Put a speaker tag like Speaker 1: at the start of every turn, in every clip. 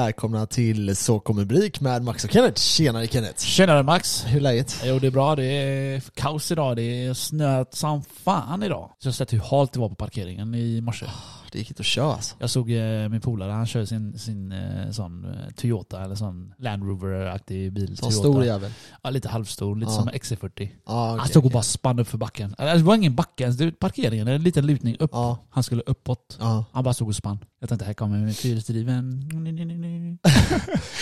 Speaker 1: Välkomna till Så kommer Brik med Max och Kenneth. Tjenare Kenneth!
Speaker 2: Tjenare Max!
Speaker 1: Hur är läget?
Speaker 2: Jo det är bra, det är kaos idag, det är snöat som fan idag. Så jag har sett hur halt det var på parkeringen i morse.
Speaker 1: Det gick inte att köra alltså.
Speaker 2: Jag såg eh, min polare, han kör sin, sin eh, sån eh, Toyota eller sån Land Rover-aktig
Speaker 1: Sån
Speaker 2: bil. Toyota.
Speaker 1: stor jävel.
Speaker 2: Ja, lite halvstor, lite
Speaker 1: Ja.
Speaker 2: som en XC40.
Speaker 1: Ja, okej,
Speaker 2: Han stod och
Speaker 1: okej.
Speaker 2: bara spann upp för backen. Alltså, det var ingen backe ens, det var parkeringen, en liten lutning upp.
Speaker 1: Ja,
Speaker 2: Han skulle uppåt.
Speaker 1: ja.
Speaker 2: Han bara stod och spann. Jag tänkte här kommer fyrhjulsdriven.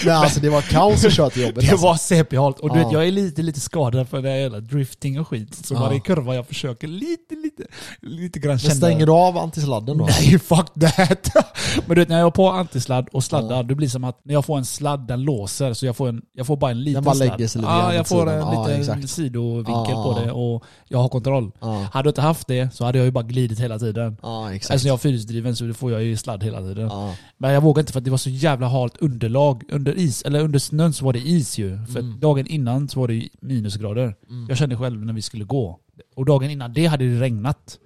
Speaker 1: Nej, alltså det var kaos att köra till jobbet.
Speaker 2: Det
Speaker 1: Alltså.
Speaker 2: var CP-halt. Och du
Speaker 1: Ja.
Speaker 2: vet, jag är lite, lite skadad för det här jävla drifting och skit. Så
Speaker 1: Ja.
Speaker 2: varje kurva jag försöker lite, lite, lite grann
Speaker 1: Men
Speaker 2: känna...
Speaker 1: stänger du av antisladden då?
Speaker 2: Nej, fuck that! Men du vet, när jag har på antisladd och sladdar,
Speaker 1: Ja.
Speaker 2: det blir som att när jag får en sladd, den låser. Så jag får, en, jag får bara en liten
Speaker 1: Den bara
Speaker 2: sladd.
Speaker 1: lägger sig lite grann
Speaker 2: ja,
Speaker 1: åt
Speaker 2: jag får
Speaker 1: sidan.
Speaker 2: en
Speaker 1: Ja,
Speaker 2: liten
Speaker 1: exakt.
Speaker 2: sidovinkel
Speaker 1: Ja.
Speaker 2: på det och jag har kontroll.
Speaker 1: Ja,
Speaker 2: Hade jag inte haft det så hade jag ju bara glidit hela tiden.
Speaker 1: ja exakt.
Speaker 2: Eftersom Alltså, jag är fyrhjulsdriven så får jag ju sladd hela tiden.
Speaker 1: ja.
Speaker 2: Men jag vågade inte för att det var så jävla halt underlag. Under is, eller under snön så var det is ju. För
Speaker 1: Mm.
Speaker 2: dagen innan så var det ju minusgrader.
Speaker 1: Mm.
Speaker 2: Jag kände själv när vi skulle gå. Och dagen innan det hade det regnat.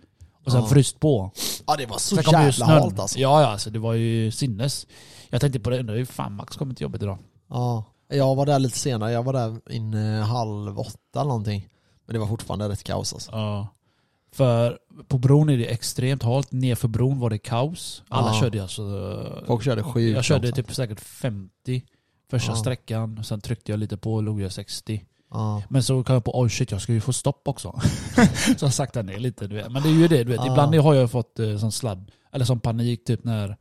Speaker 2: Och sen
Speaker 1: Ja.
Speaker 2: fryst på.
Speaker 1: ja, det var så
Speaker 2: Sen kom det ju
Speaker 1: jävla
Speaker 2: snön.
Speaker 1: halt alltså.
Speaker 2: Ja, ja, alltså det var ju sinnes. Jag tänkte på det, undrar hur fan Max kommer till jobbet idag.
Speaker 1: Ja. Jag var där lite senare, jag var där inne halv åtta eller någonting. Men det var fortfarande rätt kaos alltså.
Speaker 2: Ja. För på bron är det extremt halt. Nerför bron var det kaos. Alla
Speaker 1: Ja.
Speaker 2: körde ju alltså...
Speaker 1: Folk körde sjukt
Speaker 2: Jag körde
Speaker 1: långsamt.
Speaker 2: typ säkert 50 första
Speaker 1: alltså. Ja.
Speaker 2: sträckan. Sen tryckte jag lite på och låg jag 60.
Speaker 1: Ja.
Speaker 2: Men så kom jag på, oj shit jag ska ju få stopp också. så jag saktade ner lite. Du vet. Men det är ju det, du vet.
Speaker 1: Ah.
Speaker 2: Ibland har jag fått eh, sån sladd, eller sån panik typ när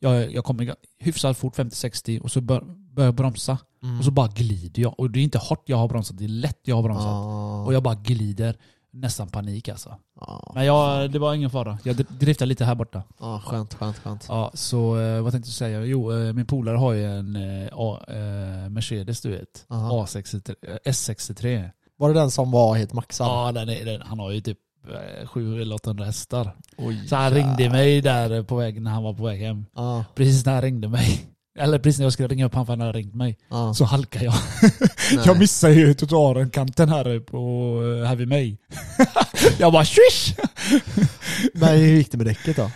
Speaker 2: jag, jag kommer hyfsat fort, 50-60, och så bör, börjar jag bromsa.
Speaker 1: Mm.
Speaker 2: Och så bara glider jag. Och det är inte hårt jag har bromsat, det är lätt jag har bromsat.
Speaker 1: Ja.
Speaker 2: Och jag bara glider. Nästan panik alltså.
Speaker 1: Ja.
Speaker 2: Men jag, det var ingen fara. Jag dr- driftade lite här borta.
Speaker 1: ja, skönt, skönt, skönt.
Speaker 2: Ja, så eh, vad tänkte du säga? Jo, eh, min polare har ju en eh, A, eh, Mercedes du vet.
Speaker 1: Aha.
Speaker 2: A63, eh, S63.
Speaker 1: Var det den som var helt maxad?
Speaker 2: Ja, den är, den, han har ju typ eh, 700 eller 800 hästar.
Speaker 1: Oj,
Speaker 2: Så han ringde
Speaker 1: jävlar.
Speaker 2: mig där eh, på väg när han var på väg hem.
Speaker 1: Ja,
Speaker 2: Precis när han ringde mig. Eller precis när jag skulle ringa upp han för han hade ringt mig.
Speaker 1: ja.
Speaker 2: Så halkar jag.
Speaker 1: Nej.
Speaker 2: Jag missar ju trottoarkanten här, på, eh, här vid mig. jag bara swish!
Speaker 1: Men hur gick det med däcket då?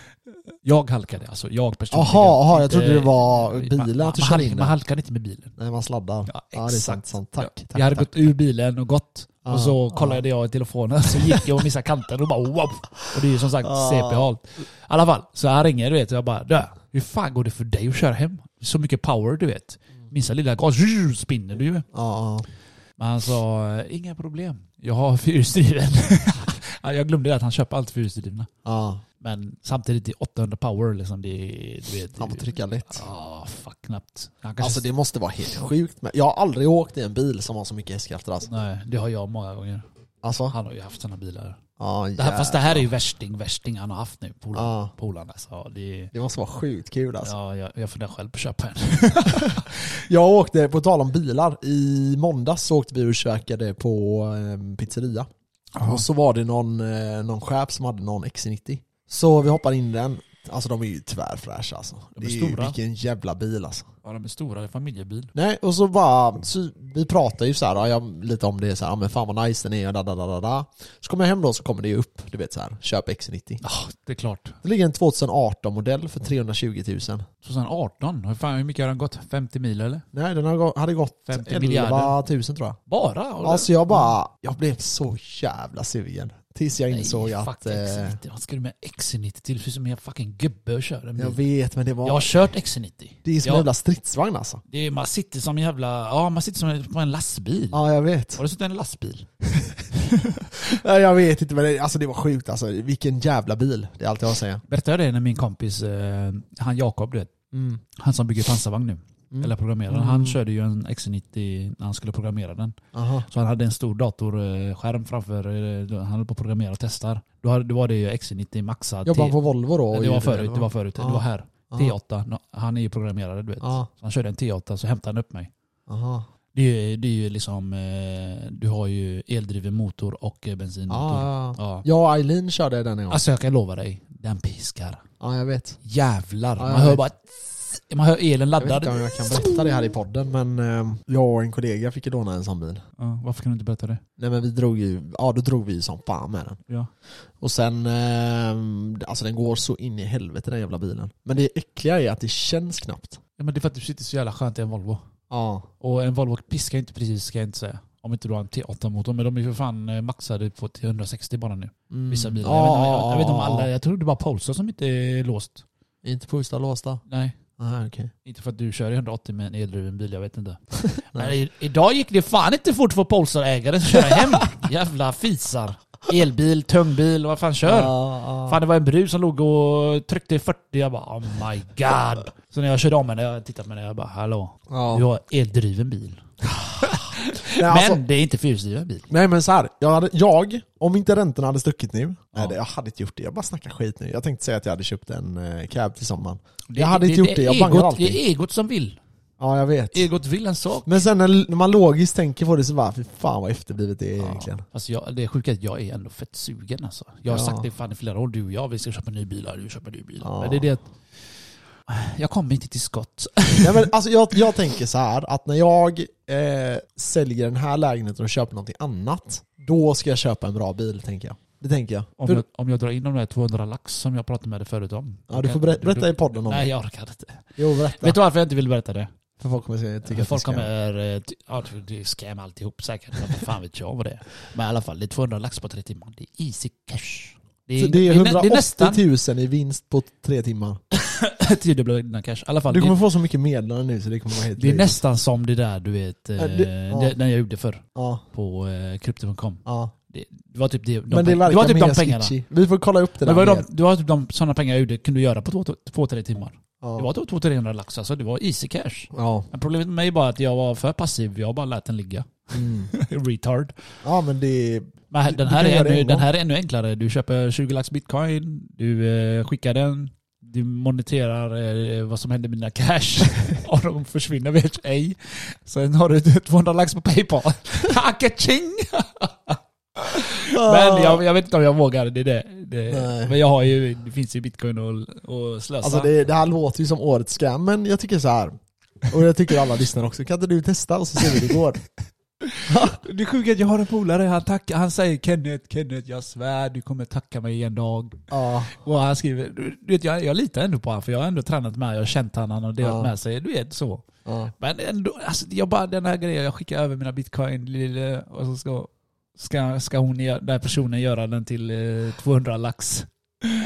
Speaker 2: Jag halkade alltså, jag personligen.
Speaker 1: Jaha, aha, jag trodde
Speaker 2: Inte-
Speaker 1: det var
Speaker 2: Man-
Speaker 1: bilen att du
Speaker 2: man,
Speaker 1: körde
Speaker 2: halk-
Speaker 1: in
Speaker 2: Man
Speaker 1: den.
Speaker 2: halkade inte med bilen.
Speaker 1: Nej, man sladdar. Ja,
Speaker 2: Ja,
Speaker 1: det är sant.
Speaker 2: exakt.
Speaker 1: sant. Tack, tack.
Speaker 2: jag hade
Speaker 1: tack.
Speaker 2: gått ur bilen och gått.
Speaker 1: Ah,
Speaker 2: och så kollade
Speaker 1: ah.
Speaker 2: jag i telefonen, så gick jag och missade kanten och bara wow. Och det är ju som sagt
Speaker 1: Ah.
Speaker 2: CP-halt. I alla fall, så han ringer du vet och jag bara dö. Hur fan går det för dig att köra hem? Så mycket power du vet.
Speaker 1: Mm.
Speaker 2: Minsta lilla gas zzz, spinner du ju.
Speaker 1: Ja, ja.
Speaker 2: Men han sa, inga problem. Jag har fyrhjulsdriven. Ja, jag glömde det att han köper allt fyrhjulsdrivna.
Speaker 1: ja.
Speaker 2: Men samtidigt, det är 800 power liksom. Det är, du vet.
Speaker 1: Han får trycka lätt.
Speaker 2: Ja, fuck knappt. Han kanske
Speaker 1: Alltså det måste vara helt sjukt. Med. Jag har aldrig åkt i en bil som har så mycket hästkrafter alltså.
Speaker 2: Nej, det har jag många gånger.
Speaker 1: Alltså?
Speaker 2: Han har ju haft sina bilar.
Speaker 1: Ja,
Speaker 2: Det här, fast det här är ju värsting, värsting han har haft nu, polarn.
Speaker 1: Ja.
Speaker 2: polarn alltså. Ja, det är,
Speaker 1: Det måste vara sjukt kul alltså.
Speaker 2: ja, jag, jag funderar själv på att köpa en.
Speaker 1: Jag åkte, på tal om bilar, i måndags så åkte vi och käkade på eh, pizzeria. Och så var det någon, eh, någon chef som hade någon XC90. Så vi hoppade in i den. Alltså de är ju tvärfräscha alltså.
Speaker 2: De
Speaker 1: Det
Speaker 2: är
Speaker 1: är ju,
Speaker 2: stora.
Speaker 1: vilken jävla bil alltså.
Speaker 2: Ja, de är stora, det är familjebil.
Speaker 1: Nej, och så bara, så vi pratar ju så här, ja, jag, lite om det så här, ja, men fan vad nice den är, da, da, da, da, da. Så kommer jag hem då så kommer det ju upp, du vet så här, köp XC90.
Speaker 2: Ja, det är klart.
Speaker 1: Det ligger en 2018-modell för 320 000.
Speaker 2: 2018, hur, fan, hur mycket har den gått? 50 mil eller?
Speaker 1: Nej, den har gå- hade gått
Speaker 2: 50
Speaker 1: 11 000
Speaker 2: miljarder.
Speaker 1: tror jag.
Speaker 2: Bara?
Speaker 1: Alltså jag bara, jag blev så jävla sugen. Tills jag
Speaker 2: Nej,
Speaker 1: insåg
Speaker 2: fuck
Speaker 1: att... Eh,
Speaker 2: XC90. Vad ska du med XC90 till? Det ser ut som en fucking gubbe och kör en
Speaker 1: jag
Speaker 2: bil.
Speaker 1: vet men det
Speaker 2: Jag,
Speaker 1: var...
Speaker 2: har kört XC90.
Speaker 1: det är som en
Speaker 2: jag,
Speaker 1: jävla stridsvagn alltså.
Speaker 2: det är, man sitter som en jävla... Ja, man sitter som en- på en lastbil.
Speaker 1: Ja jag vet.
Speaker 2: Har du suttit i en lastbil?
Speaker 1: Nej, Jag vet inte men det, alltså det var sjukt alltså. Vilken jävla bil. Det är allt jag har att säga.
Speaker 2: Berättade jag det när min kompis, eh, han Jakob, du vet,
Speaker 1: Mm.
Speaker 2: han som bygger pansarvagn nu,
Speaker 1: Mm.
Speaker 2: eller programmerar den,
Speaker 1: Mm.
Speaker 2: han körde ju en XC90 när han skulle programmera den.
Speaker 1: Aha.
Speaker 2: Så han hade en stor datorskärm framför, eh, då- han höll på att programmera och testar. Då, hade, då var det ju XC90 maxad.
Speaker 1: Jobbar
Speaker 2: T-
Speaker 1: han på Volvo då? och
Speaker 2: det var
Speaker 1: gjorde
Speaker 2: förut,
Speaker 1: eller
Speaker 2: det var förut.
Speaker 1: Ja.
Speaker 2: Det var här.
Speaker 1: Ja.
Speaker 2: T8, no- han är ju programmerare du vet.
Speaker 1: Ja.
Speaker 2: Så han körde en T8 så hämtade han upp mig.
Speaker 1: Aha.
Speaker 2: Det är ju, det är ju liksom, eh, du har ju eldriven motor och eh, bensinmotor.
Speaker 1: Ja, ja.
Speaker 2: Ja.
Speaker 1: Jag och Eileen körde den en gång.
Speaker 2: Alltså jag kan lova dig, den piskar.
Speaker 1: Ja, jag vet.
Speaker 2: Jävlar.
Speaker 1: Ja, jag
Speaker 2: Man hör
Speaker 1: vet.
Speaker 2: bara Man hör elen
Speaker 1: Jag vet
Speaker 2: laddad.
Speaker 1: inte om jag kan berätta det här i podden men eh, jag och en kollega fick ju låna en sån bil.
Speaker 2: Ja, varför kan du inte berätta det?
Speaker 1: Nej men vi drog ju, ja då drog vi ju som fan med den.
Speaker 2: Ja.
Speaker 1: Och sen, eh, alltså den går så in i helvete den jävla bilen. Men det äckliga är att det känns knappt.
Speaker 2: ja men det är för att du sitter så jävla skönt i en Volvo.
Speaker 1: Ja.
Speaker 2: Och en Volvo piskar inte precis ska jag inte säga. Om inte du har en T8-motor. Men de är ju för fan eh, maxade på till 160 bara nu.
Speaker 1: Mm.
Speaker 2: Vissa bilar.
Speaker 1: Ja,
Speaker 2: jag, vet, inte- jag, jag vet inte om
Speaker 1: ja,
Speaker 2: alla.
Speaker 1: ja.
Speaker 2: Jag tror det är bara Polestar som inte är låst.
Speaker 1: Inte pusta låsta.
Speaker 2: Nej.
Speaker 1: Nej Ah, okej.
Speaker 2: Inte för att du kör i 180 med en eldriven bil, jag vet inte. Men i, idag gick det fan inte fort för Polestar-ägaren att köra hem. Jävla fisar. Elbil, tungbil, vad fan kör?
Speaker 1: Ja, ja.
Speaker 2: Fan det var en brud som låg och tryckte i 40, jag bara oh my god. Så när jag körde om henne, jag tittade på henne, jag bara hallå.
Speaker 1: Ja.
Speaker 2: Du har eldriven bil.
Speaker 1: Nej, alltså,
Speaker 2: Men det är inte fyrhjulsdriven bil.
Speaker 1: Nej men så här, jag, hade, jag om inte räntorna hade stuckit nu, nej, det- jag hade inte gjort det. Jag bara snackar skit nu. Jag tänkte säga att jag hade köpt en eh, cab till sommaren.
Speaker 2: Det-
Speaker 1: jag hade inte gjort det, jag bangar
Speaker 2: egot,
Speaker 1: alltid.
Speaker 2: Det är egot som vill.
Speaker 1: Ja jag vet.
Speaker 2: Egot vill en sak.
Speaker 1: Men sen när, när man logiskt tänker på det så bara, fy fan vad efterblivet det är egentligen.
Speaker 2: Alltså jag, det är sjukt att jag är ändå fett sugen alltså. Jag har
Speaker 1: Ja.
Speaker 2: sagt det fan i flera år, du och jag, vi ska köpa en ny bil, ja, vi köper en ny bil.
Speaker 1: Ja.
Speaker 2: Men det är det att jag kommer inte till skott.
Speaker 1: Nej, men alltså, jag, jag tänker så här, att när jag eh, säljer den här lägenheten och köper någonting annat, då ska jag köpa en bra bil tänker jag. Det tänker jag.
Speaker 2: Om
Speaker 1: För-
Speaker 2: jag, om jag drar in de där 200 lax som jag pratade med dig förut om.
Speaker 1: ja, du får berätta, berätta i podden om
Speaker 2: Nej
Speaker 1: det.
Speaker 2: jag orkar inte.
Speaker 1: Jo berätta.
Speaker 2: Vet du varför jag inte vill berätta det?
Speaker 1: För folk kommer säga, tycka
Speaker 2: Tycker
Speaker 1: att
Speaker 2: folk
Speaker 1: det ska-
Speaker 2: kommer... eh, ty- Ja, det är scam alltihop säkert. Men vad fan vet jag vad det är. Men i alla fall, det är 200 lax på tre timmar. Det är easy cash. Det
Speaker 1: Så det är
Speaker 2: nä- det är
Speaker 1: 180
Speaker 2: nästan
Speaker 1: 000 i vinst på tre timmar.
Speaker 2: tiodubbla innan cash. I alla fall,
Speaker 1: Du kommer
Speaker 2: det,
Speaker 1: få så mycket meddelanden nu så det kommer vara helt
Speaker 2: det är
Speaker 1: löjligt.
Speaker 2: nästan som det där du vet, eh,
Speaker 1: Ja, det- ja.
Speaker 2: det, när jag gjorde förr
Speaker 1: Ja,
Speaker 2: på eh, Crypto.com.
Speaker 1: ja.
Speaker 2: Det, det var typ det, de,
Speaker 1: Men det
Speaker 2: peng- det var
Speaker 1: verkar
Speaker 2: typ de
Speaker 1: mer
Speaker 2: pengarna.
Speaker 1: sketchy. Vi får kolla upp det
Speaker 2: Det
Speaker 1: där
Speaker 2: var, de,
Speaker 1: mer.
Speaker 2: det var typ de sådana pengar jag gjorde, kunde göra på två- två, tre timmar. Det
Speaker 1: Ja.
Speaker 2: var typ 200-300 lax alltså, det var easy cash.
Speaker 1: Ja.
Speaker 2: Men problemet med mig var att jag var för passiv, jag bara lät den ligga.
Speaker 1: Mm.
Speaker 2: Retard.
Speaker 1: ja men det...
Speaker 2: Men här-
Speaker 1: Du-
Speaker 2: den,
Speaker 1: du
Speaker 2: här
Speaker 1: kan
Speaker 2: är
Speaker 1: göra det
Speaker 2: ännu,
Speaker 1: en
Speaker 2: den
Speaker 1: gång.
Speaker 2: här är ännu enklare. Du köper 20 lax bitcoin, du eh, skickar den, du moniterar eh, vad som händer med dina cash. Om de försvinner vet jag ej. Sen har du 200 lax på Paypal. Hacka-ching! Men jag, jag vet inte om jag vågar. Det är det. det
Speaker 1: Nej.
Speaker 2: men jag har ju, det finns ju bitcoin och, och slösa.
Speaker 1: Alltså det, det här låter ju som årets scam, men jag tycker så här. Och jag tycker alla lyssnar också. Kan inte du testa och så ser vi hur det går?
Speaker 2: Det är sjukt att jag har en polare, han, tackar, han säger Kenneth, Kenneth jag svär du kommer tacka mig en dag.
Speaker 1: Ja.
Speaker 2: Och han skriver, du du vet jag, jag litar ändå på honom för jag har ändå tränat med honom, jag har känt honom, han har delat
Speaker 1: Ja.
Speaker 2: med sig, du vet så.
Speaker 1: ja.
Speaker 2: Men ändå, alltså, jag bara den här grejen, jag skickar över mina bitcoin lille, och så ska, ska, ska hon, gö- den här personen göra den till eh, 200 lax.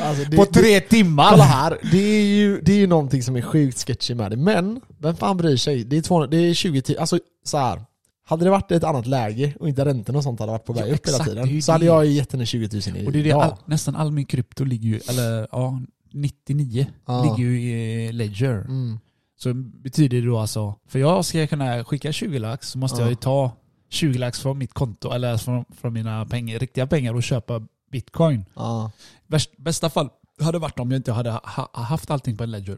Speaker 1: Alltså det,
Speaker 2: På
Speaker 1: det,
Speaker 2: tre timmar!
Speaker 1: kolla här, det är, ju, det är ju någonting som är sjukt sketchy med det. Men, vem fan bryr sig? Det är, 200, det är 20 000, alltså så här. Hade det varit ett annat läge och inte räntorna och sånt hade varit på väg
Speaker 2: Ja,
Speaker 1: upp hela
Speaker 2: exakt, det är ju
Speaker 1: tiden så hade
Speaker 2: det.
Speaker 1: jag ju gett henne 20 000 i
Speaker 2: Och det är det,
Speaker 1: dag.
Speaker 2: all, nästan all min krypto ligger ju, eller ja, 99
Speaker 1: Ja.
Speaker 2: ligger ju i eh, ledger.
Speaker 1: Mm.
Speaker 2: Så betyder det då alltså, för jag ska kunna skicka 20 lax så måste
Speaker 1: Ja.
Speaker 2: jag ju ta 20 lax från mitt konto, eller alltså från, från mina pengar, riktiga pengar och köpa bitcoin.
Speaker 1: Ja.
Speaker 2: Värst, bästa fall hade varit om jag inte hade ha, ha- haft allting på en ledger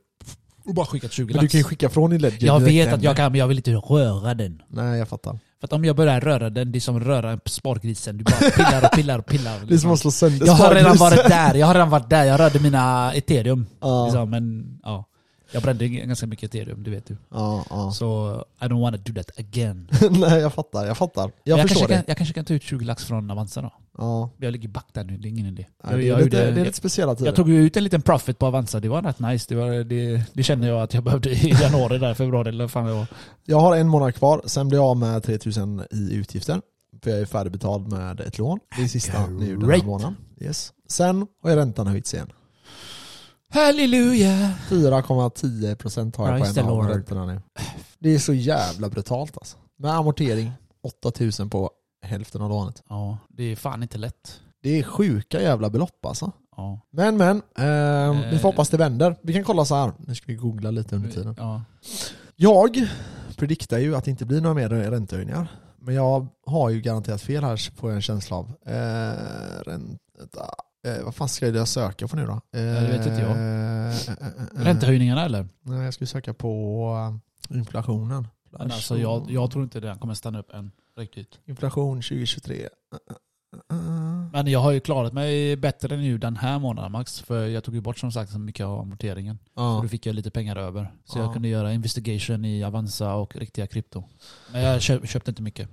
Speaker 2: och bara skickat 20
Speaker 1: Men du
Speaker 2: lax.
Speaker 1: kan ju skicka från din ledger
Speaker 2: jag
Speaker 1: direkt
Speaker 2: vet att
Speaker 1: hem.
Speaker 2: jag kan, men jag vill inte röra den.
Speaker 1: Nej jag fattar.
Speaker 2: För att om jag börjar röra den, det är som att röra spargrisen. Du bara pillar och pillar och pillar. liksom.
Speaker 1: Det är som att slå sönder
Speaker 2: jag har redan
Speaker 1: spargrisen.
Speaker 2: varit där, jag har redan varit där. Jag rörde mina ethereum.
Speaker 1: Ja.
Speaker 2: Liksom, men, ja. Jag brände ganska mycket ethereum, det vet du.
Speaker 1: Ja, ja.
Speaker 2: Så I don't wanna do that again.
Speaker 1: Nej jag fattar, jag fattar. Jag,
Speaker 2: Jag,
Speaker 1: förstår
Speaker 2: kanske
Speaker 1: det.
Speaker 2: Kan, jag kanske kan ta ut 20 lax från Avanza då.
Speaker 1: Ja.
Speaker 2: Jag ligger back där nu, det är ingen idé.
Speaker 1: Nej,
Speaker 2: jag,
Speaker 1: det, är
Speaker 2: jag,
Speaker 1: lite,
Speaker 2: gjorde-
Speaker 1: det är lite speciella tider.
Speaker 2: jag tog ju ut en liten profit på Avanza, det var rätt nice. Det, var, det, det kände jag att jag behövde i januari, där, februari eller vad fan det var.
Speaker 1: Jag har en månad kvar, sen blir jag av med 3000 i utgifter. För jag är färdigbetald med ett lån. Det är sista nu den här
Speaker 2: Great.
Speaker 1: månaden. Yes. Sen har ju räntan höjts igen.
Speaker 2: Halleluja!
Speaker 1: 4,10% har jag
Speaker 2: Praise
Speaker 1: på
Speaker 2: the
Speaker 1: en av
Speaker 2: Lord.
Speaker 1: räntorna nu. Det är så jävla brutalt alltså. Med amortering, 8000 på hälften av lånet.
Speaker 2: Ja, det är fan inte lätt.
Speaker 1: Det är sjuka jävla belopp alltså.
Speaker 2: Ja.
Speaker 1: Men men, ehm, vi
Speaker 2: Eh.
Speaker 1: får hoppas det vänder. Vi kan kolla så här. Nu ska vi googla lite under tiden.
Speaker 2: Ja.
Speaker 1: Jag prediktar ju att det inte blir några mer räntehöjningar. Men jag har ju garanterat fel här får jag en känsla av. Eh, ränta, eh, vad fan ska jag söka på nu då? Eh,
Speaker 2: det vet inte jag.
Speaker 1: eh, eh, eh.
Speaker 2: Räntehöjningarna eller?
Speaker 1: Nej, jag skulle söka på eh, inflationen.
Speaker 2: Men alltså, jag, jag tror inte den kommer stanna upp än. Riktigt.
Speaker 1: Inflation 2023. Eh, eh, eh, eh.
Speaker 2: Men jag har ju klarat mig bättre nu den här månaden Max. För jag tog ju bort som sagt så mycket av amorteringen.
Speaker 1: Ja.
Speaker 2: Och då fick jag lite pengar över. Så
Speaker 1: Ja.
Speaker 2: jag kunde göra investigation i Avanza och riktiga krypto. Men jag köp, köpte inte mycket.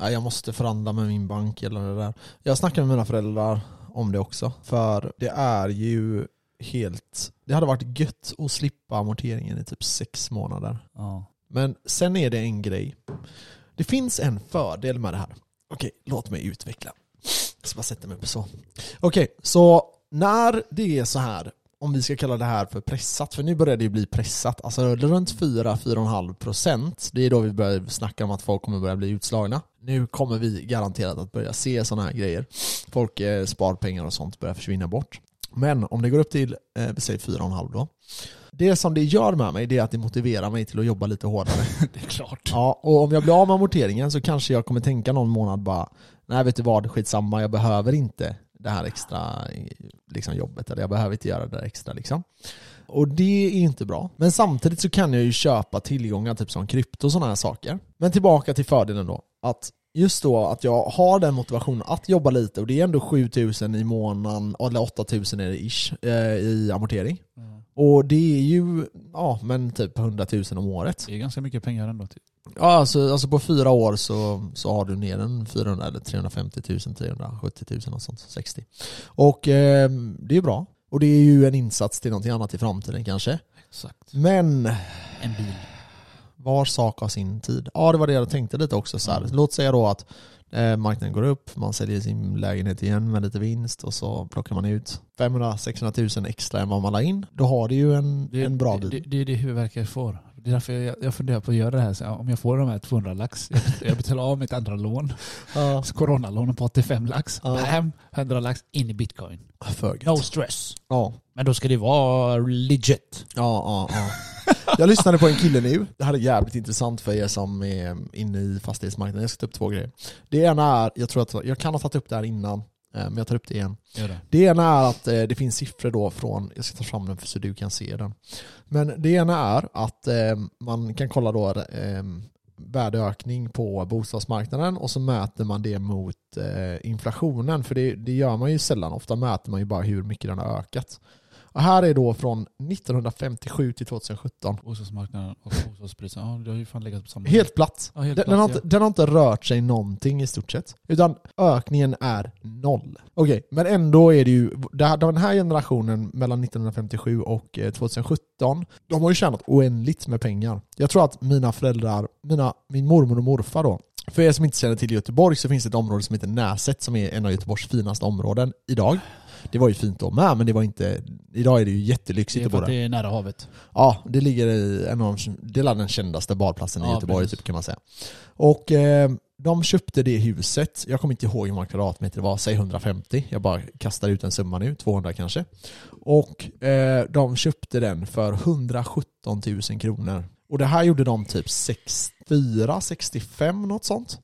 Speaker 1: Nej, jag måste förhandla med min bank eller det där. Jag snackade med mina föräldrar om det också. För det är ju helt... Det hade varit gött att slippa amorteringen i typ sex månader.
Speaker 2: Ja.
Speaker 1: Men sen är det en grej. Det finns en fördel med det här. Okej, låt mig utveckla. Jag ska bara sätta mig upp så. Okej, så när det är så här, om vi ska kalla det här för pressat, för nu börjar det ju bli pressat, alltså runt 4-4,5 procent, det är då vi börjar snacka om att folk kommer börja bli utslagna. Nu kommer vi garanterat att börja se sådana här grejer. Folk eh, sparpengar och sånt börjar försvinna bort. Men om det går upp till, eh, säg 4,5 då. Det som det gör med mig det är att det motiverar mig till att jobba lite hårdare.
Speaker 2: Det är klart.
Speaker 1: Ja, och om jag blir av med amorteringen så kanske jag kommer tänka någon månad bara Nej vet du vad, skitsamma, jag behöver inte det här extra eh, liksom, jobbet eller jag behöver inte göra det där extra liksom. Och det är inte bra. Men samtidigt så kan jag ju köpa tillgångar typ som krypto och sådana här saker. Men tillbaka till fördelen då, att just då att jag har den motivationen att jobba lite och det är ändå 7000 i månaden, eller 8000 är det ish, eh, i amortering.
Speaker 2: Ja.
Speaker 1: Och det är ju, ja men typ 100 000 om året.
Speaker 2: Det är ganska mycket pengar ändå. Typ.
Speaker 1: Ja, alltså, alltså på fyra år så, så har du ner en 400 eller 350 000, 370 000 och sånt, 60. Och eh, det är bra. Och det är ju en insats till någonting annat i framtiden kanske.
Speaker 2: Exakt.
Speaker 1: Men
Speaker 2: En bil.
Speaker 1: var sak har sin tid. Ja, det var det jag tänkte lite också. Så
Speaker 2: Mm.
Speaker 1: här. Låt säga då att eh, marknaden går upp, man säljer sin lägenhet igen med lite vinst och så plockar man ut 500-600 000 extra än vad man la in. Då har du ju en,
Speaker 2: Det,
Speaker 1: en bra
Speaker 2: det,
Speaker 1: bil.
Speaker 2: det, det är det huvudvärket jag får. Det är därför jag, jag funderar på att göra det här. Så om jag får de här 200 lax, jag, jag betalar av mitt andra lån,
Speaker 1: Ja,
Speaker 2: alltså coronalånen på 85 lax,
Speaker 1: Ja.
Speaker 2: bam, 100 lax in i bitcoin.
Speaker 1: för gött.
Speaker 2: No stress.
Speaker 1: Ja.
Speaker 2: Men då ska det vara legit.
Speaker 1: Ja, ja, ja. Jag lyssnade på en kille nu. Det här är jävligt intressant för er som är inne i fastighetsmarknaden. Jag ska ta upp två grejer. Det ena är, jag tror att jag kan ha tagit upp det här innan, eh, men jag tar upp det igen.
Speaker 2: Gör det.
Speaker 1: Det ena är att eh, det finns siffror då från, jag ska ta fram den så du kan se den. Men det ena är att eh, man kan kolla då eh, värdeökning på bostadsmarknaden och så mäter man det mot eh, inflationen. För det, det gör man ju sällan, ofta mäter man ju bara hur mycket den har ökat. Och här är då från 1957 till 2017.
Speaker 2: Bostadsmarknaden och bostadspriserna, ja, det har ju fan legat på samma.
Speaker 1: Helt platt.
Speaker 2: ja, helt
Speaker 1: Den,
Speaker 2: klart,
Speaker 1: den, har
Speaker 2: ja.
Speaker 1: inte, den har inte rört sig någonting i stort sett. Utan ökningen är noll. Okej, men ändå är det ju, det här- den här generationen mellan 1957 och eh, 2017, de har ju tjänat oändligt med pengar. Jag tror att mina föräldrar, mina, min mormor och morfar då, för er som inte känner till Göteborg så finns det ett område som heter Näset som är en av Göteborgs finaste områden idag. Det var ju fint då med, men det var inte... Idag är det ju
Speaker 2: Det
Speaker 1: jättelyxigt
Speaker 2: är
Speaker 1: att bo där.
Speaker 2: för att det är nära havet.
Speaker 1: Ja, det ligger i en av de, det är den kändaste badplatsen i
Speaker 2: Ja,
Speaker 1: Göteborg
Speaker 2: precis.
Speaker 1: typ, kan man säga. Och eh, de köpte det huset, jag kommer inte ihåg hur många kvadratmeter det var, säg 150, jag bara kastar ut en summa nu, 200 kanske. Och eh, de köpte den för 117 000 kronor. Och det här gjorde de typ 64, 65 något sånt.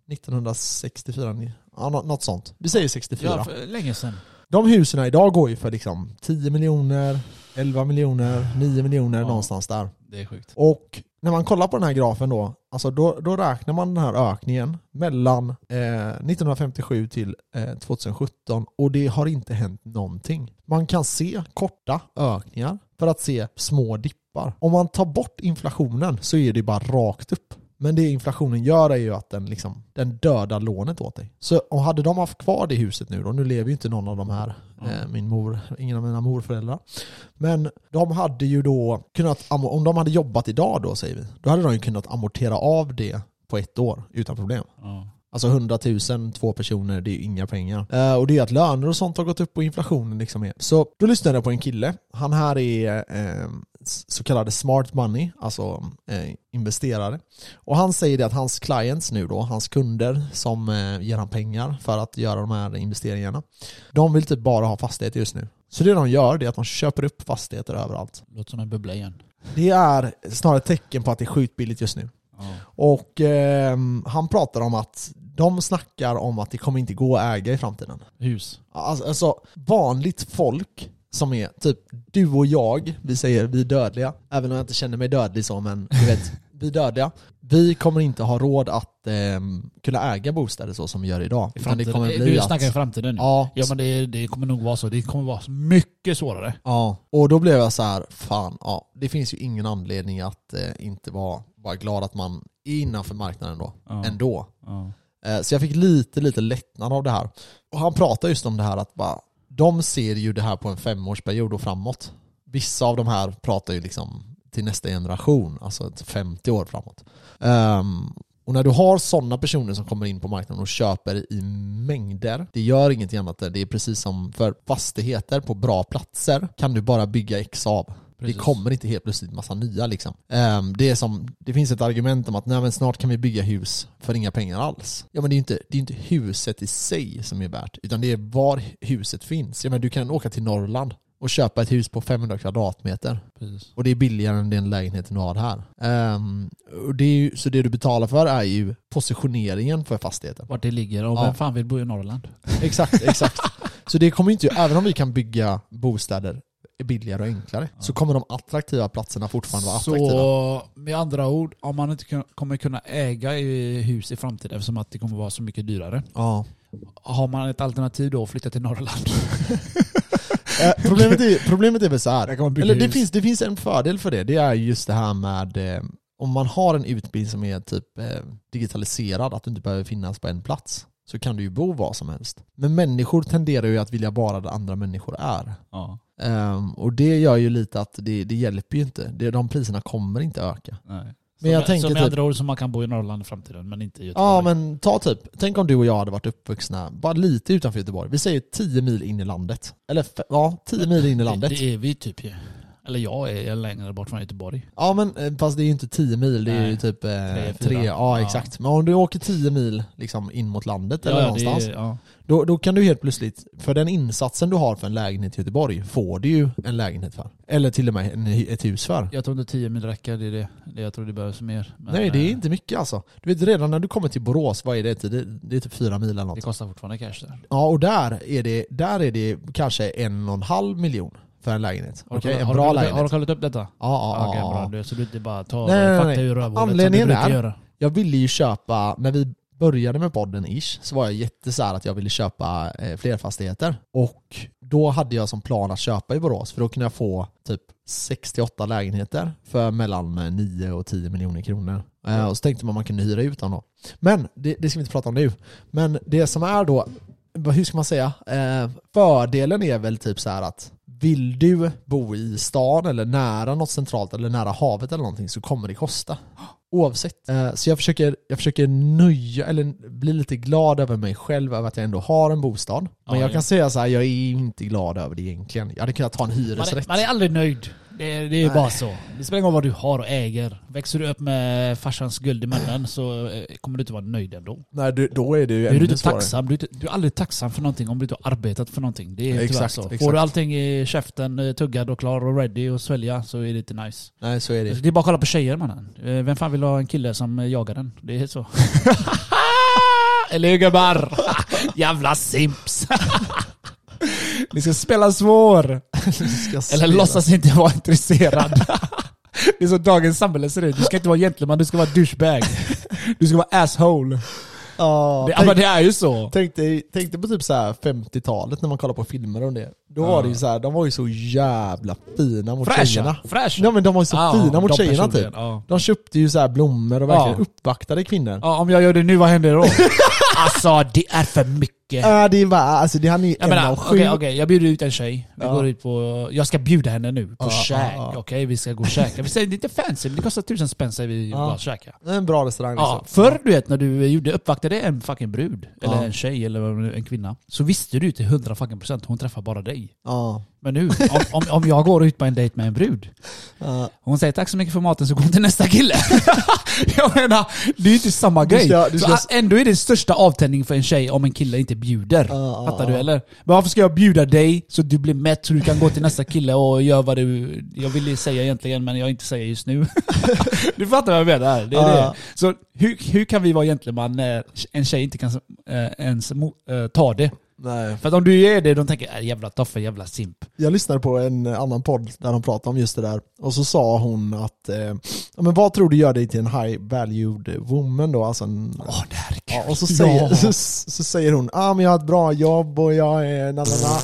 Speaker 1: 1964, ni- ja, nå- något sånt. Vi säger 64.
Speaker 2: Ja, för, länge sedan.
Speaker 1: De husen idag går ju för liksom 10 miljoner, 11 miljoner, 9 miljoner
Speaker 2: Ja.
Speaker 1: någonstans där.
Speaker 2: Det är sjukt.
Speaker 1: Och när man kollar på den här grafen då, alltså då, då räknar man den här ökningen mellan eh, 1957 till eh, 2017 och det har inte hänt någonting. Man kan se korta ökningar för att se små dippar. Om man tar bort inflationen så är det bara rakt upp. Men det inflationen gör är ju att den, liksom, den dödar lånet åt dig. Så och hade de haft kvar det huset nu då, nu lever ju inte någon av de här, eh, min mor, ingen av mina morföräldrar, men de hade ju då kunnat, am- om de hade jobbat idag då säger vi, då hade de ju kunnat amortera av det på ett år utan problem.
Speaker 2: Ja.
Speaker 1: Alltså 100 000, två personer, det är ju inga pengar. Eh, och det är att löner och sånt har gått upp och inflationen liksom är. Så då lyssnade jag på en kille. Han här är eh, s- så kallade smart money, alltså eh, investerare. Och han säger det att hans clients nu då, hans kunder som eh, ger han pengar för att göra de här investeringarna, de vill typ bara ha fastigheter just nu. Så det de gör det är att de köper upp fastigheter överallt.
Speaker 2: Låter som en bubbla igen.
Speaker 1: Det är snarare ett tecken på att det är sjukt billigt just nu.
Speaker 2: Ja.
Speaker 1: Och ehm, han pratar om att de snackar om att det kommer inte gå att äga i framtiden.
Speaker 2: Hus.
Speaker 1: Alltså, alltså vanligt folk som är typ du och jag, vi säger vi är dödliga, även om jag inte känner mig dödlig så men du vet, vi dödliga, vi kommer inte ha råd att ehm, kunna äga bostäder så som vi gör idag.
Speaker 2: I
Speaker 1: Utan det
Speaker 2: framtiden.
Speaker 1: kommer bli
Speaker 2: du
Speaker 1: att...
Speaker 2: snackar i framtiden nu.
Speaker 1: Ja,
Speaker 2: Ja men det, det kommer nog vara så. Det kommer vara mycket svårare.
Speaker 1: Ja, och då blev jag så här, fan, ja, det finns ju ingen anledning att eh, inte vara, vara glad att man är innanför marknaden då,
Speaker 2: Ja.
Speaker 1: ändå.
Speaker 2: Ja.
Speaker 1: Eh, så jag fick lite, lite lättnad av det här. Och han pratar just om det här att bara, de ser ju det här på en femårsperiod och framåt. Vissa av de här pratar ju liksom till nästa generation, alltså ett 50 år framåt. Ehm, och när du har sådana personer som kommer in på marknaden och köper i mängder, det gör ingenting annat. Det är precis som för fastigheter på bra platser kan du bara bygga X av.
Speaker 2: Precis.
Speaker 1: Det kommer inte helt plötsligt massa nya liksom. Ehm, det, är som, det finns ett argument om att nej, men snart kan vi bygga hus för inga pengar alls. Ja men det är ju inte, det är inte huset i sig som är värt, utan det är var huset finns. Ja, men du kan åka till Norrland och köpa ett hus på 500 kvadratmeter.
Speaker 2: Precis.
Speaker 1: Och det är billigare än den lägenheten du har här. Ehm, och det är ju, så det du betalar för är ju positioneringen för fastigheten.
Speaker 2: Vart det ligger och
Speaker 1: Ja.
Speaker 2: vem fan vill bo i Norrland?
Speaker 1: Exakt, exakt. Så det kommer ju inte, även om vi kan bygga bostäder billigare och enklare, så kommer de attraktiva platserna fortfarande vara attraktiva.
Speaker 2: Så med andra ord, om man inte kun- kommer kunna äga i hus i framtiden eftersom att det kommer vara så mycket dyrare.
Speaker 1: Ja.
Speaker 2: Har man ett alternativ då att flytta till Norrland?
Speaker 1: Eh, problemet, är, problemet är väl så här.
Speaker 2: kan man bygga
Speaker 1: Eller det
Speaker 2: hus.
Speaker 1: finns, det finns en fördel för det. Det är just det här med eh, om man har en utbildning som är typ eh, digitaliserad, att du inte behöver finnas på en plats, så kan du ju bo var som helst. Men människor tenderar ju att vilja vara där andra människor är.
Speaker 2: Ja,
Speaker 1: Ehm, och det gör ju lite att det, det hjälper ju inte. Det, de priserna kommer inte öka.
Speaker 2: nej.
Speaker 1: Men jag
Speaker 2: så,
Speaker 1: tänker
Speaker 2: så med
Speaker 1: typ-
Speaker 2: andra ord så man kan bo i Norrland i framtiden men inte i Göteborg.
Speaker 1: Ja men ta typ, tänk om du och jag hade varit uppvuxna bara lite utanför Göteborg. Vi säger 10 mil in i landet. Eller f- ja, 10 mil in i landet.
Speaker 2: Det, det är vi typ ju. Eller jag är längre bort från Göteborg.
Speaker 1: Ja men eh, fast det är ju inte 10 mil, det är ju
Speaker 2: Nej.
Speaker 1: typ
Speaker 2: Tre,
Speaker 1: 3.
Speaker 2: fyra.
Speaker 1: tre. Ja
Speaker 2: Ja.
Speaker 1: exakt. Men om du åker 10 mil liksom in mot landet eller
Speaker 2: ja,
Speaker 1: någonstans,
Speaker 2: Det, är- ja.
Speaker 1: då, då kan du helt plötsligt, för den insatsen du har för en lägenhet i Göteborg, får du ju en lägenhet för. Eller till och med en, hy- ett hus för.
Speaker 2: Jag tror inte 10 mil räcker, det är det. det. Jag tror det behövs mer. Men,
Speaker 1: Nej det är
Speaker 2: eh,
Speaker 1: inte mycket alltså. Du vet redan när du kommer till Borås, vad är det? Det, det är typ fyra mil eller något.
Speaker 2: Det kostar fortfarande cash där.
Speaker 1: Ja och där är det, där är det kanske en och en halv miljon för en lägenhet.
Speaker 2: Har du
Speaker 1: Okej,
Speaker 2: kollat-
Speaker 1: en
Speaker 2: har
Speaker 1: bra
Speaker 2: du, kollat- Har du
Speaker 1: lägenhet. Ja,
Speaker 2: kollat upp detta?
Speaker 1: ja,
Speaker 2: Okej,
Speaker 1: ja,
Speaker 2: bra.
Speaker 1: ja.
Speaker 2: Du, så du inte bara tar
Speaker 1: Nej, nej,
Speaker 2: fakta
Speaker 1: nej.
Speaker 2: ur rövhålet som du
Speaker 1: Anledningen
Speaker 2: brukar
Speaker 1: är-
Speaker 2: göra.
Speaker 1: Jag ville ju köpa, när vi började med podden ish, så var jag jätte så här att jag ville köpa eh, fler fastigheter. Och då hade jag som plan att köpa i Borås, för då kunde jag få typ 68 lägenheter för mellan eh, 9 och 10 miljoner kronor. Eh, och så tänkte man man kunde hyra ut dem då. Men, det, det ska vi inte prata om nu. Men det som är då, vad- hur ska man säga? Eh, fördelen är väl typ så här att vill du bo i stan eller nära något centralt eller nära havet eller någonting så kommer det kosta. Oavsett. Eh, Så jag försöker, jag försöker nöja, eller bli lite glad över mig själv, över att jag ändå har en bostad. Men
Speaker 2: Ja,
Speaker 1: jag
Speaker 2: ja.
Speaker 1: kan säga så här, jag är inte glad över det egentligen. Jag hade kunnat ta en
Speaker 2: Man är,
Speaker 1: hyresrätt.
Speaker 2: man är aldrig nöjd. Det, är- det är ju
Speaker 1: Nej.
Speaker 2: bara så. Det spelar ingen roll vad du har och äger. Växer du upp med farsans guld i munnen så eh, kommer du inte vara nöjd ändå.
Speaker 1: Nej, du- då är det ju
Speaker 2: Du är du
Speaker 1: ännu
Speaker 2: inte
Speaker 1: svårare.
Speaker 2: tacksam. Du, är inte- du är aldrig tacksam för någonting om du inte har arbetat för någonting. Det är tyvärr
Speaker 1: Exakt,
Speaker 2: så.
Speaker 1: exakt.
Speaker 2: Får du allting i käften, eh, tuggad och klar och ready och svälja så är det inte nice.
Speaker 1: Nej, så är det.
Speaker 2: Det är bara att kolla på tjejer mannen. Eh, Vem fan vill ha en kille som eh, jagar den? Det är så. Eller hur gubbar? Jävla simps. Ni ska spela svår.
Speaker 1: Du ska
Speaker 2: Eller
Speaker 1: spela.
Speaker 2: låtsas inte vara intresserad. Det är så dagens samhälle ser ut. Du ska inte vara gentleman, du ska vara douchebag. Du ska vara asshole.
Speaker 1: Ja,
Speaker 2: Det, ja,
Speaker 1: tänk-
Speaker 2: men det är ju så.
Speaker 1: Tänk dig, tänk dig på typ så här 50-talet när man kollar på filmer om det. Då var
Speaker 2: Ja.
Speaker 1: det ju så här, de var ju så jävla fina mot tjejerna.
Speaker 2: Fräscha. Fräscha.
Speaker 1: Ja men de var ju så
Speaker 2: Ja,
Speaker 1: fina mot
Speaker 2: de
Speaker 1: tjejerna
Speaker 2: personligen,
Speaker 1: typ.
Speaker 2: Ja.
Speaker 1: De köpte ju så här blommor och verkligen
Speaker 2: Ja.
Speaker 1: uppvaktade kvinnor.
Speaker 2: Ja, om jag gör det nu, vad händer då? alltså, det är för mycket.
Speaker 1: Ja det var, alltså det, han är
Speaker 2: Jag
Speaker 1: en
Speaker 2: menar,
Speaker 1: av
Speaker 2: okej,
Speaker 1: sju.
Speaker 2: okej, jag bjuder ut en tjej. Vi
Speaker 1: Ja.
Speaker 2: går ut på, jag ska bjuda henne nu på
Speaker 1: Ja,
Speaker 2: käk.
Speaker 1: ja,
Speaker 2: Okej,
Speaker 1: ja.
Speaker 2: vi ska gå och käka. Vi säger det är inte fancy, men det kostar tusen spänn säger vi
Speaker 1: Ja.
Speaker 2: bara att käka.
Speaker 1: Det är En bra restaurang
Speaker 2: Ja,
Speaker 1: liksom.
Speaker 2: förr du vet när du gjorde, uppvaktade en fucking brud, eller
Speaker 1: Ja.
Speaker 2: en tjej, eller vad det nu- en kvinna. Så visste du till 100 fucking procent, hon träffar bara dig.
Speaker 1: Ja.
Speaker 2: Men nu, om, om, om jag går ut på en dejt med en brud,
Speaker 1: Ja.
Speaker 2: hon säger tack så mycket för maten så går hon till nästa kille. jag menar, det är ju inte samma
Speaker 1: Du
Speaker 2: grej.
Speaker 1: ska- du ska-
Speaker 2: Så ändå är det största avtändning för en tjej om en kille inte bjuder.
Speaker 1: Ja, ja,
Speaker 2: Fattar
Speaker 1: ja.
Speaker 2: du eller? Men varför ska jag bjuda dig så du blir mätt så du kan gå till nästa kille och göra vad du... Jag ville säga egentligen men jag inte säger just nu. du fattar vad jag menar? Det är
Speaker 1: Ja,
Speaker 2: det.
Speaker 1: ja.
Speaker 2: Så hur, hur kan vi vara gentleman när en tjej inte kan eh, ens mo- eh, ta det?
Speaker 1: Nej.
Speaker 2: För att om du gör det, de tänker "Äh, jävla toffel, jävla simp.
Speaker 1: Jag lyssnade på en annan podd där de pratade om just det där. Och så sa hon att, eh, ja, men vad tror du gör dig till en high valued woman då? Alltså en,
Speaker 2: Åh, det här är kul.
Speaker 1: Ja, och så säger,
Speaker 2: Ja.
Speaker 1: så, så säger hon ah, men jag har ett bra jobb och jag är na, na, na.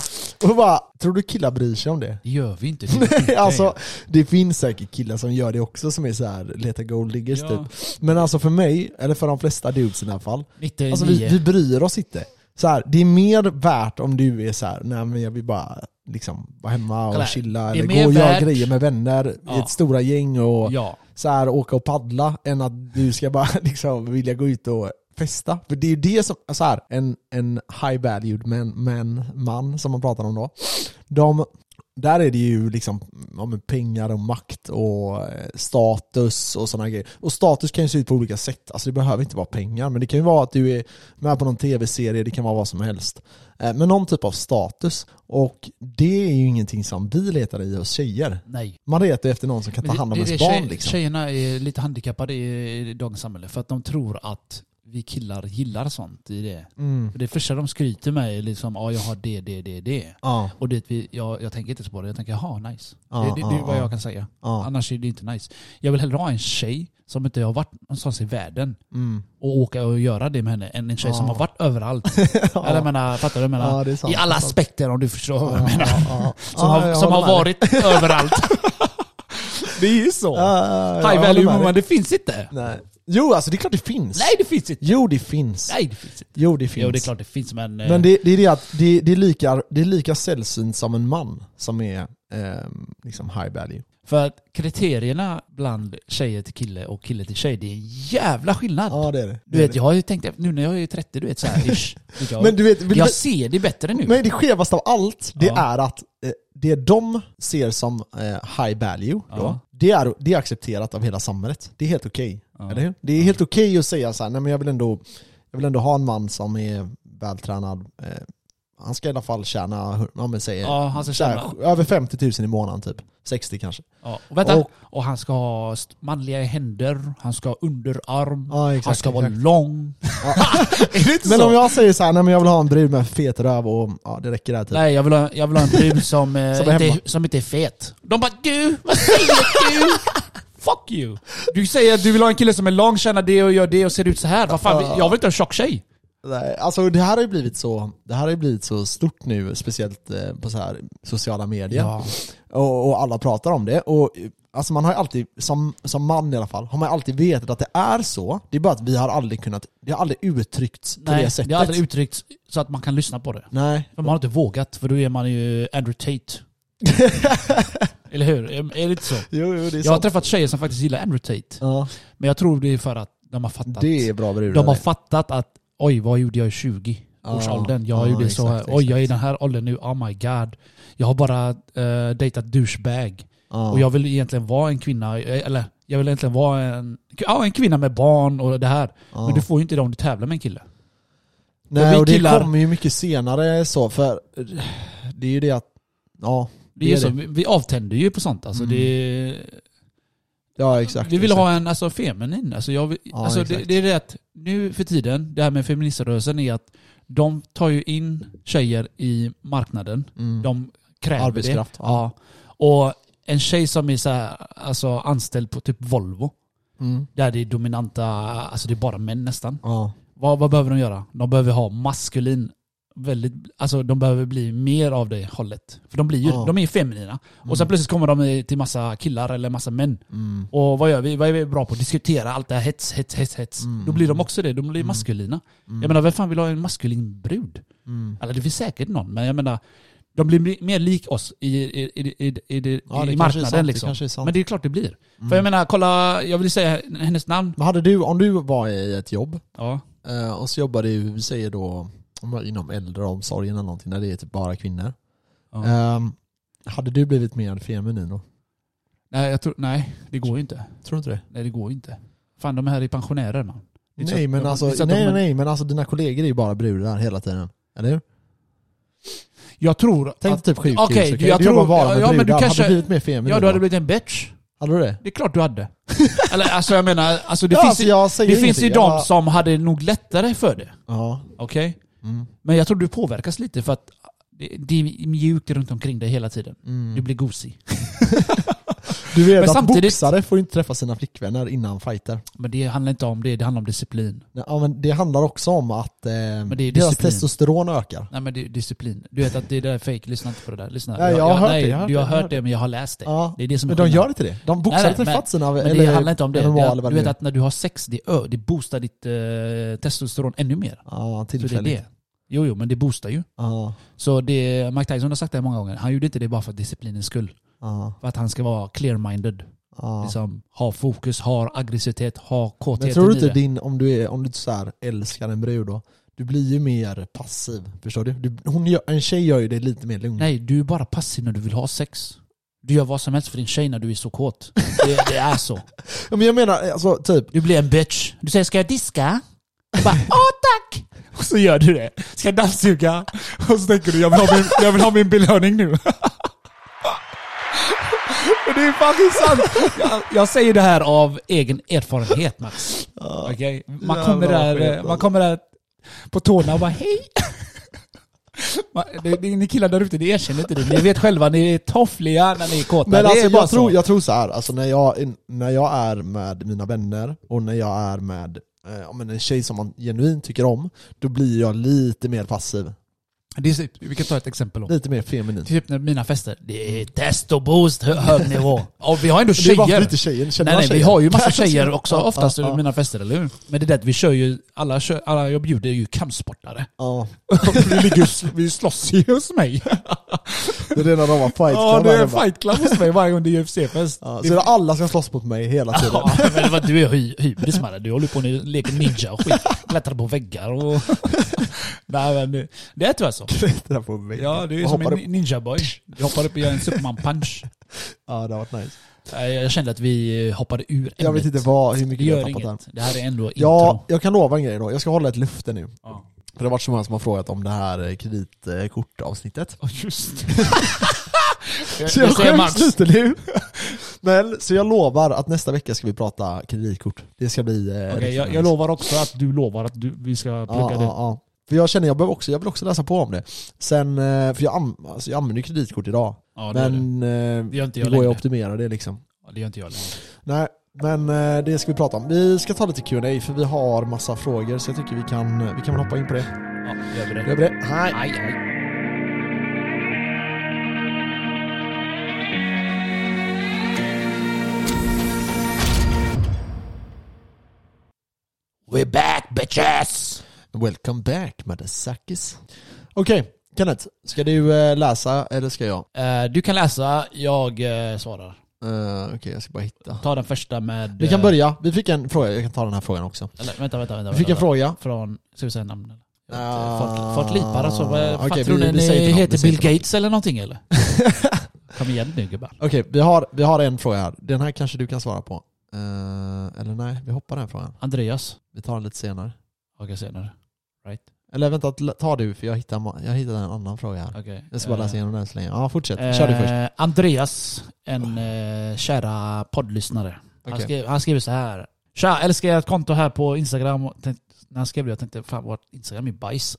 Speaker 1: Och bara, tror du killar bryr sig om det?
Speaker 2: Det gör vi inte. typ. Det är
Speaker 1: alltså, det finns säkert killar som gör det också som är så här letar gold diggers
Speaker 2: Ja.
Speaker 1: typ. Men alltså för mig, eller för de flesta dudes i alla fall,
Speaker 2: 99.
Speaker 1: alltså vi, vi bryr oss inte. Så här, det är mer värt om du är så här, nej men jag vill bara liksom vara hemma och
Speaker 2: Kolla här.
Speaker 1: chilla
Speaker 2: Det är
Speaker 1: eller
Speaker 2: mer
Speaker 1: gå och göra
Speaker 2: värt-
Speaker 1: grejer med vänner i
Speaker 2: Ja.
Speaker 1: ett stora gäng och
Speaker 2: Ja.
Speaker 1: så här, åka och paddla än att du ska bara liksom vilja gå ut och festa. För det är ju det som, så här, en, en high valued man, man, man som man pratar om då. De, där är det ju liksom ja, men pengar och makt och eh, status och sådana grejer. Och status kan ju se ut på olika sätt. Alltså det behöver inte vara pengar, men det kan ju vara att du är med på någon tv-serie, det kan vara vad som helst. Eh, Men någon typ av status. Och det är ju ingenting som vi letar i hos tjejer.
Speaker 2: Nej.
Speaker 1: Man letar ju efter någon som kan ta
Speaker 2: Men det-
Speaker 1: hand om
Speaker 2: det är
Speaker 1: ens
Speaker 2: det,
Speaker 1: barn
Speaker 2: tjej-
Speaker 1: liksom.
Speaker 2: Tjejerna är lite handikappade i, i dagens samhälle för att de tror att vi killar gillar sånt i det.
Speaker 1: Mm.
Speaker 2: För det första de skryter med är liksom, ja jag har det, det, det, det.
Speaker 1: Ja,
Speaker 2: Och det, vi, jag, jag tänker inte så på det, jag tänker jaha nice.
Speaker 1: Ja,
Speaker 2: det, det, det är
Speaker 1: ja,
Speaker 2: vad
Speaker 1: ja.
Speaker 2: jag kan säga.
Speaker 1: ja.
Speaker 2: Annars är det inte nice. Jag vill hellre ha en tjej som inte har varit någonstans i världen
Speaker 1: Mm.
Speaker 2: och åka och göra det med henne än en tjej som
Speaker 1: Ja.
Speaker 2: har varit överallt. Eller jag menar, fattar du? vad Jag menar,
Speaker 1: Ja, det är sant,
Speaker 2: I alla
Speaker 1: det är sant.
Speaker 2: aspekter om du förstår vad jag
Speaker 1: Ja,
Speaker 2: menar.
Speaker 1: ja, ja.
Speaker 2: Som,
Speaker 1: Ja,
Speaker 2: har,
Speaker 1: jag
Speaker 2: som har
Speaker 1: håller med dig.
Speaker 2: varit överallt. Det är ju så.
Speaker 1: Ja, jag
Speaker 2: High
Speaker 1: håller
Speaker 2: value
Speaker 1: med dig.
Speaker 2: woman, det finns inte.
Speaker 1: Nej. Jo, alltså det är klart det finns.
Speaker 2: Nej det finns inte.
Speaker 1: Jo, det finns.
Speaker 2: Nej det finns inte.
Speaker 1: Jo, det finns.
Speaker 2: Jo det är klart det finns men... eh,
Speaker 1: Men det, det är det att det, det, är lika, det är lika sällsynt som en man som är ehm, liksom high value.
Speaker 2: eh, För att kriterierna bland tjejer till kille och kille till tjej, det är en jävla skillnad.
Speaker 1: Ja, det är det.
Speaker 2: Du vet, jag har ju tänkt, nu när jag är 30, du vet såhär, ish. vet jag,
Speaker 1: Men du vet, vill
Speaker 2: jag
Speaker 1: du-
Speaker 2: ser det bättre nu.
Speaker 1: Men det skevaste av allt, det
Speaker 2: Ja.
Speaker 1: är att eh, det de ser som eh, high value, då,
Speaker 2: Ja.
Speaker 1: det, är, det är accepterat av hela samhället. Det är helt okej. Eller hur? Det är helt okej att säga så här, nej men jag vill ändå, jag vill ändå ha en man som är vältränad. Eh, han ska i alla fall tjäna, ja, men säger,
Speaker 2: ja, han ska
Speaker 1: så här,
Speaker 2: tjäna.
Speaker 1: över 50 000 i månaden typ. 60 kanske.
Speaker 2: Ja, och, vänta,
Speaker 1: Och-
Speaker 2: och, han ska ha st- manliga händer, han ska ha underarm,
Speaker 1: Ja, exakt,
Speaker 2: han ska vara
Speaker 1: exakt.
Speaker 2: lång. är det inte
Speaker 1: Men
Speaker 2: så?
Speaker 1: om jag säger så här, nej men jag vill ha en brud med fet röv och ja, det räcker där typ.
Speaker 2: Nej, jag vill ha, jag vill ha en brud som, eh,
Speaker 1: Som är hemma.
Speaker 2: inte, som inte är fet. De bara du, vad säger du? Fuck you! Du säger att du vill ha en kille som är lång, tjänar det och gör det och ser ut så här. Vad fan, jag vill inte ha en tjock tjej.
Speaker 1: Nej, alltså det här har ju blivit så, det här har ju blivit så stort nu, speciellt eh, på så här sociala medier. Och, och alla pratar om det. Och, eh, alltså man har ju alltid, som, som man i alla fall, har man ju alltid vetat att det är så. Det är bara att vi har aldrig kunnat, det har aldrig uttryckts på
Speaker 2: Nej,
Speaker 1: det sättet.
Speaker 2: det har aldrig uttryckts så att man kan lyssna på det.
Speaker 1: Nej.
Speaker 2: Men man har inte vågat, för då är man ju Andrew Tate. Eller hur? Är är det inte så?
Speaker 1: Jo, jo, det är
Speaker 2: Jag har
Speaker 1: sant.
Speaker 2: träffat tjejer som faktiskt gillar Andrew Tate.
Speaker 1: Ja,
Speaker 2: Men jag tror det är för att de har fattat.
Speaker 1: det är bra brudar.
Speaker 2: de har fattat att oj, vad gjorde jag i 20?
Speaker 1: Ja,
Speaker 2: årsåldern. Jag
Speaker 1: ja,
Speaker 2: gjorde så här.
Speaker 1: exakt,
Speaker 2: Oj, jag är i
Speaker 1: exakt.
Speaker 2: den här åldern nu. Oh my god. Jag har bara eh, dejtat douchebag.
Speaker 1: ja.
Speaker 2: Och jag vill egentligen vara en kvinna, eh, eller jag vill egentligen vara en, ja, en kvinna med barn och det här.
Speaker 1: Ja.
Speaker 2: Men du får ju inte det om du tävlar med en kille.
Speaker 1: Nej,
Speaker 2: vi
Speaker 1: och det
Speaker 2: killar-
Speaker 1: kommer ju mycket senare så, för det är ju det att, ja.
Speaker 2: Det är ju
Speaker 1: Det är
Speaker 2: så, vi- vi avtänder ju på sånt. Alltså,
Speaker 1: Mm.
Speaker 2: det,
Speaker 1: Ja, exakt.
Speaker 2: vi vill
Speaker 1: exakt.
Speaker 2: ha en alltså, feminin. Alltså, jag, vill-
Speaker 1: Ja,
Speaker 2: alltså, det,
Speaker 1: exakt.
Speaker 2: det är det att nu för tiden, det här med feministrörelsen är att de tar ju in tjejer i marknaden.
Speaker 1: Mm.
Speaker 2: De kräver
Speaker 1: Arbetskraft,
Speaker 2: det.
Speaker 1: ja.
Speaker 2: Ja. Och en tjej som är så här, alltså, anställd på typ Volvo,
Speaker 1: Mm.
Speaker 2: där det är dominanta, alltså det är bara män nästan.
Speaker 1: Ja.
Speaker 2: Vad, vad behöver de göra? De behöver ha maskulin, väldigt, alltså de behöver bli mer av det hållet. För de blir ju,
Speaker 1: Ja.
Speaker 2: de är ju feminina. Och sen plötsligt kommer de i- till massa killar eller massa män.
Speaker 1: Mm.
Speaker 2: Och vad gör vi? Vad är vi bra på? Diskutera allt det här, hets, hets, hets, hets.
Speaker 1: Mm.
Speaker 2: Då blir de också det, de blir maskulina. Jag menar, vem fan vill ha en maskulin brud?
Speaker 1: Mm.
Speaker 2: Eller det finns säkert någon, men jag menar, de blir mi- mer lik oss i, i, i, i, i, i,
Speaker 1: Ja, det
Speaker 2: i
Speaker 1: kanske är
Speaker 2: marknaden.
Speaker 1: sant, det
Speaker 2: liksom.
Speaker 1: kanske är sant. Mm.
Speaker 2: Men det är Mm. klart det blir. För jag menar, kolla, jag vill säga hennes namn.
Speaker 1: Vad hade du, om du var i ett jobb
Speaker 2: Ja.
Speaker 1: eh, och så jobbar du, vi säger då om jag- inom äldreomsorgen eller någonting, där det är typ bara kvinnor.
Speaker 2: Ja.
Speaker 1: Ehm, hade du blivit mer feminin då?
Speaker 2: Nej, jag tror, nej, det går ju inte.
Speaker 1: Tror du inte det?
Speaker 2: Nej det går ju inte. Fan de här är pensionärer man. Det är så
Speaker 1: Nej
Speaker 2: att-
Speaker 1: men
Speaker 2: de-
Speaker 1: alltså,
Speaker 2: det är så att de-
Speaker 1: nej, nej, men alltså dina kollegor är ju bara brudar hela tiden. Eller hur?
Speaker 2: Jag tror
Speaker 1: Tänk
Speaker 2: att...
Speaker 1: dig typ sjukhus,
Speaker 2: okej,
Speaker 1: okej?
Speaker 2: jag
Speaker 1: Du jobbar
Speaker 2: tror-
Speaker 1: bara med
Speaker 2: ja, men du
Speaker 1: brudar.
Speaker 2: kanske-
Speaker 1: Hade du blivit mer feminin
Speaker 2: Ja du hade
Speaker 1: då?
Speaker 2: blivit en bitch.
Speaker 1: Hade du det?
Speaker 2: Det är klart du hade. Eller alltså jag menar, alltså det
Speaker 1: Ja,
Speaker 2: finns
Speaker 1: alltså,
Speaker 2: ju,
Speaker 1: jag säger
Speaker 2: det finns ju
Speaker 1: ingenting. Jag
Speaker 2: de
Speaker 1: bara-
Speaker 2: som hade nog lättare för det.
Speaker 1: Ja.
Speaker 2: Okej?
Speaker 1: Mm.
Speaker 2: Men jag tror du påverkas lite för att det, det är mjukt runt omkring dig hela tiden.
Speaker 1: Mm.
Speaker 2: Du blir gosig.
Speaker 1: Du vet
Speaker 2: Men
Speaker 1: att
Speaker 2: samtidigt-
Speaker 1: boxare får inte träffa sina flickvänner innan fighter.
Speaker 2: Men det handlar inte om det, det handlar om disciplin.
Speaker 1: Nej, Ja, men det handlar också om att eh,
Speaker 2: det är
Speaker 1: deras
Speaker 2: disciplin.
Speaker 1: testosteron ökar.
Speaker 2: Nej men det är disciplin. Du vet att det där är fake. lyssna inte på det där. Lyssna.
Speaker 1: Nej, jag har hört
Speaker 2: nej,
Speaker 1: det, jag har
Speaker 2: du
Speaker 1: hört
Speaker 2: har
Speaker 1: det, jag har
Speaker 2: hört det men jag har läst det.
Speaker 1: Ja.
Speaker 2: Det är det som är
Speaker 1: Men de
Speaker 2: skillnaden.
Speaker 1: gör inte det. De boxare
Speaker 2: Nej, nej,
Speaker 1: träffat
Speaker 2: men-
Speaker 1: sina...
Speaker 2: Men det handlar inte om det.
Speaker 1: eller
Speaker 2: det
Speaker 1: vad
Speaker 2: är att,
Speaker 1: vad
Speaker 2: du vet
Speaker 1: är.
Speaker 2: att när du har sex, det, ö, det boostar ditt eh, testosteron ännu mer.
Speaker 1: Ja,
Speaker 2: Så det är
Speaker 1: tillfälligt.
Speaker 2: det. Jo, jo, men det boostar ju.
Speaker 1: Ja,
Speaker 2: Så det, Mike Tyson har sagt det här många gånger. Han gjorde inte det bara för disciplinens skull.
Speaker 1: ja,
Speaker 2: För att han ska vara clear-minded.
Speaker 1: ja.
Speaker 2: Liksom, ha fokus, ha aggressivitet, ha
Speaker 1: Men
Speaker 2: kåtheten
Speaker 1: tror du
Speaker 2: i
Speaker 1: inte
Speaker 2: det.
Speaker 1: din, om du, är, om du så här älskar en brud då, du blir ju mer passiv. Förstår du? du hon gör, en tjej gör ju det lite mer lugnt.
Speaker 2: Nej, du är bara passiv när du vill ha sex. Du gör vad som helst för din tjej när du är så kåt. Det, det är så.
Speaker 1: Ja, Men jag menar, alltså typ,
Speaker 2: Du blir en bitch. Du säger 'ska jag diska?' Du bara 'åh tack!' Och så gör du det. Ska jag dammsuga? Och så tänker du 'jag vill ha min, jag vill ha min belöning nu' Men det är fucking sant! Jag, jag säger det här av egen erfarenhet Max. Okej? Man, kommer
Speaker 1: Jävla
Speaker 2: där,
Speaker 1: skit,
Speaker 2: eh,
Speaker 1: alltså.
Speaker 2: man kommer där på tårna och bara 'hej' Man- det- det- Ni killar där ute, ni erkänner inte det. Ni vet själva, ni är toffliga när ni är kåta.
Speaker 1: Men
Speaker 2: det
Speaker 1: alltså,
Speaker 2: är bara
Speaker 1: jag, tror,
Speaker 2: så.
Speaker 1: jag tror så här, alltså när jag, när jag är med mina vänner och när jag är med eh, ja, men en tjej som man genuint tycker om, då blir jag lite mer passiv.
Speaker 2: Det är, typ- vi kan ta ett exempel. Då.
Speaker 1: Lite mer feminin.
Speaker 2: Typ när mina fester, det är test och boost, hö- hög nivå. Och vi har ändå
Speaker 1: Det är bara för
Speaker 2: tjejer.
Speaker 1: lite tjejer, känner
Speaker 2: Nej,
Speaker 1: man
Speaker 2: nej, vi
Speaker 1: tjejer?
Speaker 2: har ju massa tjejer också
Speaker 1: Ja,
Speaker 2: oftast
Speaker 1: ja,
Speaker 2: i
Speaker 1: ja.
Speaker 2: mina fester, eller hur? Men det är det att vi kör ju, alla, kör, alla jag bjuder är ju kampsportare.
Speaker 1: Ja,
Speaker 2: vi, ligger, och sl- vi slåss ju hos mig.
Speaker 1: det är redan de har fight
Speaker 2: Ja, det är
Speaker 1: club.
Speaker 2: fight club hos mig varje gång det är UFC-fest.
Speaker 1: Ja, så är det alla ska slåss mot mig hela tiden.
Speaker 2: Ja, men vad du är hy- hybris med det. Du håller på och leker ninja och skit. Klättrar på väggar och... Nej men det- det är tyvärr så.
Speaker 1: Klättra på mig.
Speaker 2: Ja, du är
Speaker 1: Och
Speaker 2: som
Speaker 1: hoppar
Speaker 2: en
Speaker 1: upp.
Speaker 2: ninja-boy. Du hoppar upp och gör en superman-punch.
Speaker 1: Ja, det har varit nice.
Speaker 2: Nej, Jag kände att vi hoppade ur ämnet.
Speaker 1: Jag vet inte vad, hur
Speaker 2: Det
Speaker 1: mycket jag har
Speaker 2: gör
Speaker 1: tappat här.
Speaker 2: inget. Det här är ändå
Speaker 1: Ja,
Speaker 2: intro.
Speaker 1: jag kan lova en grej då. Jag ska hålla ett löfte nu.
Speaker 2: Ja.
Speaker 1: För det har varit så många som har frågat om det här eh, kreditkortavsnittet.
Speaker 2: Oh, just
Speaker 1: Så
Speaker 2: Det
Speaker 1: jag
Speaker 2: säger
Speaker 1: skäms
Speaker 2: Max.
Speaker 1: lite nu. Men, så jag lovar att nästa vecka ska vi prata kreditkort. Det ska bli... eh,
Speaker 2: Okej,
Speaker 1: riktigt
Speaker 2: jag,
Speaker 1: nice.
Speaker 2: jag lovar också att du lovar att du, vi ska plugga
Speaker 1: Ja, ja,
Speaker 2: det.
Speaker 1: ja. För jag känner, jag, behöver också, jag vill också läsa på om det. Sen, eh, för jag, an, alltså jag använder ju kreditkort idag.
Speaker 2: Ja, det, gör det.
Speaker 1: men eh,
Speaker 2: det gör inte
Speaker 1: det
Speaker 2: jag
Speaker 1: går ju
Speaker 2: längre.
Speaker 1: att optimera det liksom.
Speaker 2: Ja, det gör inte jag längre.
Speaker 1: Nej, men eh, det ska vi prata om. Vi ska ta lite Q&A för vi har massa frågor så jag tycker vi kan, vi kan väl hoppa in på det.
Speaker 2: Ja, det gör vi det.
Speaker 1: Gör vi det? Hej!
Speaker 2: Aj, aj. We're back bitches!
Speaker 1: Welcome back motherfuckers. Okej, Kenneth. Ska du eh, läsa eller ska jag?
Speaker 2: Eh, du kan läsa, jag eh, svarar.
Speaker 1: Eh, Okej, jag ska bara hitta.
Speaker 2: Ta den första med...
Speaker 1: Vi kan
Speaker 2: eh,
Speaker 1: börja. Vi fick en fråga. Jag kan ta den här frågan också.
Speaker 2: Eller, vänta, vänta, vänta.
Speaker 1: Vi fick en
Speaker 2: vänta.
Speaker 1: fråga.
Speaker 2: Från, ska vi säga namn eller? Jag vet
Speaker 1: Ah.
Speaker 2: inte. Folk, folk lipar alltså. Vad fan,
Speaker 1: Okej,
Speaker 2: tror
Speaker 1: vi-
Speaker 2: ni
Speaker 1: vi säger
Speaker 2: ni
Speaker 1: inte något, vi
Speaker 2: heter
Speaker 1: säger
Speaker 2: Bill
Speaker 1: inte något.
Speaker 2: Gates eller någonting eller? Kom igen nu gubbar.
Speaker 1: Okej, vi, har, vi har en fråga här. Den här kanske du kan svara på. Eh, eller nej, vi hoppar den frågan.
Speaker 2: Andreas.
Speaker 1: Vi tar den lite senare.
Speaker 2: Okej, senare. Right?
Speaker 1: Eller vänta, ta du för jag hittar, ma- jag hittar en annan fråga här.
Speaker 2: Okej.
Speaker 1: Jag ska bara läsa
Speaker 2: Eh,
Speaker 1: igenom den så länge. Ja, fortsätt. Kör du först.
Speaker 2: eh, Andreas, en eh, kära poddlyssnare. Han,
Speaker 1: Okej.
Speaker 2: skrev, han skriver så här. Tja, älskar ert konto här på Instagram. Och Tänkte, när han skrev det jag tänkte fan vårt Instagram är bajs.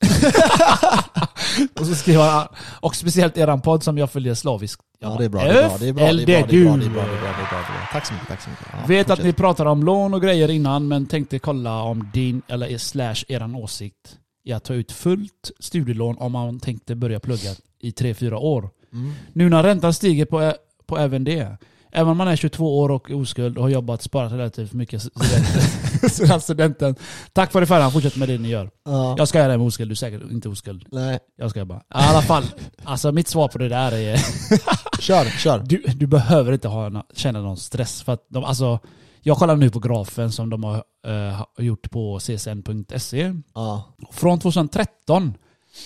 Speaker 2: och så skriver han, och speciellt eran podd som jag följer slaviskt. Jag
Speaker 1: Ja,
Speaker 2: bara,
Speaker 1: det är bra. Det är bra. Det är bra. Det är bra. Det är bra. Det är bra. Det är bra. Det är bra. Det är bra. Tack så mycket. Tack så mycket. Ja,
Speaker 2: Vet att
Speaker 1: fortsätt.
Speaker 2: ni pratade om lån och grejer innan men tänkte kolla om din eller er- slash eran åsikt i att ta ut fullt studielån om man tänkte börja plugga i 3-4 år.
Speaker 1: Mm.
Speaker 2: Nu när räntan stiger på, ä- på även det. Även om man är 22 år och oskuld och har jobbat sparat relativt mycket studenten- sedan studenten. Tack för det förra, fortsätt med det ni gör.
Speaker 1: Ja.
Speaker 2: Jag ska göra det med oskuld, du är säkert inte oskuld.
Speaker 1: Nej,
Speaker 2: Jag ska bara. I alla fall, alltså mitt svar på det där är
Speaker 1: kör. Kör.
Speaker 2: du, du behöver inte ha, nå- känna någon stress. För att de, alltså, jag kollar nu på grafen som de har eh, ha- gjort på csn.se.
Speaker 1: Ja.
Speaker 2: E. Från 2013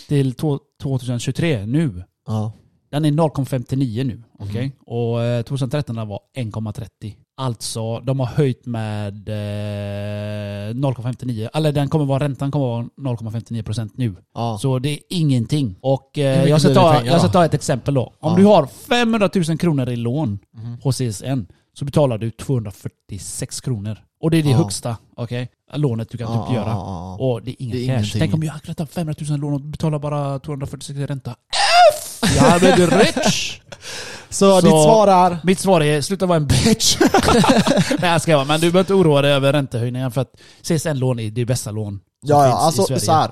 Speaker 2: till to- 2023 nu.
Speaker 1: Ja.
Speaker 2: Den är 0,59 nu. okej? Och eh, 2013 den var 1,30. Alltså, de har höjt med eh, 0,59. Eller den kommer vara, räntan kommer vara 0,59% nu.
Speaker 1: Ja.
Speaker 2: Så det är ingenting. Och
Speaker 1: Hur
Speaker 2: eh,
Speaker 1: mycket
Speaker 2: jag, ska
Speaker 1: blir det
Speaker 2: ta,
Speaker 1: pengar
Speaker 2: jag ska
Speaker 1: då?
Speaker 2: ta ett exempel då. Om
Speaker 1: Ja.
Speaker 2: du har 500 000 kronor i lån
Speaker 1: Mhm.
Speaker 2: hos CSN så betalar du 246 kronor. Och det är det
Speaker 1: Ja.
Speaker 2: högsta okej, lånet du kan
Speaker 1: Ja,
Speaker 2: typ göra.
Speaker 1: ja, ja, ja.
Speaker 2: Och det är inga
Speaker 1: Det är
Speaker 2: cash.
Speaker 1: ingenting.
Speaker 2: Tänk om jag hade tagit 500 000 lån och betalar bara 246 i ränta. F! Jag hade blivit rich!
Speaker 1: Så,
Speaker 2: Så-
Speaker 1: ditt svar är?
Speaker 2: Mitt svar är sluta vara en bitch. Nej jag ska vara. men du behöver inte oroa dig över räntehöjningen för att CSN-lån är det bästa lån som
Speaker 1: Ja, ja
Speaker 2: finns i
Speaker 1: alltså
Speaker 2: Sverige.
Speaker 1: så här.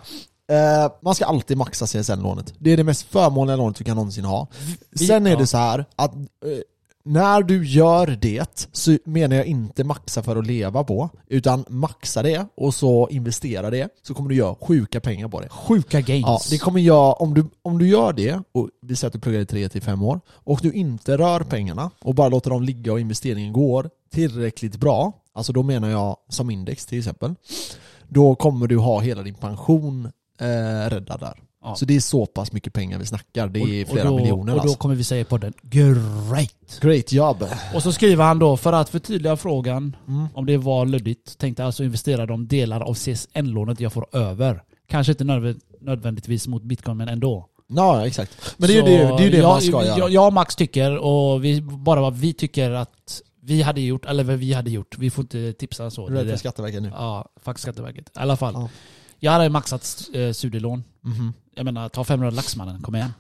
Speaker 1: Eh, man ska alltid maxa CSN-lånet. Det är det mest förmånliga lånet du kan någonsin ha.
Speaker 2: Vi-
Speaker 1: Sen är
Speaker 2: ja.
Speaker 1: det så här att eh, när du gör det så menar jag inte maxa för att leva på, utan maxa det och så investera det, så kommer du göra sjuka pengar på det.
Speaker 2: Sjuka gains.
Speaker 1: Ja, det kommer jag, om, du, om du gör det, och vi säger att du pluggar i tre till fem år, och du inte rör pengarna och bara låter dem ligga och investeringen går tillräckligt bra, alltså då menar jag som index till exempel, då kommer du ha hela din pension eh, räddad där.
Speaker 2: Ja.
Speaker 1: Så det är så pass mycket pengar vi snackar, det är
Speaker 2: Och-
Speaker 1: flera
Speaker 2: och då,
Speaker 1: miljoner
Speaker 2: Och då
Speaker 1: alltså.
Speaker 2: kommer vi säga i podden Great!
Speaker 1: Great job!
Speaker 2: Och så skriver han då, för att förtydliga frågan
Speaker 1: Mm.
Speaker 2: om det var luddigt, tänkte alltså investera de delar av CSN-lånet jag får över. Kanske inte nödvä- nödvändigtvis mot bitcoin, men ändå.
Speaker 1: Ja, exakt. Men det är ju
Speaker 2: Så
Speaker 1: det, det, är ju det
Speaker 2: jag,
Speaker 1: man ska göra.
Speaker 2: Jag, jag och Max tycker, och vi, bara vad vi tycker att vi hade gjort, eller vad vi hade gjort. Vi får inte tipsa så.
Speaker 1: Är du
Speaker 2: Det är
Speaker 1: rädd för
Speaker 2: det.
Speaker 1: Skatteverket nu?
Speaker 2: Ja, faktiskt Skatteverket. I alla fall.
Speaker 1: Ja.
Speaker 2: Jag hade maxat eh, studielån.
Speaker 1: Mhm.
Speaker 2: Jag menar, ta 500 lax mannen, kom igen.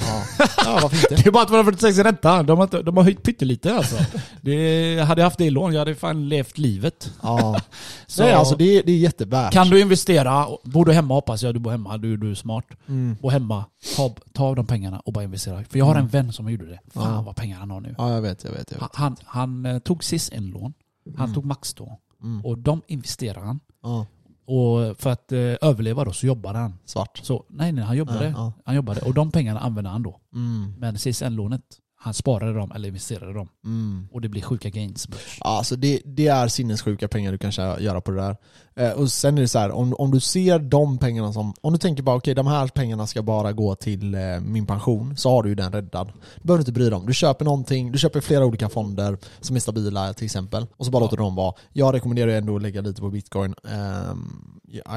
Speaker 1: Ja. ja, varför inte?
Speaker 2: Det är bara 246 i ränta. De har, inte- de har höjt pyttelite alltså. Det, hade jag haft det i lån, jag hade fan levt livet.
Speaker 1: Ja.
Speaker 2: Så
Speaker 1: Nej, alltså det, är- det är jättevärt.
Speaker 2: Kan du investera, bor du hemma hoppas jag, du bor hemma, du, du är smart.
Speaker 1: Mm.
Speaker 2: Bor hemma, ta, ta av de pengarna och bara investera. För jag har en vän som gjorde det. Fan
Speaker 1: Ja.
Speaker 2: vad pengar han har nu.
Speaker 1: Ja, jag vet, jag vet. Jag vet.
Speaker 2: Han, han, han eh, tog sist en lån. Han tog max då.
Speaker 1: Mm.
Speaker 2: Och de investerade han.
Speaker 1: Ja.
Speaker 2: Och för att eh, överleva då så jobbade han.
Speaker 1: Svart.
Speaker 2: Så, nej, nej, han jobbade.
Speaker 1: Ja, ja.
Speaker 2: Han jobbade. Och de pengarna använde han då.
Speaker 1: Mm.
Speaker 2: Men CSN-lånet, han sparade dem eller investerade dem.
Speaker 1: Mm.
Speaker 2: Och det blir sjuka gains. börs.
Speaker 1: Ja, Alltså det, det är sinnessjuka pengar du kan tjä- göra på det där. Eh, och sen är det så här, om, om du ser de pengarna som, om du tänker bara okej de här pengarna ska bara gå till eh, min pension, så har du ju den räddad. Du behöver inte bry dig om. Du köper någonting, du köper flera olika fonder som är stabila till exempel, och så bara låter du dem vara. Jag rekommenderar ju ändå att lägga lite på bitcoin. Ehm,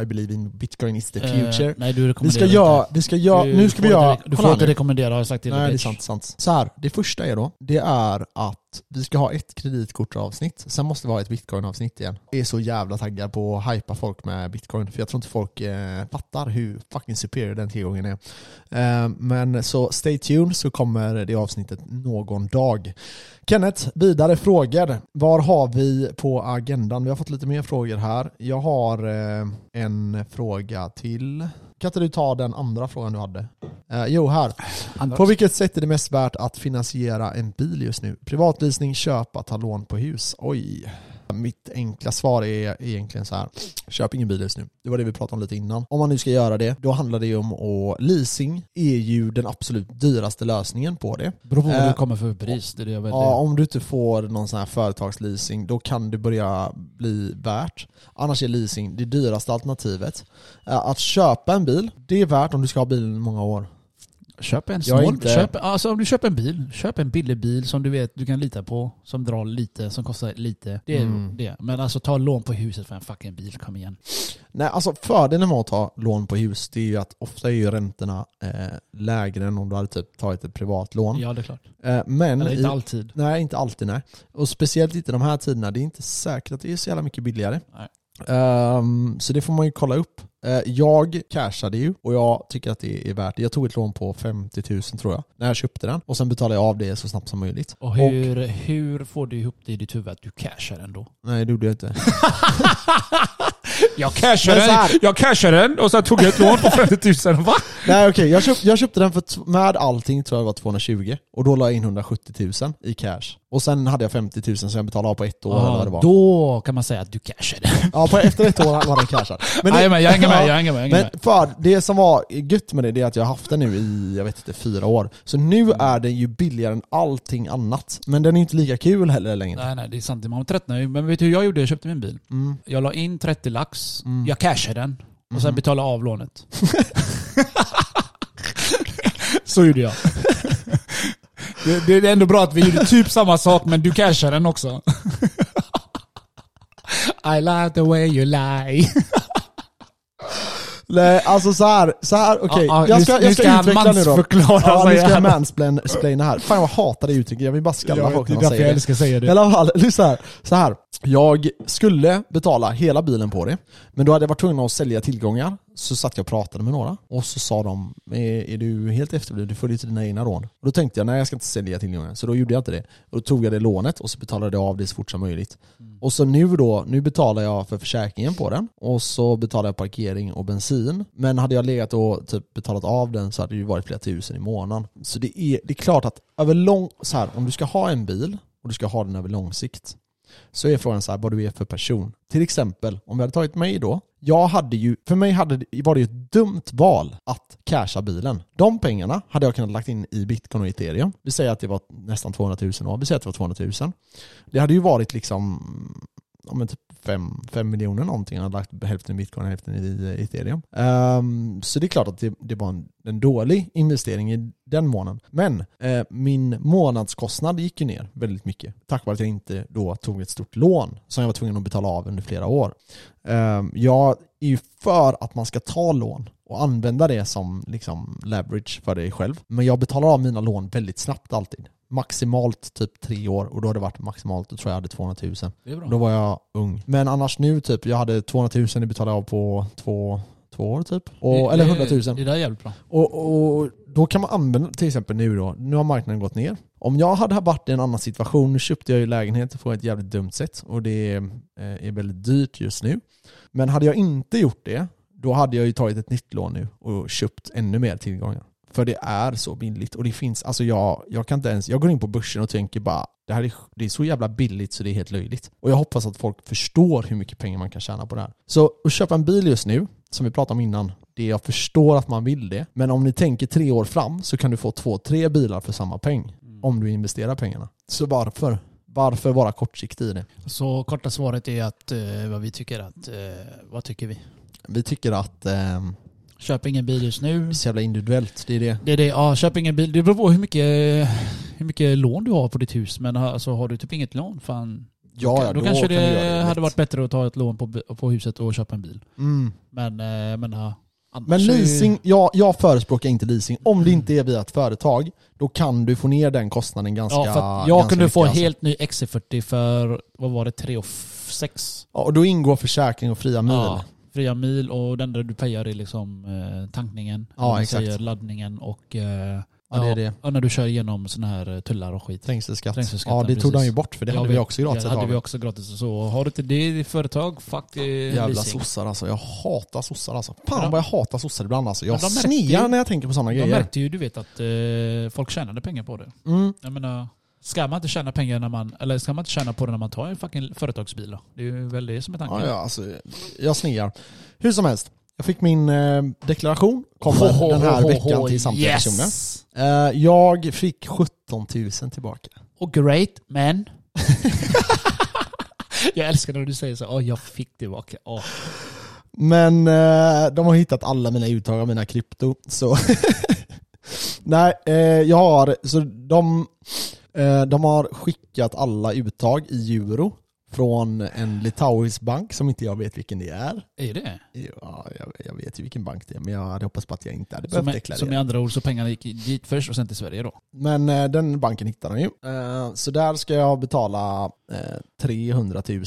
Speaker 1: I believe in bitcoin is the future.
Speaker 2: Eh, nej, du rekommenderar
Speaker 1: vi ska
Speaker 2: inte.
Speaker 1: göra, vi ska göra,
Speaker 2: Du-
Speaker 1: nu
Speaker 2: du
Speaker 1: ska vi
Speaker 2: får inte
Speaker 1: göra...
Speaker 2: re-
Speaker 1: kolla
Speaker 2: Du får
Speaker 1: här
Speaker 2: inte
Speaker 1: nu.
Speaker 2: rekommendera, har jag sagt till dig,
Speaker 1: Nej, det är
Speaker 2: bitch.
Speaker 1: sant. sant. Så här, det första är då, det är att vi ska ha ett kreditkortsavsnitt, sen måste vi ha ett bitcoinavsnitt igen. Jag är så jävla taggad på att hypa folk med bitcoin, för jag tror inte folk eh, fattar hur fucking superior den tillgången är. Eh, men så stay tuned så kommer det avsnittet någon dag. Kenneth, vidare frågor. Var har vi på agendan? Vi har fått lite mer frågor här. Jag har eh, en fråga till. Kan inte du ta den andra frågan du hade? Eh, jo, här.
Speaker 2: Andra-
Speaker 1: På vilket sätt är det mest värt att finansiera en bil just nu? Privatleasing, köpa, ta lån på hus? Oj. Mitt enkla svar är egentligen så här. Köp ingen bil just nu. Det var det vi pratade om lite innan. Om man nu ska göra det, då handlar det ju om att leasing är ju den absolut dyraste lösningen på det.
Speaker 2: Beror på vad
Speaker 1: Eh,
Speaker 2: du kommer för pris. Det är det jag vet.
Speaker 1: Ja, om du inte får någon sån här företagsleasing, då kan det börja bli värt. Annars är leasing det dyraste alternativet. Eh, Att köpa en bil, det är värt om du ska ha bilen i många år.
Speaker 2: Köp en
Speaker 1: Jag är
Speaker 2: snål.
Speaker 1: inte-
Speaker 2: Köp, alltså om du köper en bil, köp en billig bil som du vet du kan lita på. Som drar lite, som kostar lite. Det är
Speaker 1: Mm.
Speaker 2: det. Men alltså ta lån på huset för en fucking bil. Kom igen.
Speaker 1: Nej, alltså fördelen med att ta lån på hus det är ju att ofta är ju räntorna eh, lägre än om du hade typ tagit ett privatlån.
Speaker 2: Ja, det är klart.
Speaker 1: Eh, men
Speaker 2: Eller inte
Speaker 1: i,
Speaker 2: alltid.
Speaker 1: nej, inte alltid nej. Och speciellt inte de här tiderna, det är inte säkert att det är så jävla mycket billigare.
Speaker 2: Nej.
Speaker 1: Ehm, så det får man ju kolla upp. Eh, jag cashade ju och jag tycker att det är värt det. Jag tog ett lån på 50 000 tror jag, när jag köpte den. Och sen betalade jag av det så snabbt som möjligt.
Speaker 2: Och hur, hur får du ihop det i ditt huvud att du cashar den då?
Speaker 1: Nej, det gjorde jag inte.
Speaker 2: Jag cashar
Speaker 1: Men så här-
Speaker 2: jag cashar den och sen tog jag ett lån på 50 000. Va?
Speaker 1: Nej okej, jag, köp, jag köpte den för t- med allting tror jag det var 220 och då la jag in 170 000 i cash. Och sen hade jag 50 000 som jag betalade av på ett år eller vad det var.
Speaker 2: Ah, Då kan man säga att du cashar den.
Speaker 1: Ja, på, efter ett år var den cashad. Men, det,
Speaker 2: Jajamän, jag hänger med.
Speaker 1: Ja.
Speaker 2: Jag hänger med. Jag hänger
Speaker 1: men
Speaker 2: med.
Speaker 1: för det som var gött med det, det är att jag har haft den nu i, jag vet inte, fyra år. Så nu
Speaker 2: Mm.
Speaker 1: är den ju billigare än allting annat. Men den är ju inte lika kul heller längre.
Speaker 2: Nej, nej, det är sant. Man tröttnar ju. Men vet du hur jag gjorde? Jag köpte min bil.
Speaker 1: Mm.
Speaker 2: Jag la in 30 lax,
Speaker 1: Mm.
Speaker 2: jag cashade den och sen
Speaker 1: Mhm.
Speaker 2: betalade av lånet. Så gjorde jag. Det, det är ändå bra att vi gjorde typ samma sak men du cashade den också. I love the way you lie.
Speaker 1: Nej, alltså så här, så här okej.
Speaker 2: Ja, ja,
Speaker 1: jag
Speaker 2: nu
Speaker 1: ska,
Speaker 2: ska-
Speaker 1: jag
Speaker 2: nu
Speaker 1: ska,
Speaker 2: ska han
Speaker 1: utveckla nu då.
Speaker 2: mansförklara,
Speaker 1: ja, nu
Speaker 2: säger
Speaker 1: ska jag
Speaker 2: han.
Speaker 1: mansplaina här. Fan jag hatar det uttrycket, jag vill bara
Speaker 2: Jag
Speaker 1: skalla
Speaker 2: vet,
Speaker 1: folk
Speaker 2: det
Speaker 1: när
Speaker 2: är
Speaker 1: de
Speaker 2: därför jag
Speaker 1: säger det.
Speaker 2: älskar att säga
Speaker 1: I
Speaker 2: det.
Speaker 1: alla fall, lyssna här. Så här. Jag skulle betala hela bilen på det, men då hade jag varit tvungen att sälja tillgångar. Så satt jag och pratade med några och så sa de, är, är du helt efterbliven? Du följer inte dina egna rån. Och då tänkte jag, nej jag ska inte sälja tillgångar. Så då gjorde jag inte det. Och då tog jag det lånet och så betalade jag av det så fort som möjligt. Och så nu då, nu betalar jag för försäkringen på den och så betalar jag parkering och bensin. Men hade jag legat och typ betalat av den så hade det ju varit flera tusen i månaden. Så det är, det är klart att över lång, så här, om du ska ha en bil och du ska ha den över lång sikt så är frågan så här, vad du är för person. Till exempel, om vi hade tagit mig då. Jag hade ju, för mig hade, det- var det ju ett dumt val att casha bilen. De pengarna hade jag kunnat lagt in i bitcoin och ethereum. Vi säger att det var nästan 200 000 då. Vi säger att det var 200 000. Det hade ju varit liksom ja, men typ 5, miljoner någonting. Jag hade lagt hälften i bitcoin och hälften i eh, ethereum. Ehm, så det är klart att det, det var en, en dålig investering i den månaden. Men eh, min månadskostnad gick ju ner väldigt mycket. Tack vare att jag inte då tog ett stort lån som jag var tvungen att betala av under flera år. Ehm, jag är ju för att man ska ta lån och använda det som liksom leverage för dig själv. Men jag betalar av mina lån väldigt snabbt alltid. Maximalt typ tre år och då har det varit maximalt, då tror jag jag hade 200 000.
Speaker 2: Det är bra.
Speaker 1: Då var jag ung. Men annars nu typ, jag hade 200 000 i betalade av på två, två år typ. Och,
Speaker 2: Det-
Speaker 1: eller
Speaker 2: det-
Speaker 1: 100 000.
Speaker 2: Det där är jävligt bra.
Speaker 1: Och, och då kan man använda, till exempel nu då, nu har marknaden gått ner. Om jag hade varit i en annan situation, nu köpte jag ju lägenhet på ett jävligt dumt sätt och det är, eh, är väldigt dyrt just nu. Men hade jag inte gjort det, då hade jag ju tagit ett nytt lån nu och köpt ännu mer tillgångar. För det är så billigt och det finns, alltså jag, jag kan inte ens, jag går in på börsen och tänker bara det här är, det är så jävla billigt så det är helt löjligt. Och jag hoppas att folk förstår hur mycket pengar man kan tjäna på det här. Så att köpa en bil just nu, som vi pratade om innan, det jag förstår att man vill det. Men om ni tänker tre år fram så kan du få två, tre bilar för samma peng.
Speaker 2: Mm.
Speaker 1: Om du investerar pengarna. Så varför? Varför vara kortsiktig i det?
Speaker 3: Så korta svaret är att eh, vad vi tycker att, eh, vad tycker vi?
Speaker 1: Vi tycker att eh,
Speaker 2: Köp ingen bil just nu.
Speaker 1: det är så jävla individuellt, det är det.
Speaker 2: Det är det, ja, köp ingen bil. Det beror på hur mycket, hur mycket lån du har på ditt hus. Men alltså, har du typ inget lån, fan.
Speaker 1: Ja, ja,
Speaker 2: då, kanske
Speaker 1: kan du
Speaker 2: det,
Speaker 1: göra
Speaker 2: hade
Speaker 1: lätt.
Speaker 2: varit bättre att ta ett lån på, bi- på huset och köpa en bil.
Speaker 1: Mm.
Speaker 2: Men, eh, men ja. annars
Speaker 1: Men
Speaker 2: är ju-
Speaker 1: leasing, jag, jag förespråkar inte leasing. Om det inte är via ett företag, då kan du få ner den kostnaden ganska
Speaker 2: Ja, för att
Speaker 1: ganska
Speaker 2: jag kunde
Speaker 1: mycket,
Speaker 2: få en
Speaker 1: alltså.
Speaker 2: helt ny XC40 för, vad var det, 3 och 6?
Speaker 1: Ja, och då ingår försäkring och fria mil.
Speaker 2: Ja, fria mil och den där du pejar är liksom eh, tankningen,
Speaker 1: Ja,
Speaker 2: eller vad man
Speaker 1: exakt.
Speaker 2: säger, laddningen och eh,
Speaker 1: Ja, det är det.
Speaker 2: ja, när du kör igenom sådana här eh, tullar och skit.
Speaker 1: Trängselskatt.
Speaker 2: Trängselskatten,
Speaker 1: ja, det tog
Speaker 2: precis.
Speaker 1: de ju bort för det
Speaker 2: Jag
Speaker 1: hade vi
Speaker 2: vet.
Speaker 1: också gratis
Speaker 2: Det
Speaker 1: ett
Speaker 2: hade
Speaker 1: tag.
Speaker 2: vi också gratis och så. Har du inte det i ditt företag, fuck eh,
Speaker 1: Jävla
Speaker 2: leasing.
Speaker 1: sossar alltså. Jag hatar sossar alltså. Fan
Speaker 2: Ja.
Speaker 1: vad jag hatar sossar ibland alltså. Jag
Speaker 2: Men de märkte
Speaker 1: snear
Speaker 2: ju-
Speaker 1: när jag tänker på sådana
Speaker 2: De
Speaker 1: grejer.
Speaker 2: märkte ju, du vet, att eh, folk tjänade pengar på det.
Speaker 1: Mm.
Speaker 2: Jag menar, ska man inte tjäna pengar när man, eller ska man inte tjäna på det när man tar en fucking företagsbil då? Det är ju väl det som är tanken.
Speaker 1: Ja, ja, alltså, jag snear. Hur som helst. Jag fick min eh, deklaration. Kommer den här veckan till samtliga
Speaker 2: yes.
Speaker 1: personer. Eh, jag fick 17 000 tillbaka.
Speaker 2: Och great, men... jag älskar när du säger så, åh jag fick tillbaka. Åh.
Speaker 1: Men eh, de har hittat alla mina uttag av mina krypto. Så nej, eh, jag har, så de, eh, de har skickat alla uttag i euro från en litauisk bank som inte jag vet vilken det är.
Speaker 2: Är det?
Speaker 1: Ja, jag, jag vet ju vilken bank det är, men jag hade hoppats på att jag inte hade behövt
Speaker 2: Som, i-
Speaker 1: deklarera.
Speaker 2: som i andra ord så pengarna gick dit först och sen till Sverige då.
Speaker 1: Men eh, den banken hittar de ju. Eh, så där ska jag betala eh, 300 000.
Speaker 2: I,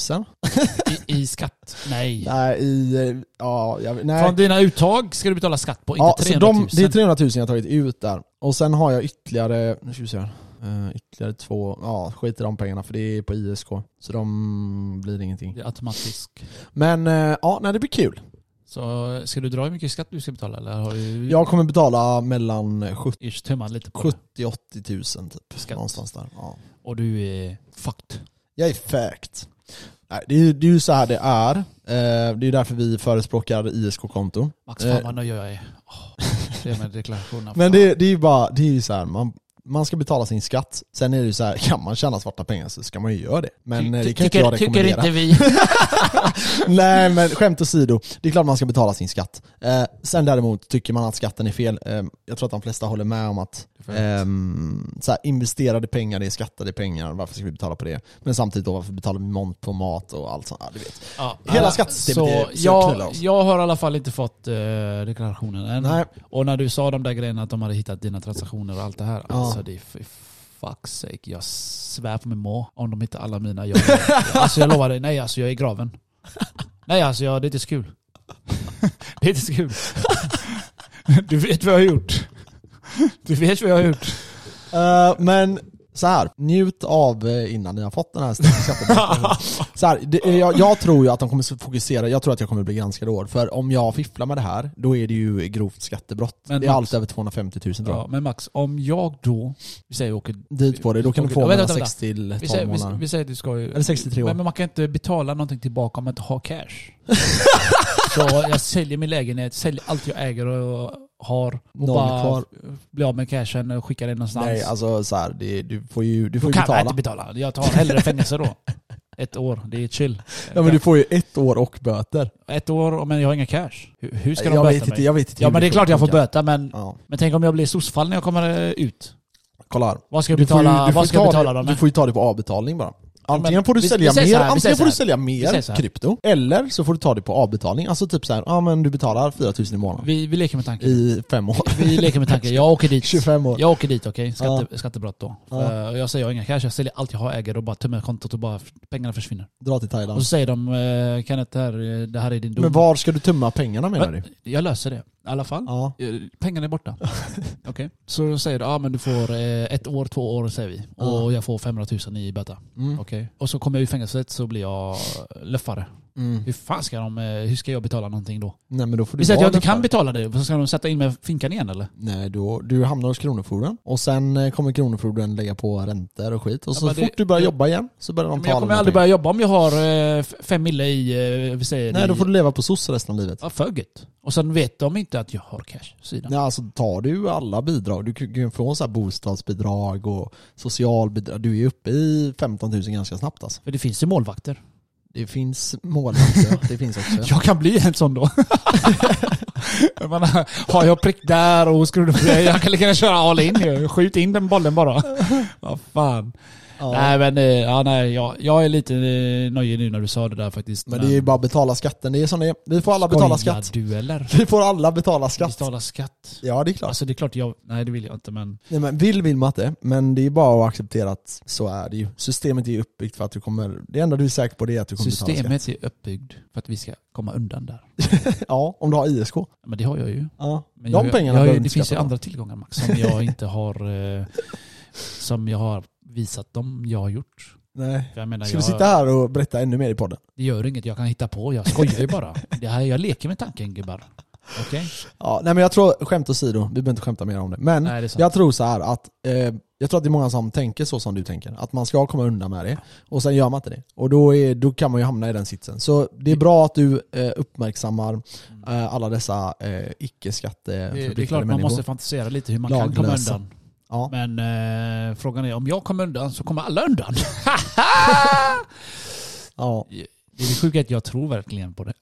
Speaker 2: i skatt? Nej.
Speaker 1: Nej, i, eh, ja, jag, nej.
Speaker 2: Från dina uttag ska du betala skatt på,
Speaker 1: Ja,
Speaker 2: inte
Speaker 1: så
Speaker 2: 300 000.
Speaker 1: de, det är 300 000 jag har tagit ut där. Och sen har jag ytterligare, nu ska vi se här. Eh, ytterligare två, ja skit i de pengarna för det är på ISK. Så de blir ingenting.
Speaker 2: Det är automatisk.
Speaker 1: Men eh, ja, nej, det blir kul.
Speaker 2: Så ska du dra hur mycket skatt du ska betala eller har du
Speaker 1: Jag kommer betala mellan 70
Speaker 2: ish tummat lite på
Speaker 1: 70 000 80 000 typ.
Speaker 2: Skatt.
Speaker 1: Någonstans där. Ja.
Speaker 2: det? Och du är fucked.
Speaker 1: Jag är fact. Nej, det, är, ju- det är ju så här det är. Eh, det är ju därför vi förespråkar ISK-konton.
Speaker 2: Max,
Speaker 1: Eh.
Speaker 2: fan vad nöjd jag är. Åh, det är med deklarationerna.
Speaker 1: Men det, det är ju bara, det är ju så här, man, man ska betala sin skatt. Sen är det ju så här, kan man tjäna svarta pengar så ska man ju göra det. Men eh, det kan inte
Speaker 3: tycker,
Speaker 1: jag
Speaker 3: tycker
Speaker 1: rekommendera.
Speaker 3: inte vi.
Speaker 1: Nej men skämt åsido, det är klart man ska betala sin skatt. Eh, sen däremot tycker man att skatten är fel. Eh, jag tror att de flesta håller med om att ehm, så här, investerade pengar det är skattade pengar, varför ska vi betala på det? Men samtidigt då, varför betalar vi moms på mat och allt sånt? Ja, du vet.
Speaker 3: Ja,
Speaker 1: Hela
Speaker 3: ja.
Speaker 1: skattesystemet
Speaker 2: Så
Speaker 1: är så knullar
Speaker 2: jag,
Speaker 1: oss.
Speaker 2: jag har i alla fall inte fått eh, deklarationen än.
Speaker 1: Nej.
Speaker 2: Och när du sa de där grejerna att de hade hittat dina transaktioner och allt det här.
Speaker 1: Ja.
Speaker 2: Alltså det är för fuck's sake. Jag svär på min mor om de hittar alla mina jobb. alltså jag lovar dig, nej alltså jag är i graven. Nej alltså jag, det är inte så kul. det är inte så kul. du vet vad jag har gjort. Du vet vad jag har gjort.
Speaker 1: Eh, men så här, njut av eh, innan ni har fått den här skattedeklarationen. så här, det, eh, jag, jag tror ju att de kommer fokusera, jag tror att jag kommer bli granskad i år. För om jag fifflar med det här, då är det ju grovt skattebrott.
Speaker 2: Men
Speaker 1: det är
Speaker 2: Max-
Speaker 1: allt över 250 000 tror jag.
Speaker 2: Ja, men Max, om jag då, vi säger åker,
Speaker 1: dit på dig, då kan du få
Speaker 2: Vänta,
Speaker 1: mellan
Speaker 2: vänta, vänta.
Speaker 1: 6 till
Speaker 2: vi
Speaker 1: 12
Speaker 2: säger, vi,
Speaker 1: månader.
Speaker 2: vi säger att du ska ju...
Speaker 1: Eller 63
Speaker 2: Nej,
Speaker 1: år.
Speaker 2: men man kan inte betala någonting tillbaka om man inte har cash. så jag säljer min lägenhet, säljer allt jag äger och har. Och
Speaker 1: Noll
Speaker 2: bara
Speaker 1: kvar.
Speaker 2: blir av med cashen och skickar den någonstans.
Speaker 1: Nej, alltså så här, det, du får ju, du
Speaker 2: då
Speaker 1: får ju
Speaker 2: kan jag
Speaker 1: betala.
Speaker 2: inte betala. Jag tar hellre fängelse då. Ett år, det är chill.
Speaker 1: Ja, men du får ju ett år och böter.
Speaker 2: Ett år, men jag har inga cash. Hur, hur ska de
Speaker 1: jag,
Speaker 2: böta
Speaker 1: vet
Speaker 2: mig?
Speaker 1: inte, jag vet inte
Speaker 2: ja
Speaker 1: hur
Speaker 2: men det är klart jag får
Speaker 1: funkar.
Speaker 2: böta, men,
Speaker 1: Ja,
Speaker 2: men tänk om jag blir sossfall när jag kommer eh, ut.
Speaker 1: kolla här.
Speaker 2: Vad ska jag
Speaker 1: Du får ju-
Speaker 2: betala,
Speaker 1: du får
Speaker 2: vad ska jag
Speaker 1: ta
Speaker 2: betala
Speaker 1: det-
Speaker 2: dem
Speaker 1: Du
Speaker 2: med?
Speaker 1: får ju ta det på avbetalning bara. Antingen får du
Speaker 2: vi-
Speaker 1: sälja
Speaker 2: vi säger
Speaker 1: mer,
Speaker 2: så här, vi
Speaker 1: antingen
Speaker 2: säger
Speaker 1: får du
Speaker 2: så
Speaker 1: sälja
Speaker 2: säger
Speaker 1: mer
Speaker 2: så här.
Speaker 1: krypto, eller så får du ta det på avbetalning. Alltså typ så här, ja men du betalar 4000 i månaden
Speaker 2: Vi, vi leker med tanken.
Speaker 1: i fem år.
Speaker 2: Vi leker med tanken, jag åker dit.
Speaker 1: 25 år.
Speaker 2: Jag åker dit, okej? Skatte, Skattebrott då.
Speaker 1: Ja.
Speaker 2: Eh, jag säger jag har inga cash, jag säljer allt jag har, äger och bara tömmer kontot och bara f- pengarna försvinner.
Speaker 1: Dra till Thailand.
Speaker 2: Och så säger de, eh, Kenneth, det här, eh, det här är din dom.
Speaker 1: Men var ska du tömma pengarna menar du?
Speaker 2: Va? Jag löser det. I alla fall.
Speaker 1: Ja.
Speaker 2: Eh, Pengarna är borta. Okej. Så då säger du, ja men du får eh, ett år, två år säger vi. Och jag får 500 000 i böter.
Speaker 1: Mm.
Speaker 2: Okej. Och så kommer jag ur fängelset så blir jag löffare.
Speaker 1: Mm.
Speaker 2: Hur fan ska de, eh, hur ska jag betala någonting då?
Speaker 1: Nej men då får du
Speaker 2: Vi säger att
Speaker 1: vara
Speaker 2: jag inte
Speaker 1: där för.
Speaker 2: kan betala det, så ska de sätta in mig i finkan igen eller?
Speaker 1: Nej, då, du hamnar hos Kronofogden och sen eh, kommer Kronofogden lägga på räntor och skit. Och så
Speaker 2: Ja, men
Speaker 1: fort
Speaker 2: det-
Speaker 1: du börjar
Speaker 2: det-
Speaker 1: jobba igen så börjar de
Speaker 2: Men
Speaker 1: ta
Speaker 2: jag
Speaker 1: alla
Speaker 2: kommer
Speaker 1: dina
Speaker 2: aldrig
Speaker 1: pengar.
Speaker 2: börja jobba om jag har eh, f- fem mille i, eh, vi säger
Speaker 1: Nej, då
Speaker 2: i-
Speaker 1: får du leva på soc resten av livet.
Speaker 2: Ja, för gött. Och sen vet de inte att jag har cash på sidan.
Speaker 1: Nej, alltså tar du alla bidrag, du kan- kan få så här bostadsbidrag och socialbidrag. Du är uppe i 15 000 ganska snabbt alltså.
Speaker 2: För det finns ju målvakter.
Speaker 1: Det finns målvakter, det finns också.
Speaker 2: Jag kan bli en sån då. Jag menar, har jag prick där och skruv Jag kan lika gärna köra all in ju. Skjut in den bollen bara. Vad fan.
Speaker 1: Ja.
Speaker 2: Nej men, eh, ja, nej, jag, jag är lite eh, nöjd nu när du sa det där faktiskt.
Speaker 1: Men det är ju bara att betala skatten, det är som det är. Vi får alla betala skatt.
Speaker 2: du eller?
Speaker 1: Vi får alla betala skatt.
Speaker 2: Betala skatt.
Speaker 1: Ja, det är klart.
Speaker 2: Alltså det är klart jag, nej det vill jag inte men.
Speaker 1: Nej, men vill vill man inte, men det är bara att acceptera att så är det ju. Systemet är ju uppbyggt för att du kommer, det enda du är säker på det är att du kommer betala
Speaker 2: Systemet är uppbyggd för att vi ska komma undan där.
Speaker 1: skatt. Ja, om du har ISK.
Speaker 2: Men det har jag ju.
Speaker 1: Ja.
Speaker 2: Men
Speaker 1: De
Speaker 2: jag,
Speaker 1: pengarna
Speaker 2: jag,
Speaker 1: behöver
Speaker 2: jag, Det
Speaker 1: inte
Speaker 2: finns ju
Speaker 1: skatta
Speaker 2: andra tillgångar Max som jag inte har eh, som jag har visat dem jag har gjort.
Speaker 1: Nej.
Speaker 2: För Jag menar,
Speaker 1: Ska
Speaker 2: jag,
Speaker 1: vi sitta här och berätta ännu mer i podden?
Speaker 2: Det gör inget, jag kan hitta på. Jag skojar ju bara. Det här, jag leker med tanken gubbar. Okej?
Speaker 1: Ja, nej men jag tror, skämt åsido, vi behöver inte skämta mer om det. Men
Speaker 2: Nej, det är sant.
Speaker 1: jag tror så här att, eh, jag tror att det är många som tänker så som du tänker. Att man ska komma undan med det. Och sen gör man inte det. Och då, är, då kan man ju hamna i den sitsen. Så det är bra att du eh, uppmärksammar eh, alla dessa eh,
Speaker 2: Mm. Det,
Speaker 1: icke-skatteförpliktade
Speaker 2: det är klart, man
Speaker 1: människor.
Speaker 2: måste fantisera lite hur man kan komma
Speaker 1: Laglösa.
Speaker 2: undan.
Speaker 1: Ja.
Speaker 2: Men eh, frågan är, om jag kommer undan så kommer alla undan.
Speaker 1: Ja.
Speaker 2: det är det sjuka att jag tror verkligen på det.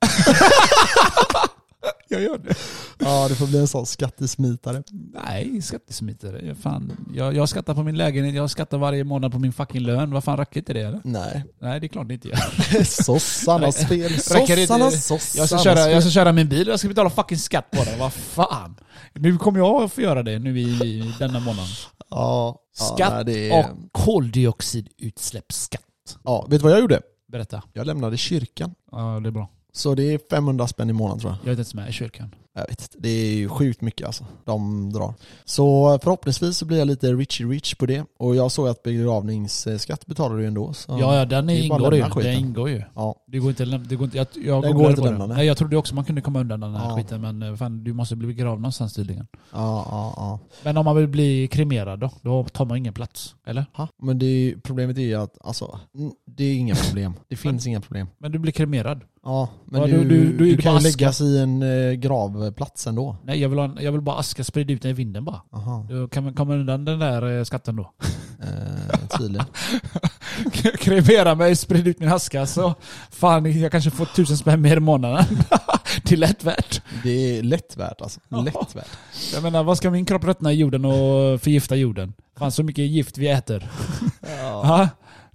Speaker 2: jag gör det.
Speaker 1: ja, det får bli en sån skattesmitare.
Speaker 2: Nej, skattesmitare. Jag Fan, jag, jag skattar på min lägenhet, jag skattar varje månad på min fucking lön. Vad fan, räcker inte det eller?
Speaker 1: Nej.
Speaker 2: Nej, det är klart det inte gör.
Speaker 1: Sossarnas fel.
Speaker 2: Räcker det-
Speaker 1: Sossarnas, sossarnas
Speaker 2: Jag ska, köra, jag
Speaker 1: fel.
Speaker 2: ska köra min bil och jag ska betala fucking skatt på den. Vad fan. Nu kommer jag att få göra det nu i, i denna månaden.
Speaker 1: Ja, ja,
Speaker 2: Skatt
Speaker 1: nej, det är...
Speaker 2: Och koldioxidutsläppsskatt.
Speaker 1: Ja, vet du vad jag gjorde?
Speaker 2: Berätta.
Speaker 1: Jag lämnade kyrkan.
Speaker 2: Ja, det är bra.
Speaker 1: Så det är 500 spänn i månaden tror jag.
Speaker 2: Jag är inte ens med i kyrkan.
Speaker 1: Jag vet inte, det är ju sjukt mycket alltså. De drar. Så förhoppningsvis så blir jag lite richy rich på det. Och jag såg att begravningsskatt betalar du ändå. Så.
Speaker 2: Ja, ja den
Speaker 1: Det är bara att
Speaker 2: ingår ju.
Speaker 1: lämna skiten.
Speaker 2: Den ingår ju.
Speaker 1: Ja.
Speaker 2: Det går inte att lämna- det går inte, jag, jag
Speaker 1: Det
Speaker 2: googlade
Speaker 1: går inte
Speaker 2: på
Speaker 1: att lämna, nej.
Speaker 2: Nej, jag trodde också man kunde komma undan den här
Speaker 1: Ja.
Speaker 2: skiten men eh, fan, du måste bli begravd någonstans tydligen.
Speaker 1: Ja, ja, ja.
Speaker 2: Men om man vill bli kremerad då? Då tar man ingen plats. Eller?
Speaker 1: Ha? Men det är, ju- problemet är ju att alltså, mm, det är inga problem. Det finns inga problem.
Speaker 2: Men du blir kremerad.
Speaker 1: Ja, men
Speaker 2: Ja,
Speaker 1: du,
Speaker 2: du-
Speaker 1: du,
Speaker 2: du- du är ju
Speaker 1: kan
Speaker 2: på
Speaker 1: ju
Speaker 2: aska.
Speaker 1: läggas i en eh, gravplats ändå.
Speaker 2: Nej, jag vill, ha en, jag vill bara aska spridd ut den i vinden bara.
Speaker 1: Aha,
Speaker 2: Då kan man komma undan den där eh, skatten då.
Speaker 1: eh, tydligen.
Speaker 2: Kremera mig, sprid ut min aska så fan jag kanske får tusen spänn mer i månaden. det är lätt värt.
Speaker 1: Det är lätt värt alltså.
Speaker 2: Ja.
Speaker 1: Lätt värt.
Speaker 2: Jag menar vad ska min kropp ruttna i jorden och förgifta jorden? Fan så mycket gift vi äter.
Speaker 1: Ja.
Speaker 2: Ja.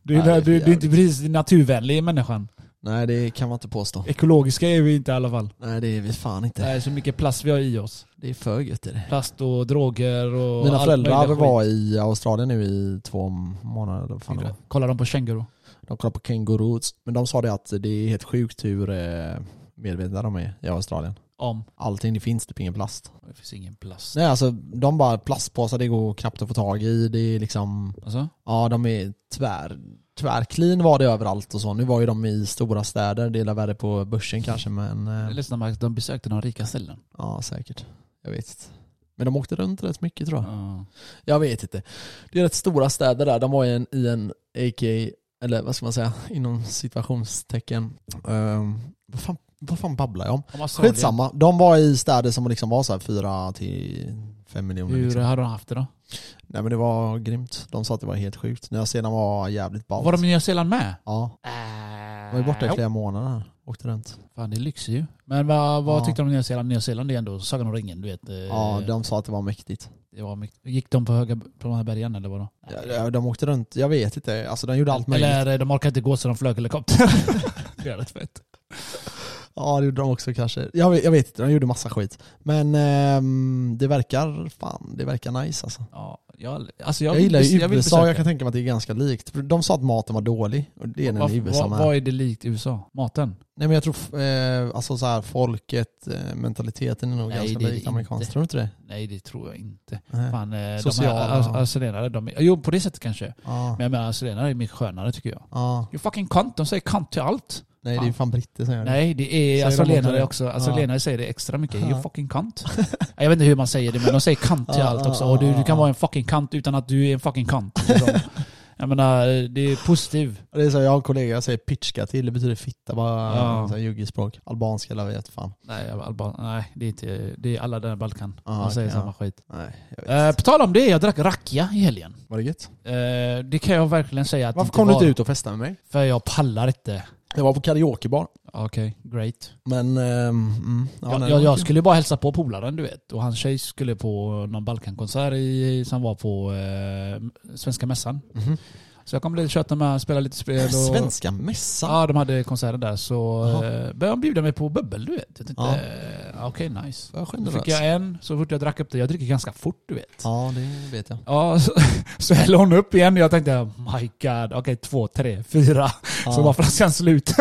Speaker 2: Du,
Speaker 1: Nej, det är
Speaker 2: du, du,
Speaker 1: för
Speaker 2: är inte precis naturvänlig i människan.
Speaker 1: Nej, det kan man inte påstå.
Speaker 2: Ekologiska är vi inte i alla fall.
Speaker 1: Nej, det är vi fan
Speaker 2: Det
Speaker 1: inte.
Speaker 2: är så mycket plast vi har i oss.
Speaker 1: Det är för gött är det.
Speaker 2: Plast och droger och
Speaker 1: Mina
Speaker 2: allt
Speaker 1: föräldrar
Speaker 2: möjligt skit.
Speaker 1: var i Australien nu i två månader. eller vad Fan det var.
Speaker 2: Kollar de på känguru?
Speaker 1: De kollade på kängurus. Men de sa det att det är helt sjukt hur eh, medvetna de är i Australien.
Speaker 2: Om.
Speaker 1: Allting, det finns typ ingen plast.
Speaker 2: Det finns ingen plast.
Speaker 1: Nej alltså, de bara plastpåsar, det går knappt att få tag i. Det är liksom,
Speaker 2: Alltså?
Speaker 1: ja de är tvär, tvärclean var det överallt och så. Nu var ju de i stora städer, det är värre på börsen kanske men,
Speaker 2: Jag
Speaker 1: eh,
Speaker 2: lyssnar Max, de besökte de rika ställen.
Speaker 1: ja säkert. Jag vet inte. Men de åkte runt rätt mycket tror jag.
Speaker 2: Ja.
Speaker 1: Jag vet inte. Det är rätt stora städer där. De var i en, i en AK, eller vad ska man säga, inom situationstecken. Ehm, vad, fan, vad fan babblar jag om?
Speaker 2: Om Australien,
Speaker 1: Skitsamma. De var i städer som liksom var så här 4 till 5 miljoner.
Speaker 2: Hur
Speaker 1: Liksom.
Speaker 2: har de haft det då?
Speaker 1: Nej men det var grymt. De sa att det var helt sjukt. Nya Zeeland var jävligt ballt.
Speaker 2: Var de i Äh, Nya Zeeland med?
Speaker 1: Ja, de var ju borta i flera månader. Åkte runt.
Speaker 2: Fan det är lyxigt ju. Men vad, vad
Speaker 1: Ja.
Speaker 2: tyckte de om Nya Zeeland? Nya Zeeland är ändå Sagan om ringen, du vet. eh,
Speaker 1: Ja, de sa att det var mäktigt.
Speaker 2: det var mycket. Gick de på höga på de här bergen eller vadå?
Speaker 1: Ja, ja, De åkte runt, jag vet inte. Alltså de gjorde allt möjligt.
Speaker 2: Eller eh, de orkade inte gå så de flög helikopter. det är rätt fett.
Speaker 1: Ja det gjorde de också kanske. Jag vet, jag vet inte, de gjorde massa skit. Men ehm, det verkar fan, det verkar nice alltså.
Speaker 2: Ja, jag, alltså jag,
Speaker 1: Jag,
Speaker 2: vill
Speaker 1: gillar
Speaker 2: bes-
Speaker 1: ju
Speaker 2: jag vill
Speaker 1: USA, jag,
Speaker 2: besöka.
Speaker 1: kan tänka mig att det är ganska likt. De sa att maten var dålig, och det är den
Speaker 2: Vad-
Speaker 1: i USA
Speaker 2: vad,
Speaker 1: med.
Speaker 2: vad är det likt USA? Maten?
Speaker 1: Nej men jag tror, eh, alltså så här, folket, eh, mentaliteten är nog
Speaker 2: Nej,
Speaker 1: ganska
Speaker 2: det är det
Speaker 1: lik amerikansk.
Speaker 2: inte.
Speaker 1: Tror du inte det?
Speaker 2: Nej det tror jag inte.
Speaker 1: Nej.
Speaker 2: Fan, eh, de
Speaker 1: Sociala.
Speaker 2: här as- australienare, de är, jo på det sättet kanske.
Speaker 1: Ja,
Speaker 2: Men jag menar australienare är mycket skönare tycker jag.
Speaker 1: ja.
Speaker 2: You fucking cunt, de säger cunt till allt.
Speaker 1: Nej det är ju fan britter som gör det.
Speaker 2: Nej, det är
Speaker 1: de också
Speaker 2: australienare
Speaker 1: det?
Speaker 2: också. Australienare säger det extra mycket.
Speaker 1: Ja.
Speaker 2: You fucking cunt. Jag vet inte hur man säger det, men de säger cunt till
Speaker 1: Ja,
Speaker 2: allt
Speaker 1: ja,
Speaker 2: också. Och du,
Speaker 1: ja,
Speaker 2: du kan
Speaker 1: ja.
Speaker 2: vara en fucking cunt utan att du är en fucking cunt. liksom. Jag menar, det är positiv.
Speaker 1: Det är så, här, jag har en kollega, jag säger pitchka till, det betyder fitta bara,
Speaker 2: Ja.
Speaker 1: så här juggigt språk. Albanska eller vad vet fan.
Speaker 2: Nej, Alban, nej det, är inte, det är alla där i Balkan.
Speaker 1: Ja,
Speaker 2: De säger
Speaker 1: Ah, okej,
Speaker 2: samma skit.
Speaker 1: Nej, jag vet.
Speaker 2: Eh, på tal om det, jag drack rakia i helgen.
Speaker 1: Var det gött?
Speaker 2: Eh, det kan jag verkligen säga att
Speaker 1: Varför
Speaker 2: det
Speaker 1: kom du inte
Speaker 2: var.
Speaker 1: ut och festade med mig?
Speaker 2: För jag pallar inte.
Speaker 1: Jag var på karaokebar.
Speaker 2: Okej, great.
Speaker 1: Men, ehm, mm, ja, nej,
Speaker 2: jag
Speaker 1: det var
Speaker 2: jag, jag
Speaker 1: kul.
Speaker 2: skulle bara hälsa på polaren du vet. Och hans tjej skulle på någon Balkankonsert i, som var på eh, Svenska Mässan.
Speaker 1: Mhm.
Speaker 2: Så jag kom dit och tjötade med honom, spelade lite spel. Och,
Speaker 1: Svenska mässan?
Speaker 2: Ja, de hade konserter där. Så
Speaker 1: Jaha.
Speaker 2: eh, började de bjuda mig på bubbel du vet. Jag tänkte,
Speaker 1: Ja.
Speaker 2: eh, okej nice.
Speaker 1: Vad
Speaker 2: Då
Speaker 1: generöst.
Speaker 2: fick jag en, så fort jag drack upp det. Jag dricker ganska fort du vet.
Speaker 1: Ja, det vet jag.
Speaker 2: Ja, så, så hällde hon upp igen och jag tänkte oh my god, okej två, tre, fyra. Så var flaskan slut.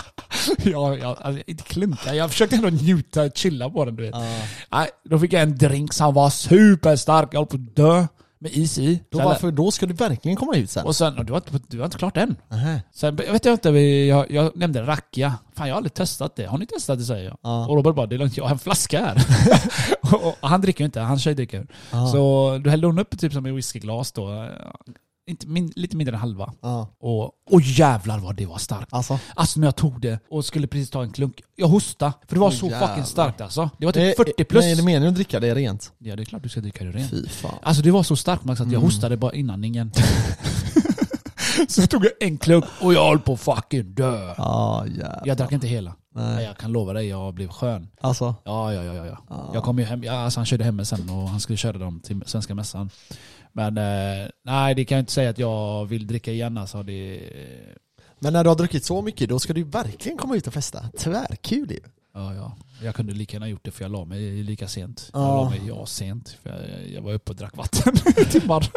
Speaker 2: jag, jag, alltså, inte klunka, jag försökte ändå njuta och chilla på den du vet.
Speaker 1: Ja.
Speaker 2: Nej, då fick jag en drink som var superstark, jag höll på att dö. Med is i.
Speaker 1: Då,
Speaker 2: Sen-
Speaker 1: varför, då ska du verkligen komma ut sen.
Speaker 2: Och sen, och du var inte, du var inte klart än.
Speaker 1: Nähä.
Speaker 2: Sen jag vet jag inte, vi- jag, jag nämnde rakia. Fan jag har aldrig testat det. Har ni testat det säger jag.
Speaker 1: Ja.
Speaker 2: Och Robert bara, det är lugnt, jag har en flaska här. och, och, han dricker ju inte, han tjej dricker.
Speaker 1: Ja.
Speaker 2: Så då hällde hon upp typ som i whiskyglas då. Inte, min, lite mindre än halva.
Speaker 1: Ja.
Speaker 2: Och, och jävlar vad det var starkt.
Speaker 1: Alltså,
Speaker 2: Alltså när jag tog det och skulle precis ta en klunk. Jag hostade, för det var
Speaker 1: Åh,
Speaker 2: så
Speaker 1: jävlar. Eh,
Speaker 2: fucking starkt alltså. Det var
Speaker 1: nej,
Speaker 2: typ 40 plus.
Speaker 1: Nej, är det meningen att dricka det är rent?
Speaker 2: Ja det är klart du ska dricka det rent.
Speaker 1: Fy fan.
Speaker 2: Alltså det var så starkt Max att jag
Speaker 1: Mm.
Speaker 2: hostade bara innan ingen. så tog jag en klunk och jag höll på att fucking dö.
Speaker 1: Ja, jävlar.
Speaker 2: Jag drack inte hela. Men
Speaker 1: Nej.
Speaker 2: jag kan lova dig, jag blev skön.
Speaker 1: Alltså,
Speaker 2: Ja, ja, ja. ja, ja.
Speaker 1: Ja.
Speaker 2: Jag kom ju hem, ja, alltså han körde hem mig sen och han skulle köra dem till svenska mässan. Men eh, nej, det kan jag inte säga att jag vill dricka igen alltså. Det,
Speaker 1: men när du har druckit så mycket, då ska du verkligen komma ut och festa. Tvärkul ju.
Speaker 2: ja, ja. Jag kunde lika gärna gjort det för jag la mig lika sent.
Speaker 1: Ja.
Speaker 2: Jag la mig ja, sent. För jag, jag var uppe och drack vatten i timmar.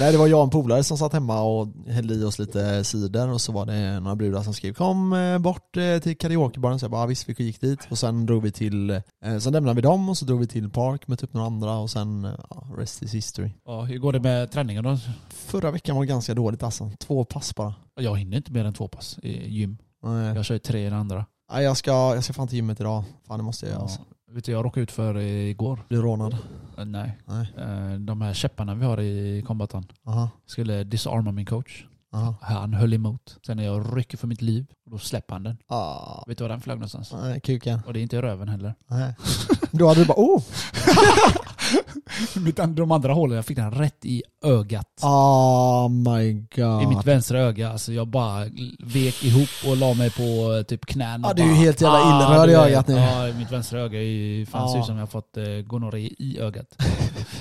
Speaker 1: Nej, det var jag och en polare som satt hemma och hällde i oss lite cider och så var det några brudar som skrev kom eh, bort eh, till karaokebaren så jag bara visst vi gick dit och sen drog vi till, eh, sen lämnade vi dem och så drog vi till Park med typ några andra och sen, eh, ja, rest is history.
Speaker 2: Ja, hur går det med träningen då?
Speaker 1: Förra veckan var det ganska dåligt alltså, två pass bara.
Speaker 2: Jag hinner inte mer än två pass i gym.
Speaker 1: Nej.
Speaker 2: Jag kör ju tre i den andra.
Speaker 1: Nej, jag ska, jag ska fan till gymmet idag. Fan det måste jag göra.
Speaker 2: Ja.
Speaker 1: Alltså.
Speaker 2: Vet du, jag råkade ut för eh, igår.
Speaker 1: Blir rånad.
Speaker 2: Eh, Nej.
Speaker 1: Nej.
Speaker 2: Eh, De här käpparna vi har i kombatan
Speaker 1: Aha.
Speaker 2: skulle disarma min coach.
Speaker 1: Aha.
Speaker 2: Han höll emot. Sen när jag rycker för mitt liv, då släpper han den.
Speaker 1: Ah.
Speaker 2: Vet du var den flög någonstans?
Speaker 1: Nej, kuken.
Speaker 2: Och det är inte i röven heller.
Speaker 1: Nej. Då hade du bara oh!
Speaker 2: Mitt and- De andra hålen, jag fick den rätt i ögat.
Speaker 1: Oh my god.
Speaker 2: I mitt vänstra öga. Alltså jag bara vek ihop och la mig på eh, typ knän. och
Speaker 1: Ja, du är ju
Speaker 2: bara,
Speaker 1: helt jävla
Speaker 2: "Ah",
Speaker 1: illröd
Speaker 2: du
Speaker 1: i
Speaker 2: vet.
Speaker 1: ögat nu.
Speaker 2: Ja, i mitt vänstra öga är ju fan ser
Speaker 1: Ja.
Speaker 2: ut som jag har fått eh, gonorré i ögat.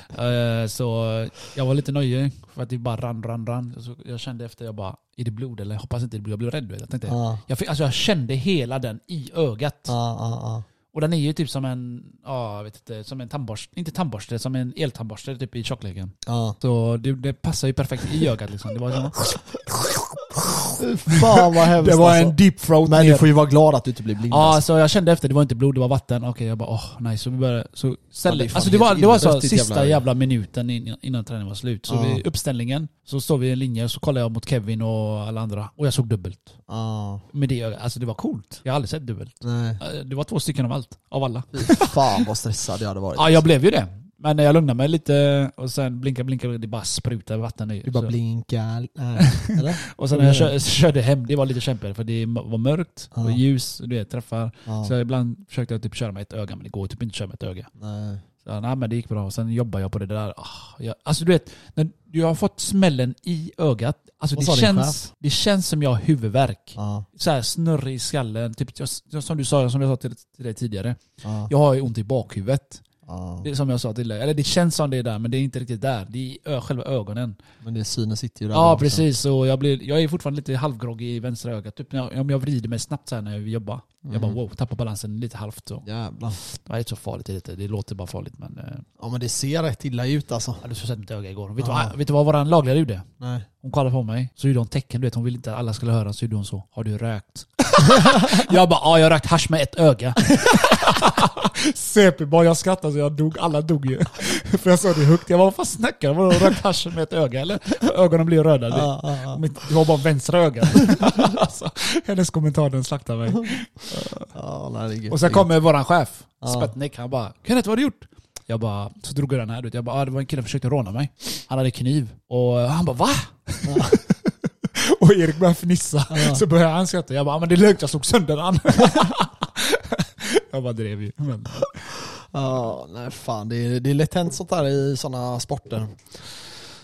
Speaker 2: Eh, så eh, jag var lite nöjd för att det bara rann, rann, rann. Så jag kände efter, jag bara, är det blod eller? Jag hoppas inte det blir, jag blev rädd. du vet. Jag tänkte,
Speaker 1: Ah.
Speaker 2: jag, fick, alltså jag kände hela den i ögat.
Speaker 1: Ah, ah, ah.
Speaker 2: Och den är ju typ som en, ja jag vet inte, som en tandborste, inte tandborste, som en eltandborste typ i tjockleken.
Speaker 1: Ah.
Speaker 2: Så det, det passar ju perfekt i ögat liksom. Det var, som-
Speaker 1: Fan vad hemskt
Speaker 2: det var
Speaker 1: alltså.
Speaker 2: en deep throat
Speaker 1: Men
Speaker 2: ner.
Speaker 1: du får ju vara glad att du inte blir blind.
Speaker 2: Ja,
Speaker 1: alltså.
Speaker 2: så jag kände efter, det var inte blod, det var vatten. Okej, jag bara åh, nej. Så vi började, så
Speaker 1: Ja,
Speaker 2: ställde,
Speaker 1: det är fan
Speaker 2: alltså det var,
Speaker 1: helt
Speaker 2: det var så
Speaker 1: inbrott, ditt
Speaker 2: sista
Speaker 1: jävla-
Speaker 2: jävla, minuten innan, innan träningen var slut. Så
Speaker 1: Ja.
Speaker 2: vid uppställningen så står vi i en linje och så kollar jag mot Kevin och alla andra. Och jag såg dubbelt.
Speaker 1: Ah.
Speaker 2: Med det ögat, alltså det var coolt. Jag har aldrig sett dubbelt.
Speaker 1: Nej.
Speaker 2: Eh, Det var två stycken av allt, av alla.
Speaker 1: Fy Fan vad stressad jag hade varit.
Speaker 2: Ja, jag blev ju det. Men jag lugnade mig lite och sen blinka, blinka, det bara sprutar vatten ur.
Speaker 1: Du bara
Speaker 2: Så-
Speaker 1: blinkar. Nej. Eller?
Speaker 2: Och sen när jag kö- körde hem, det var lite kämpigare för det var mörkt, det var
Speaker 1: Ja.
Speaker 2: ljus, du vet, träffar.
Speaker 1: Ja.
Speaker 2: Så ibland försökte jag typ köra med ett öga, men det går typ inte att köra med ett öga.
Speaker 1: Nej.
Speaker 2: Så, nej men det gick bra, och sen jobbar jag på det där. Ah, jag, alltså du vet, när du har fått smällen i ögat, alltså
Speaker 1: Vad
Speaker 2: det
Speaker 1: sa din
Speaker 2: känns, det känns som jag har huvudvärk.
Speaker 1: Ah.
Speaker 2: Så här snurrig i skallen, typ, jag, som du sa, som jag sa till, till dig tidigare.
Speaker 1: Ah.
Speaker 2: Jag har ju ont i bakhuvudet.
Speaker 1: Ah.
Speaker 2: Det är som jag sa till dig. Eller det känns som det är där, men det är inte riktigt där. Det är i ö- själva ögonen.
Speaker 1: Men det synen sitter ju där.
Speaker 2: Ja,
Speaker 1: bak sen.
Speaker 2: precis. Och jag, blir, jag är fortfarande lite halvgroggig i vänstra ögat. Typ när jag, om jag vrider mig snabbt så här när jag jobbar. Jag
Speaker 1: Mm.
Speaker 2: bara wow, tappar balansen lite halvt. Så.
Speaker 1: Jävlar.
Speaker 2: Det är inte så farligt. Det, är lite, det låter bara farligt. Men, eh,
Speaker 1: Ja men det ser rätt illa ut alltså.
Speaker 2: jag hade så sett mitt öga igår. Vet, du
Speaker 1: Ja.
Speaker 2: vad, vet du vad våran lagledare gjorde?
Speaker 1: Nej.
Speaker 2: Hon kollade på mig, så gjorde hon tecken. Du vet, hon ville inte att alla skulle höra, så gjorde hon så. Har du rökt? jag bara, ja jag har rökt hasch med ett öga. CP, bara jag skrattade så jag dog. Alla dog ju. För jag såg det högt. Jag bara, vad fan snackar du om? Vadå, rökt hasch med ett öga eller? Ögonen blir röda. Det-
Speaker 1: Ah, ah, ah.
Speaker 2: Mitt, det var bara vänstra ögat. alltså, hennes kommentar den slaktar mig.
Speaker 1: Ja, nej, det är gött.
Speaker 2: Och sen kommer våran chef,
Speaker 1: Ja.
Speaker 2: Sputnik, han bara Kenneth vad har du gjort? Jag bara, så drog jag den här ut. Jag bara, ah, det var en kille som försökte råna mig. Han hade kniv. Och han bara, va? och Erik började fnissa. Så började han skratta. Jag bara, ah, men det är lugnt, jag slog sönder han. jag bara drev ju. Men,
Speaker 1: Ja, nej fan. Det är, det är lätt hänt sånt där i sådana sporter. man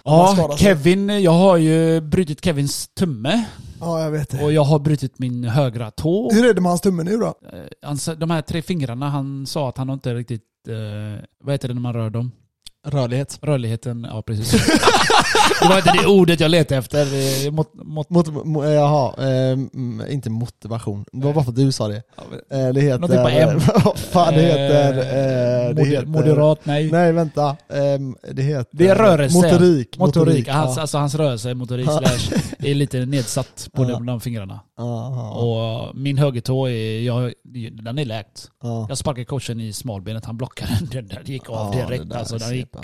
Speaker 2: ja,
Speaker 1: skadar sig.
Speaker 2: Kevin, jag har ju brutit Kevins tumme.
Speaker 1: Ja, jag vet
Speaker 2: Och jag har brutit min högra tå.
Speaker 1: Hur är det med hans tumme nu då?
Speaker 2: Eh, han, sa- de här tre fingrarna, han sa att han har inte riktigt... Eh, vad heter det när man rör dem?
Speaker 1: Rörlighet.
Speaker 2: Rörligheten, ja precis. det var inte det ordet jag letade efter. Eh, Mot, mot,
Speaker 1: Mot, mo, eh, jaha, eh, mm, inte motivation. Det var bara för att du sa det. Eh, det heter...
Speaker 2: Någonting på M.
Speaker 1: Vad fan det heter... Eh, det
Speaker 2: moder-
Speaker 1: heter
Speaker 2: Moderat, nej.
Speaker 1: Nej, vänta. Ehm, det heter...
Speaker 2: Det är rörelse.
Speaker 1: Motorik.
Speaker 2: Motorik, hans,
Speaker 1: Ja.
Speaker 2: alltså hans rörelse, motorik,
Speaker 1: Ja.
Speaker 2: slash, är lite nedsatt på
Speaker 1: Ja.
Speaker 2: de, de fingrarna.
Speaker 1: Ja,
Speaker 2: Och min högertå, är, jag, den är läkt.
Speaker 1: ja, ja.
Speaker 2: Jag sparkade coachen i smalbenet, han blockade den. den där, det gick av
Speaker 1: Ja,
Speaker 2: direkt.
Speaker 1: det
Speaker 2: Det,
Speaker 1: där
Speaker 2: alltså,
Speaker 1: är
Speaker 2: den gick,
Speaker 1: sepa.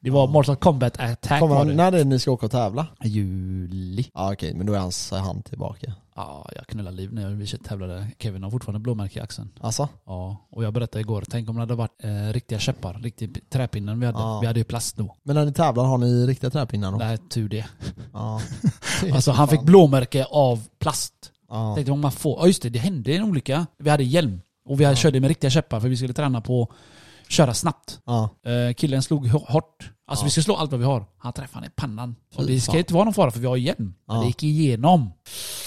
Speaker 2: det var Mortal Kombat Attack
Speaker 1: Kommer
Speaker 2: var
Speaker 1: han,
Speaker 2: det.
Speaker 1: när är det ni ska åka och tävla?
Speaker 2: Juli.
Speaker 1: Ja okej, men då är hans eh, hand tillbaka.
Speaker 2: Ja, jag knullade liv när vi tävlade. Kevin har fortfarande blåmärke i axeln.
Speaker 1: Alltså?
Speaker 2: Ja, och jag berättade igår, tänk om det hade varit eh, riktiga käppar, riktig p- träpinnen vi hade.
Speaker 1: Ja.
Speaker 2: Vi hade ju plast då.
Speaker 1: Men när ni tävlar, har ni riktiga träpinnar då?
Speaker 2: Nej, tur det.
Speaker 1: Ja.
Speaker 2: Alltså han fick
Speaker 1: Fan.
Speaker 2: blåmärke av plast.
Speaker 1: Ja.
Speaker 2: Tänkte vad man får. Ja just det, det hände en olycka. Vi hade hjälm och vi hade, körde med riktiga käppar för vi skulle träna på köra snabbt.
Speaker 1: Ja.
Speaker 2: Eh, killen slog hå- hårt. Alltså
Speaker 1: Ja.
Speaker 2: vi ska slå allt vad vi har. Han träffade han i pannan. Och
Speaker 1: Fy
Speaker 2: det ska
Speaker 1: fan.
Speaker 2: inte vara någon fara för vi har hjälm. Men
Speaker 1: Ja.
Speaker 2: det gick igenom.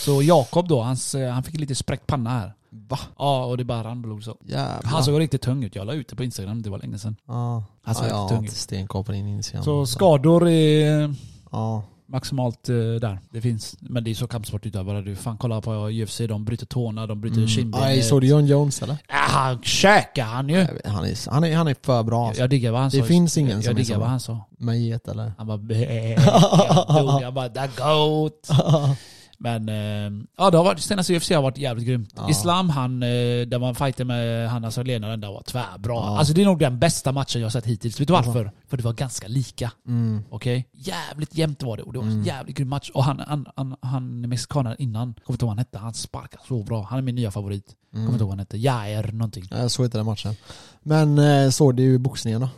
Speaker 2: Så Jakob då, hans, eh, han fick lite spräckt panna här.
Speaker 1: Va?
Speaker 2: Ja, och det bara rann blod så.
Speaker 1: Jävlar.
Speaker 2: Han såg riktigt tung ut. Jag la ut det på Instagram, det var länge sedan.
Speaker 1: ja.
Speaker 2: Han såg
Speaker 1: ja, jag har
Speaker 2: riktigt tung ut.
Speaker 1: inte stenkoll på din Instagram.
Speaker 2: Så skador är
Speaker 1: Ja.
Speaker 2: maximalt eh, där. Det finns. Men det är så kampsportutövare. Du fan kolla på UFC. De bryter tårna, de bryter
Speaker 1: Mm.
Speaker 2: kindbenet.
Speaker 1: Aj, såg du John Jones eller?
Speaker 2: Ah, han käkar han ju.
Speaker 1: Han är, han är, han är för bra alltså.
Speaker 2: Jag diggar vad han
Speaker 1: Det
Speaker 2: sa.
Speaker 1: finns ingen
Speaker 2: jag,
Speaker 1: som är
Speaker 2: jag diggar
Speaker 1: så.
Speaker 2: vad han sa.
Speaker 1: Med get eller?
Speaker 2: Han bara "Bäh." Jag dog. Jag bara that goat. Men eh, ja, det har varit, senaste UFC har varit jävligt grymt.
Speaker 1: Ja.
Speaker 2: Islam, han, eh, där man fighter med han alltså ledaren där var tvärbra.
Speaker 1: Ja. Alltså.
Speaker 2: Alltså det är nog den bästa matchen jag har sett hittills. Vet du varför? För det var ganska lika.
Speaker 1: Mm.
Speaker 2: Okej? Jävligt jämnt var det och det var en jävligt grym match. Och han, han, han, han mexikanaren innan, kommer inte ihåg vad han hette, han sparkade så bra. Han är min nya favorit. Kommer inte ihåg vad han hette, Jair någonting.
Speaker 1: Mm. Ja, Jag såg inte den matchen. Men eh, såg du boxningen då?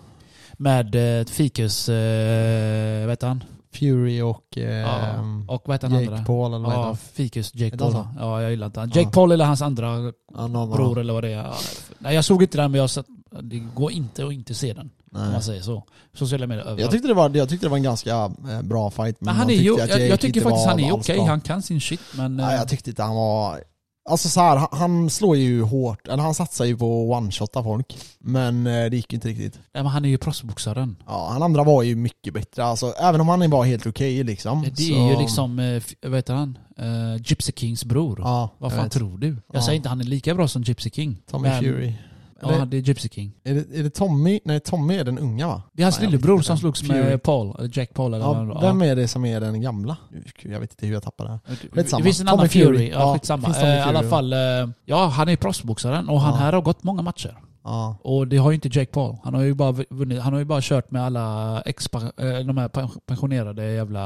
Speaker 2: Med eh, Fikus, eh, vad heter han?
Speaker 1: Fury och,
Speaker 2: Ja.
Speaker 1: eh,
Speaker 2: Och vad heter han
Speaker 1: Jake
Speaker 2: andra?
Speaker 1: Paul eller vad heter
Speaker 2: Ja,
Speaker 1: han?
Speaker 2: Fikus Jake
Speaker 1: Heter
Speaker 2: Paul.
Speaker 1: han
Speaker 2: Ja, jag gillar inte han.
Speaker 1: Ja.
Speaker 2: Jake Paul eller hans andra
Speaker 1: Ja, någon av
Speaker 2: bror
Speaker 1: dem.
Speaker 2: eller vad det är. Ja, Nej, jag såg inte den men jag har sett, det går inte att inte se den. Om
Speaker 1: Nej.
Speaker 2: man säger så. Sociala medier
Speaker 1: Jag
Speaker 2: överallt.
Speaker 1: tyckte, det var, jag tyckte det var en ganska eh, bra fight. Men,
Speaker 2: Men han är
Speaker 1: jag
Speaker 2: ju,
Speaker 1: tyckte att
Speaker 2: jag, jag
Speaker 1: Jake
Speaker 2: tycker
Speaker 1: inte
Speaker 2: faktiskt
Speaker 1: var
Speaker 2: han är
Speaker 1: alls
Speaker 2: okej.
Speaker 1: bra.
Speaker 2: Han kan sin shit men...
Speaker 1: Nej,
Speaker 2: eh,
Speaker 1: jag tyckte inte han var... Alltså så här, han- han slår ju hårt, eller han satsar ju på att one-shotta folk. Men eh, det gick ju inte riktigt.
Speaker 2: nej, men han är ju proffsboxaren.
Speaker 1: Ja, han andra var ju mycket bättre, alltså, även om han var helt okej liksom.
Speaker 2: Det
Speaker 1: så-
Speaker 2: är ju liksom, eh, f- vad heter han? Eh, Gypsy Kings bror.
Speaker 1: Ja,
Speaker 2: Vad
Speaker 1: jag
Speaker 2: fan
Speaker 1: vet.
Speaker 2: tror du? Jag
Speaker 1: Ja.
Speaker 2: säger inte han är lika bra som Gypsy King.
Speaker 1: Tommy
Speaker 2: men-
Speaker 1: Fury.
Speaker 2: Ja, det är Gypsy King.
Speaker 1: Är det, är det Tommy? Nej, Tommy är den unga va?
Speaker 2: Det är hans
Speaker 1: Nej, jag vet
Speaker 2: lillebror
Speaker 1: inte
Speaker 2: som
Speaker 1: vem.
Speaker 2: slogs
Speaker 1: Fury.
Speaker 2: med Paul, eller Jack Paul eller vad det
Speaker 1: Ja,
Speaker 2: var.
Speaker 1: vem är det som är den gamla? Jag vet inte hur jag tappade det. här.
Speaker 2: Det
Speaker 1: Skitsamma.
Speaker 2: finns en
Speaker 1: Tommy
Speaker 2: annan Fury.
Speaker 1: Fury.
Speaker 2: Ja,
Speaker 1: Ja,
Speaker 2: skitsamma.
Speaker 1: finns Tommy
Speaker 2: Eh, I alla
Speaker 1: Fury.
Speaker 2: fall, eh, ja han är ju proffsboxaren och han
Speaker 1: Ja.
Speaker 2: här har gått många matcher.
Speaker 1: Ja.
Speaker 2: Och det har ju inte Jake Paul. Han har ju bara, vunnit, han har ju bara kört med alla expa, eh, de här pen- pensionerade jävla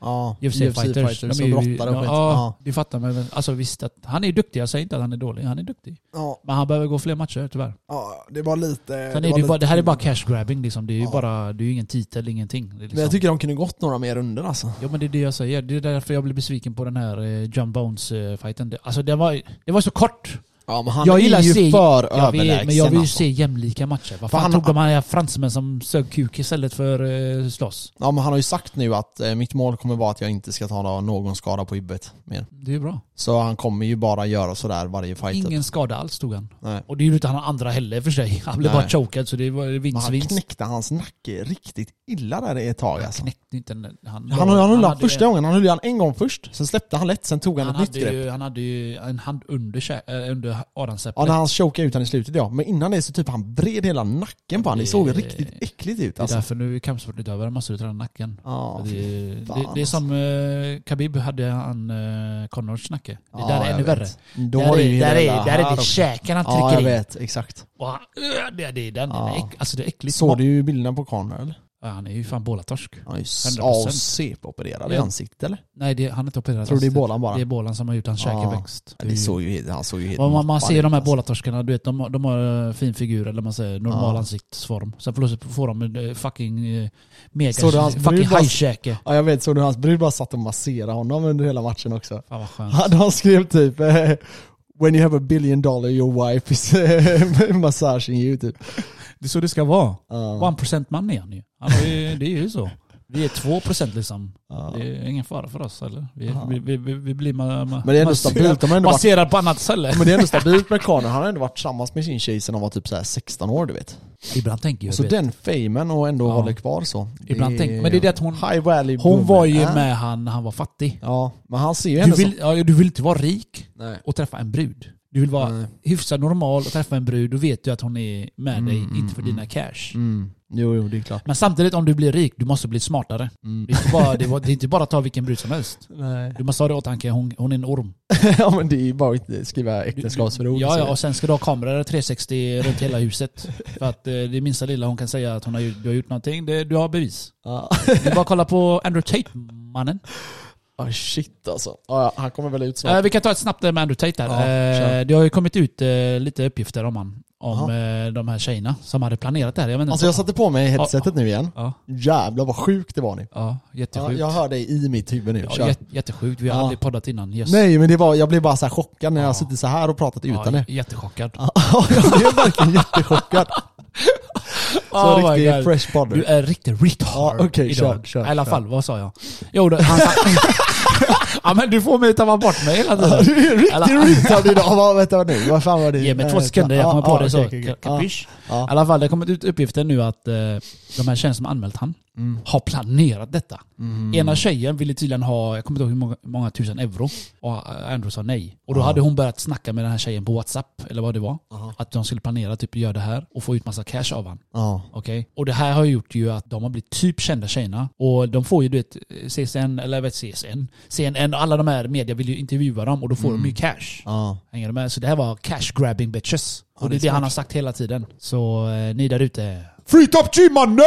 Speaker 1: Ja,
Speaker 2: UFC-fighters.
Speaker 1: som brottare och
Speaker 2: ja,
Speaker 1: skit.
Speaker 2: ja,
Speaker 1: Ja.
Speaker 2: du fattar. Men alltså visst, att, han är ju duktig. Jag säger inte att han är dålig. Han är duktig.
Speaker 1: Ja,
Speaker 2: Men han behöver gå fler matcher tyvärr.
Speaker 1: ja, det var lite...
Speaker 2: Sen
Speaker 1: Eh, det
Speaker 2: är
Speaker 1: var
Speaker 2: det, ju bara,
Speaker 1: lite-
Speaker 2: det här är bara cash grabbing liksom. Det är ju
Speaker 1: Ja.
Speaker 2: bara, det är ju ingen titel, ingenting. Det är liksom.
Speaker 1: Men jag tycker de kunde gått några mer runder alltså.
Speaker 2: Ja men det är det jag säger. Det är därför jag blev besviken på den här eh, John Bones-fighten. alltså det var, det var så kort.
Speaker 1: Ja, men han
Speaker 2: Jag
Speaker 1: är
Speaker 2: gillar
Speaker 1: ju
Speaker 2: se-
Speaker 1: för
Speaker 2: Jag vet,
Speaker 1: överlägsen
Speaker 2: men jag vill ju
Speaker 1: alltså.
Speaker 2: se jämlika matcher. Vad
Speaker 1: För
Speaker 2: fan
Speaker 1: han-
Speaker 2: tog de här fransmän som sög kuk istället för eh, slåss?
Speaker 1: Ja, men han har ju sagt nu att eh, mitt mål kommer vara att jag inte ska ta nå- någon skada på huvudet mer.
Speaker 2: Det är ju bra.
Speaker 1: Så han kommer ju bara göra sådär varje fight. typ.
Speaker 2: Ingen skada alls tog han.
Speaker 1: Nej.
Speaker 2: Och det är ju inte han andra heller för sig. Han blev
Speaker 1: Nej.
Speaker 2: bara chokad så det var
Speaker 1: Men
Speaker 2: vinst,
Speaker 1: han
Speaker 2: vinst.
Speaker 1: knäckte hans nacke riktigt illa där i ett tag
Speaker 2: Han
Speaker 1: alltså.
Speaker 2: knäckte inte den. Han,
Speaker 1: Han, han höll han
Speaker 2: hade ju-
Speaker 1: första gången, han höll ju han en gång först, sen släppte han lätt, sen tog han,
Speaker 2: han
Speaker 1: ett nytt
Speaker 2: hade,
Speaker 1: grepp.
Speaker 2: ju, han hade ju en hand under, kä- eh, under adamsäpplet.
Speaker 1: Ja, när han chokade ut han i slutet ja. Men innan det så typ han vred hela nacken på han. Det såg riktigt äckligt ut
Speaker 2: det är
Speaker 1: alltså.
Speaker 2: därför nu är kampsportutövare måste du träna nacken.
Speaker 1: Ja,
Speaker 2: det,
Speaker 1: fan, alltså.
Speaker 2: det, det är som eh, Khabib hade han eh, Connors nacke. Det
Speaker 1: Ja,
Speaker 2: där är
Speaker 1: jag
Speaker 2: ännu
Speaker 1: vet.
Speaker 2: värre.
Speaker 1: Då
Speaker 2: Där
Speaker 1: var
Speaker 2: är,
Speaker 1: ju
Speaker 2: där
Speaker 1: hela
Speaker 2: är, där är
Speaker 1: här
Speaker 2: det
Speaker 1: och-
Speaker 2: käken han
Speaker 1: Ja, jag
Speaker 2: trycker in.
Speaker 1: vet. Exakt.
Speaker 2: Och han, "Ugh", det, det är den. den är
Speaker 1: Ja.
Speaker 2: äck, alltså det är äckligt.
Speaker 1: Såg du bilderna på Connor eller?
Speaker 2: Ja, han är ju fan bålatorsk.
Speaker 1: Han är ju
Speaker 2: 100%.
Speaker 1: CP-opererad i
Speaker 2: Ja.
Speaker 1: ansiktet eller?
Speaker 2: Nej, det, han är inte opererad.
Speaker 1: Tror du det är
Speaker 2: Alltså,
Speaker 1: bålan bara?
Speaker 2: Det är bålan som har gjort hans
Speaker 1: Ja.
Speaker 2: käkeväxt.
Speaker 1: Ja, det såg ju, helt- han såg ju helt
Speaker 2: Vad man, man
Speaker 1: mappad
Speaker 2: ser
Speaker 1: ut,
Speaker 2: de här
Speaker 1: alltså.
Speaker 2: bålatorskarna, du vet de, har- de har eh, fin figur eller man säger normal
Speaker 1: Ja.
Speaker 2: ansiktsform. Sen plötsligt får de en eh, fucking eh, mega,
Speaker 1: Så det är hans
Speaker 2: fucking
Speaker 1: brud bara-
Speaker 2: hajkäke.
Speaker 1: Ja jag vet, såg du hans brud bara satt och masserade honom under hela matchen också?
Speaker 2: Fan vad skönt.
Speaker 1: Han, han skrev typ eh, When you have a billion dollar your wife is eh, massaging you typ.
Speaker 2: Det är så det ska vara.
Speaker 1: Ja.
Speaker 2: One percent man är han ju. Han har ju. Det är ju så. Vi är två procent liksom.
Speaker 1: Ja.
Speaker 2: Det är ingen fara för oss eller? Vi,
Speaker 1: Ja.
Speaker 2: vi, vi, vi, vi blir ma- ma-
Speaker 1: Men det är ändå
Speaker 2: masserad-
Speaker 1: stabilt, de har ändå varit
Speaker 2: baserad på annat ställe.
Speaker 1: Men det är ändå stabilt med Connor, han har ändå varit tillsammans med sin tjej sedan han var typ så här 16 år du vet.
Speaker 2: Ibland tänker jag
Speaker 1: Så
Speaker 2: vet.
Speaker 1: den famen och ändå
Speaker 2: Ja.
Speaker 1: håller kvar så.
Speaker 2: Ibland tänker- men det är det att hon-
Speaker 1: High Valley
Speaker 2: Hon
Speaker 1: Boomer.
Speaker 2: var ju
Speaker 1: Ja.
Speaker 2: med han när han var fattig.
Speaker 1: Ja, men han ser ju
Speaker 2: Du
Speaker 1: henne
Speaker 2: vill, ja, du vill inte vara rik
Speaker 1: som... Nej.
Speaker 2: och träffa en brud. Du vill vara
Speaker 1: Nej.
Speaker 2: hyfsat normal och träffa en brud. Då vet du att hon är med
Speaker 1: Mm,
Speaker 2: dig,
Speaker 1: mm,
Speaker 2: inte för
Speaker 1: mm.
Speaker 2: dina cash.
Speaker 1: Mm. Jo, jo, det är klart.
Speaker 2: Men samtidigt om du blir rik, du måste bli smartare.
Speaker 1: Mm.
Speaker 2: Det är inte bara, det var- det är inte bara att ta vilken brud som helst.
Speaker 1: Nej.
Speaker 2: Du måste ha det i åtanke, hon, hon är en orm.
Speaker 1: ja men det är ju bara att skriva äktenskapsförord.
Speaker 2: Ja, ja, och sen ska du ha kameror 360 runt hela huset. För att eh, det minsta lilla hon kan säga att hon har, gjort- du har gjort någonting, det, du har bevis.
Speaker 1: Ja.
Speaker 2: Det är bara att kolla på Andrew Tate-mannen.
Speaker 1: Ah, shit alltså. Ah, ja, han kommer väl ut snart.
Speaker 2: Eh, vi kan ta ett snabbt där med Andrew Tate
Speaker 1: Ja,
Speaker 2: där.
Speaker 1: kör.
Speaker 2: eh, det har ju kommit ut eh, lite uppgifter om han. Om
Speaker 1: Jaha.
Speaker 2: eh, de här tjejerna som hade planerat det här. Jag vet inte.
Speaker 1: Alltså jag satte på mig headsetet nu igen.
Speaker 2: ja,
Speaker 1: Jävlar vad sjukt det var nu.
Speaker 2: ja,
Speaker 1: Ja,
Speaker 2: jättesjukt.
Speaker 1: jag hör dig i mitt huvud nu.
Speaker 2: Ja,
Speaker 1: Kör.
Speaker 2: jät- jättesjukt. Vi har
Speaker 1: Ja.
Speaker 2: aldrig poddat innan. Yes.
Speaker 1: Nej men det var, jag blev bara så här chockad när
Speaker 2: Ja.
Speaker 1: jag suttit så här och pratat utan
Speaker 2: ja,
Speaker 1: det.
Speaker 2: Jättechockad.
Speaker 1: Ja, jag blev verkligen jättechockad. Så
Speaker 2: Oh my
Speaker 1: riktig
Speaker 2: God.
Speaker 1: fresh
Speaker 2: Du
Speaker 1: podder.
Speaker 2: är riktigt retard
Speaker 1: Ah, Ja, okej, kör,
Speaker 2: idag.
Speaker 1: kör,
Speaker 2: I alla
Speaker 1: kör.
Speaker 2: fall, vad sa jag? Jo, då, han sa... ja men du får mig att ta bort mig hela
Speaker 1: Ja,
Speaker 2: tiden.
Speaker 1: Du är
Speaker 2: Alla-
Speaker 1: riktigt retard idag. Vad- Vänta nu, vad fan var det?
Speaker 2: Ge mig två
Speaker 1: Eh,
Speaker 2: sekunder, jag
Speaker 1: ja,
Speaker 2: kommer
Speaker 1: ja,
Speaker 2: på det så.
Speaker 1: okej, okej, okej.
Speaker 2: Kapisch? I
Speaker 1: Ja.
Speaker 2: alla fall, det har kommit ut uppgifter nu att eh, de här tjejerna som anmält han har planerat detta. Ena tjejen ville tydligen ha, jag kommer inte ihåg hur många, hur många tusen euro. Och eh, Andrew sa nej. Och då hade hon börjat snacka med den här tjejen på WhatsApp, eller vad det var. Att de skulle planera, typ göra det här och få ut massa cash av han.
Speaker 1: Ja.
Speaker 2: Okej? Och det här har gjort ju att de har blivit typ kända tjejerna. Och de får ju du vet, CSN, eller vet CSN, CNN och alla de här media vill ju intervjua dem och då får de ju cash.
Speaker 1: Ja.
Speaker 2: Hänger du med? Så det här var cash grabbing bitches. och
Speaker 1: det
Speaker 2: det
Speaker 1: är
Speaker 2: är det han
Speaker 1: smart.
Speaker 2: har sagt hela tiden. Så eh, ni där ute.
Speaker 1: Free top mannen!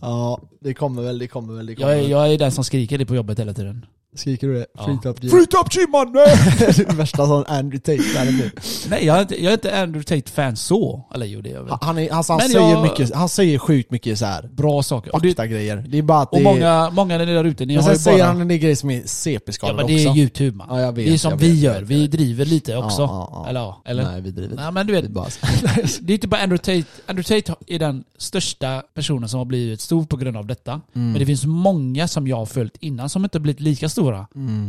Speaker 1: ja, det kommer väl, det kommer väl, det kommer
Speaker 2: Jag, är-
Speaker 1: väl.
Speaker 2: jag är den som skriker det på jobbet hela tiden.
Speaker 1: Skriker du det?
Speaker 2: Ja.
Speaker 1: Free top G.
Speaker 2: Fruit up G mannen!
Speaker 1: det är värsta sån Andrew Tate. där nu.
Speaker 2: Nej, jag är inte, jag är inte Andrew Tate-fan så. Eller jo, det är jag väl.
Speaker 1: Han, han, är, alltså, han,
Speaker 2: Men
Speaker 1: säger
Speaker 2: jag-
Speaker 1: mycket, han säger sjukt mycket så här.
Speaker 2: Bra saker. Och, det,
Speaker 1: Fakta grejer. Det är bara att det
Speaker 2: och
Speaker 1: är-
Speaker 2: många, många där nere där ute, ni
Speaker 1: Men sen
Speaker 2: har ju bara...
Speaker 1: säger han en del grejer som är
Speaker 2: ja,
Speaker 1: CP-skadade
Speaker 2: men det är
Speaker 1: också.
Speaker 2: YouTube man.
Speaker 1: Ja, jag vet,
Speaker 2: det är som
Speaker 1: jag
Speaker 2: vi
Speaker 1: vet,
Speaker 2: gör,
Speaker 1: jag vet,
Speaker 2: vi
Speaker 1: jag vet.
Speaker 2: driver lite
Speaker 1: Ja,
Speaker 2: också.
Speaker 1: ja, ja.
Speaker 2: Eller ja, eller?
Speaker 1: Nej, vi driver
Speaker 2: Nej men du
Speaker 1: Det är
Speaker 2: vet,
Speaker 1: bara så.
Speaker 2: det är inte bara Andrew Tate. Andrew Tate är den största personen som har blivit stor på grund av detta.
Speaker 1: Mm.
Speaker 2: Men det finns många som jag har följt innan som inte har blivit lika stora.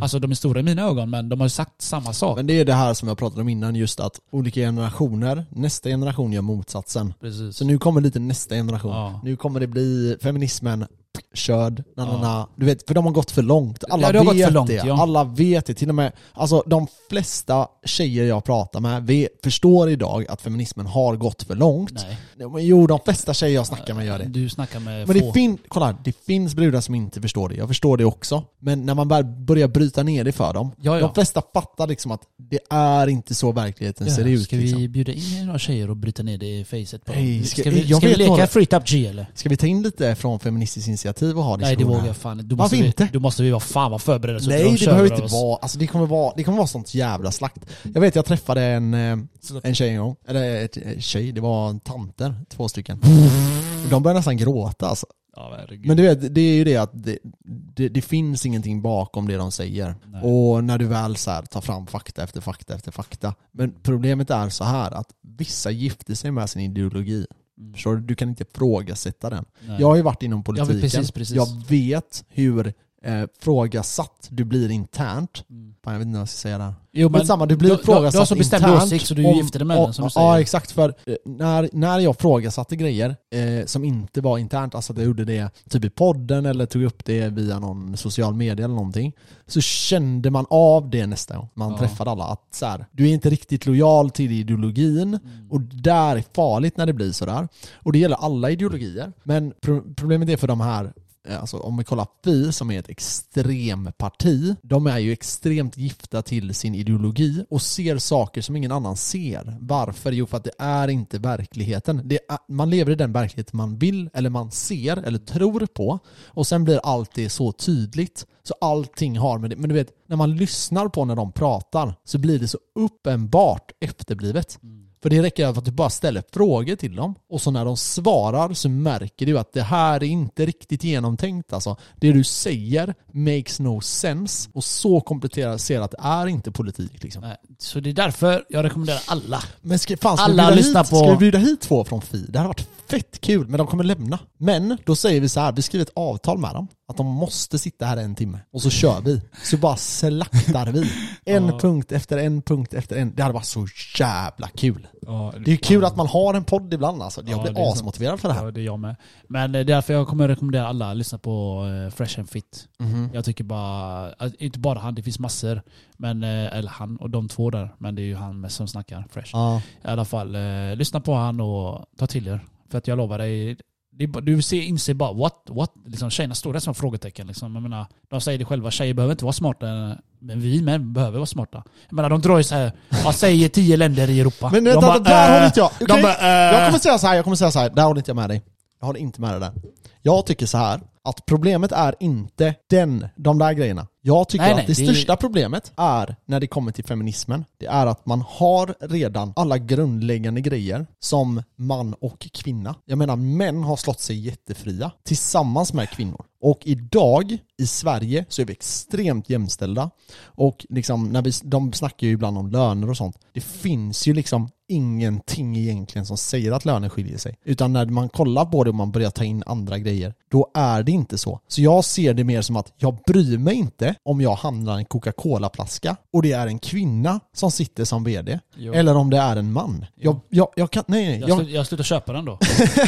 Speaker 2: Alltså de är stora i mina ögon men de har ju sagt samma sak.
Speaker 1: Mm. Men det är det här som jag pratade om innan, just att olika generationer, nästa generation gör motsatsen.
Speaker 2: Precis.
Speaker 1: Så nu kommer lite nästa generation.
Speaker 2: Ja.
Speaker 1: Nu kommer det bli feminismen, körd, na, na, na. Du vet, för de har gått för långt. Alla
Speaker 2: Ja, det har gått
Speaker 1: vet
Speaker 2: för långt,
Speaker 1: det.
Speaker 2: ja.
Speaker 1: Alla vet det. Till och med, alltså de flesta tjejer jag pratar med vet, förstår idag att feminismen har gått för långt.
Speaker 2: Nej.
Speaker 1: Men Jo, de flesta tjejer jag snackar med gör det.
Speaker 2: Du snackar med
Speaker 1: Men
Speaker 2: få.
Speaker 1: det, fin- kolla, här, det finns brudar som inte förstår det. Jag förstår det också. Men när man väl börjar bryta ner det för dem.
Speaker 2: Ja, ja.
Speaker 1: De flesta fattar liksom att det är inte så verkligheten ser ut.
Speaker 2: Ska
Speaker 1: liksom.
Speaker 2: vi bjuda in några tjejer och bryta ner det i facet på dem?
Speaker 1: Nej,
Speaker 2: ska,
Speaker 1: ska-
Speaker 2: vi,
Speaker 1: jag
Speaker 2: ska vi
Speaker 1: vet
Speaker 2: leka
Speaker 1: några-
Speaker 2: Free Tap G eller?
Speaker 1: Ska vi ta in lite från Feministiskt initiativ och ha
Speaker 2: Nej det
Speaker 1: diskussioner?
Speaker 2: vågar jag fan inte. Då
Speaker 1: Varför
Speaker 2: måste vi,
Speaker 1: inte?
Speaker 2: Då måste vi vara fan vara förberedda så
Speaker 1: Nej,
Speaker 2: inte de
Speaker 1: det
Speaker 2: kör
Speaker 1: behöver
Speaker 2: över
Speaker 1: inte
Speaker 2: oss.
Speaker 1: vara. Alltså, det, kommer vara. det kommer vara sånt jävla slakt. Jag vet, jag träffade en, eh, en tjej en gång. Eller ett, ett tjej, det var en tanter. Två stycken. Och de började nästan gråta alltså.
Speaker 2: Ja, herregud.
Speaker 1: Men du vet, det är ju det att det, det, det finns ingenting bakom det de säger.
Speaker 2: Nej.
Speaker 1: Och när du väl så här, tar fram fakta efter fakta efter fakta. Men problemet är så här att vissa gifter sig med sin ideologi.
Speaker 2: Mm.
Speaker 1: Förstår du? Du kan inte ifrågasätta den.
Speaker 2: Nej.
Speaker 1: Jag har ju varit inom politiken.
Speaker 2: precis, precis.
Speaker 1: Jag vet hur eh, frågasatt du blir internt.
Speaker 2: Mm.
Speaker 1: Fan, jag vet inte vad jag ska säga där.
Speaker 2: Jo, men-
Speaker 1: Men samma, du blir
Speaker 2: Du- du- du har
Speaker 1: ifrågasatt
Speaker 2: så bestämd
Speaker 1: internt.
Speaker 2: åsikt så du
Speaker 1: om-
Speaker 2: gifter dig med den, som du
Speaker 1: ja, Ja
Speaker 2: säger.
Speaker 1: exakt, för eh, när, när jag frågasatte grejer eh, som inte var internt, alltså att jag gjorde det typ i podden eller tog upp det via någon social media eller någonting, så kände man av det nästa gång man
Speaker 2: Ja.
Speaker 1: träffade alla. Att så här, du är inte riktigt lojal till ideologin och där är farligt när det blir sådär. Och det gäller alla ideologier. Men pro- problemet är för de här eh, Alltså om vi kollar Fi som är ett extremparti, de är ju extremt gifta till sin ideologi och ser saker som ingen annan ser. Varför? Jo, för att det är inte verkligheten. Det är, man lever i den verklighet man vill eller man ser eller tror på och sen blir allt det så tydligt. Så allting har med det. Men du vet, när man lyssnar på när de pratar så blir det så uppenbart efterblivet. För det räcker att du bara ställer frågor till dem och så när de svarar så märker du att det här är inte riktigt genomtänkt alltså. Det du säger makes no sense och så kompletterar ser att det är inte politik liksom.
Speaker 2: Nej, Så det är därför jag rekommenderar alla.
Speaker 1: Men ska, fan, ska,
Speaker 2: Alla
Speaker 1: vi bjuda
Speaker 2: lyssnar
Speaker 1: hit,
Speaker 2: på-
Speaker 1: ska vi bjuda hit två från Fi? Det hade varit fett kul, men de kommer lämna. Men då säger vi så här, vi skriver ett avtal med dem. Att de måste sitta här en timme. Och så kör vi. Så bara slaktar vi. En punkt efter en punkt efter en. Det hade varit så jävla kul. Det är ju kul att man har en podd ibland alltså. Jag
Speaker 2: Ja,
Speaker 1: blir
Speaker 2: det är sant.
Speaker 1: asmotiverad för det här.
Speaker 2: Ja, det är jag med. Men eh, därför jag kommer rekommendera alla att lyssna på eh, Fresh and Fit.
Speaker 1: Mhm.
Speaker 2: Jag tycker bara, att- inte bara han, det finns massor. Men, eh, eller han och de två där. Men det är ju han mest som snackar, Fresh.
Speaker 1: Ja.
Speaker 2: I alla fall, eh, lyssna på han och ta till er. För att jag lovar dig, det är, bara- du ser, inser bara what, what? Liksom, tjejerna står där som frågetecken. Liksom. Jag menar, de säger det själva, tjejer behöver inte vara smarta. Men vi män behöver vara smarta. Jag menar, de drar ju så här, jag säger tio länder i Europa.
Speaker 1: Men
Speaker 2: De
Speaker 1: vänta,
Speaker 2: bara,
Speaker 1: där
Speaker 2: eh,
Speaker 1: håller inte jag.
Speaker 2: de
Speaker 1: Okej.
Speaker 2: bara, eh,
Speaker 1: Jag kommer säga så här, jag kommer säga så här. Där håller inte jag med dig. Jag håller inte med dig där. Jag tycker så här att problemet är inte den, de där grejerna. Jag tycker
Speaker 2: Nej,
Speaker 1: att
Speaker 2: nej,
Speaker 1: det,
Speaker 2: det är-
Speaker 1: största problemet är när det kommer till feminismen. Det är att man har redan alla grundläggande grejer som man och kvinna. Jag menar män har slått sig jättefria tillsammans med kvinnor. Och idag i Sverige så är vi extremt jämställda. Och liksom, när vi, de snackar ju ibland om löner och sånt. Det finns ju liksom ingenting egentligen som säger att löner skiljer sig. Utan när man kollar på det och man börjar ta in andra grejer, då är det inte så. Så jag ser det mer som att jag bryr mig inte om jag handlar en Coca-Cola-flaska och det är en kvinna som sitter som vd.
Speaker 2: Jo.
Speaker 1: Eller om det är en man. Jag, jag, jag kan, nej, nej.
Speaker 2: Jag,
Speaker 1: jag-
Speaker 2: slu- jag slutar köpa den då.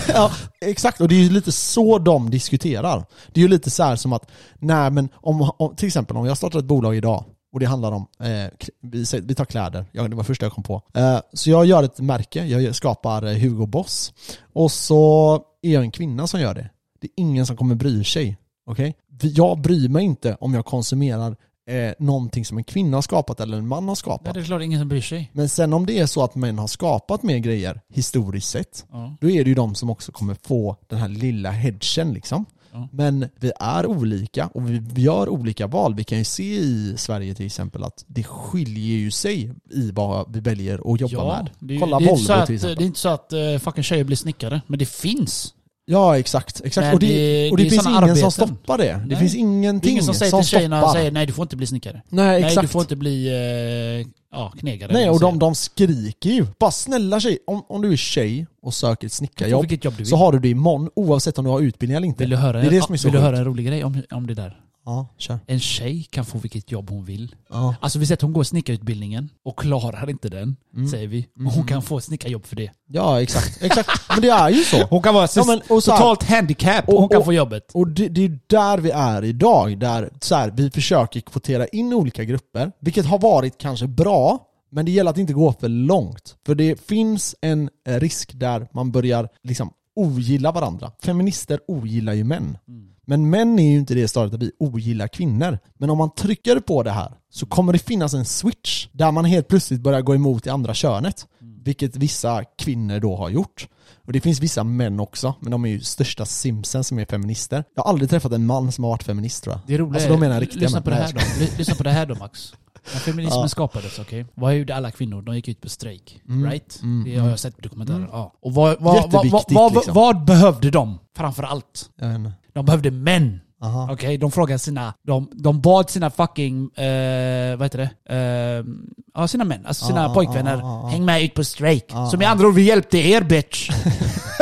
Speaker 1: Ja, exakt, och det är ju lite så de diskuterar. Det är ju lite så här som att, nej men om, om, till exempel om jag startar ett bolag idag och det handlar om, eh, k- vi, säger- vi tar kläder, ja, det var första jag kom på. Eh, så jag gör ett märke, jag gör- skapar eh, Hugo Boss och så är jag en kvinna som gör det. Det är ingen som kommer bry sig. okej? Vi- Jag bryr mig inte om jag konsumerar eh, någonting som en kvinna har skapat eller en man har skapat.
Speaker 2: Nej, det är klart ingen som bryr sig.
Speaker 1: Men sen om det är så att män har skapat mer grejer historiskt sett,
Speaker 2: Ja.
Speaker 1: då är det ju de som också kommer få den här lilla hedgen liksom.
Speaker 2: Ja.
Speaker 1: Men vi är olika och vi gör olika val. Vi kan ju se i Sverige till exempel att det skiljer ju sig i vad vi väljer att jobba med.
Speaker 2: det, är ju-
Speaker 1: Kolla
Speaker 2: det är
Speaker 1: Volvo
Speaker 2: inte så att,
Speaker 1: till exempel.
Speaker 2: Det är inte så att eh, fucking tjejer blir snickare, men det finns.
Speaker 1: Ja, exakt. exakt.
Speaker 2: Men
Speaker 1: och det,
Speaker 2: det-
Speaker 1: och det,
Speaker 2: det är
Speaker 1: finns
Speaker 2: såna
Speaker 1: ingen som
Speaker 2: arbeten.
Speaker 1: stoppar det. Det
Speaker 2: Nej.
Speaker 1: finns
Speaker 2: Det är
Speaker 1: ingenting
Speaker 2: ingen som säger till tjejerna
Speaker 1: stoppar.
Speaker 2: säger, nej du får inte bli snickare.
Speaker 1: Nej, exakt.
Speaker 2: Nej du får inte bli eh, ja, knegare.
Speaker 1: Nej,
Speaker 2: eller
Speaker 1: och
Speaker 2: vad
Speaker 1: de, de skriker ju. Bara snälla tjej, om, om du är tjej och söker ett
Speaker 2: säger jag. Får
Speaker 1: snickarjobb
Speaker 2: vilket jobb du vill.
Speaker 1: så har du det imorgon oavsett om du har utbildning eller inte.
Speaker 2: vill du höra,
Speaker 1: det är det som är
Speaker 2: ja,
Speaker 1: så
Speaker 2: vill du
Speaker 1: sjukt.
Speaker 2: höra en rolig grej om, om det där?
Speaker 1: Ja, kör.
Speaker 2: En tjej kan få vilket jobb hon vill.
Speaker 1: Ja.
Speaker 2: Alltså vi säger att hon går snickarutbildningen och klarar inte den,
Speaker 1: Mm.
Speaker 2: säger vi. Men hon kan få ett snickarjobb för det.
Speaker 1: ja, exakt. exakt. Men det är ju så.
Speaker 2: Hon kan vara
Speaker 1: Ja, men, och så här,
Speaker 2: totalt handikapp och,
Speaker 1: Och-
Speaker 2: hon kan
Speaker 1: och-
Speaker 2: få jobbet.
Speaker 1: Och det, det är där vi är idag, där så här, vi försöker kvotera in olika grupper, vilket har varit kanske bra, men det gäller att inte gå för långt. För det finns en eh, risk där man börjar liksom ogilla varandra. Feminister ogillar ju män. Men män är ju inte det stadiet att vi ogillar kvinnor. Men om man trycker på det här så kommer det finnas en switch där man helt plötsligt börjar gå emot det andra könet.
Speaker 2: Mm.
Speaker 1: Vilket vissa kvinnor då har gjort. Och det finns vissa män också, men de är ju största simsen som är feminister. Jag har aldrig träffat en man som har varit feminist tror jag.
Speaker 2: Det roliga
Speaker 1: Alltså, de
Speaker 2: är-
Speaker 1: menar riktiga
Speaker 2: lyssna
Speaker 1: män.
Speaker 2: på det
Speaker 1: Nej,
Speaker 2: här då. Ly- Lyssna på det här då Max. När feminismen
Speaker 1: Ja.
Speaker 2: skapades, okej. Vad gjorde alla kvinnor? De gick ut på strejk.
Speaker 1: Mm.
Speaker 2: Right?
Speaker 1: Mm.
Speaker 2: Det har jag sett på dokumentären. Ja. Och vad, vad, vad, vad,
Speaker 1: Jätteviktigt,
Speaker 2: vad,
Speaker 1: liksom.
Speaker 2: vad behövde de framför allt?
Speaker 1: Jag vet inte.
Speaker 2: De behövde män.
Speaker 1: Aha.
Speaker 2: Okej, de frågade sina... De, de bad sina fucking... Eh, vad heter det? Eh, ja, sina män. Alltså sina
Speaker 1: Ah,
Speaker 2: pojkvänner.
Speaker 1: ah, ah, ah.
Speaker 2: Häng med ut på strejk.
Speaker 1: Ah,
Speaker 2: Som i andra ord, vi hjälpte er bitch.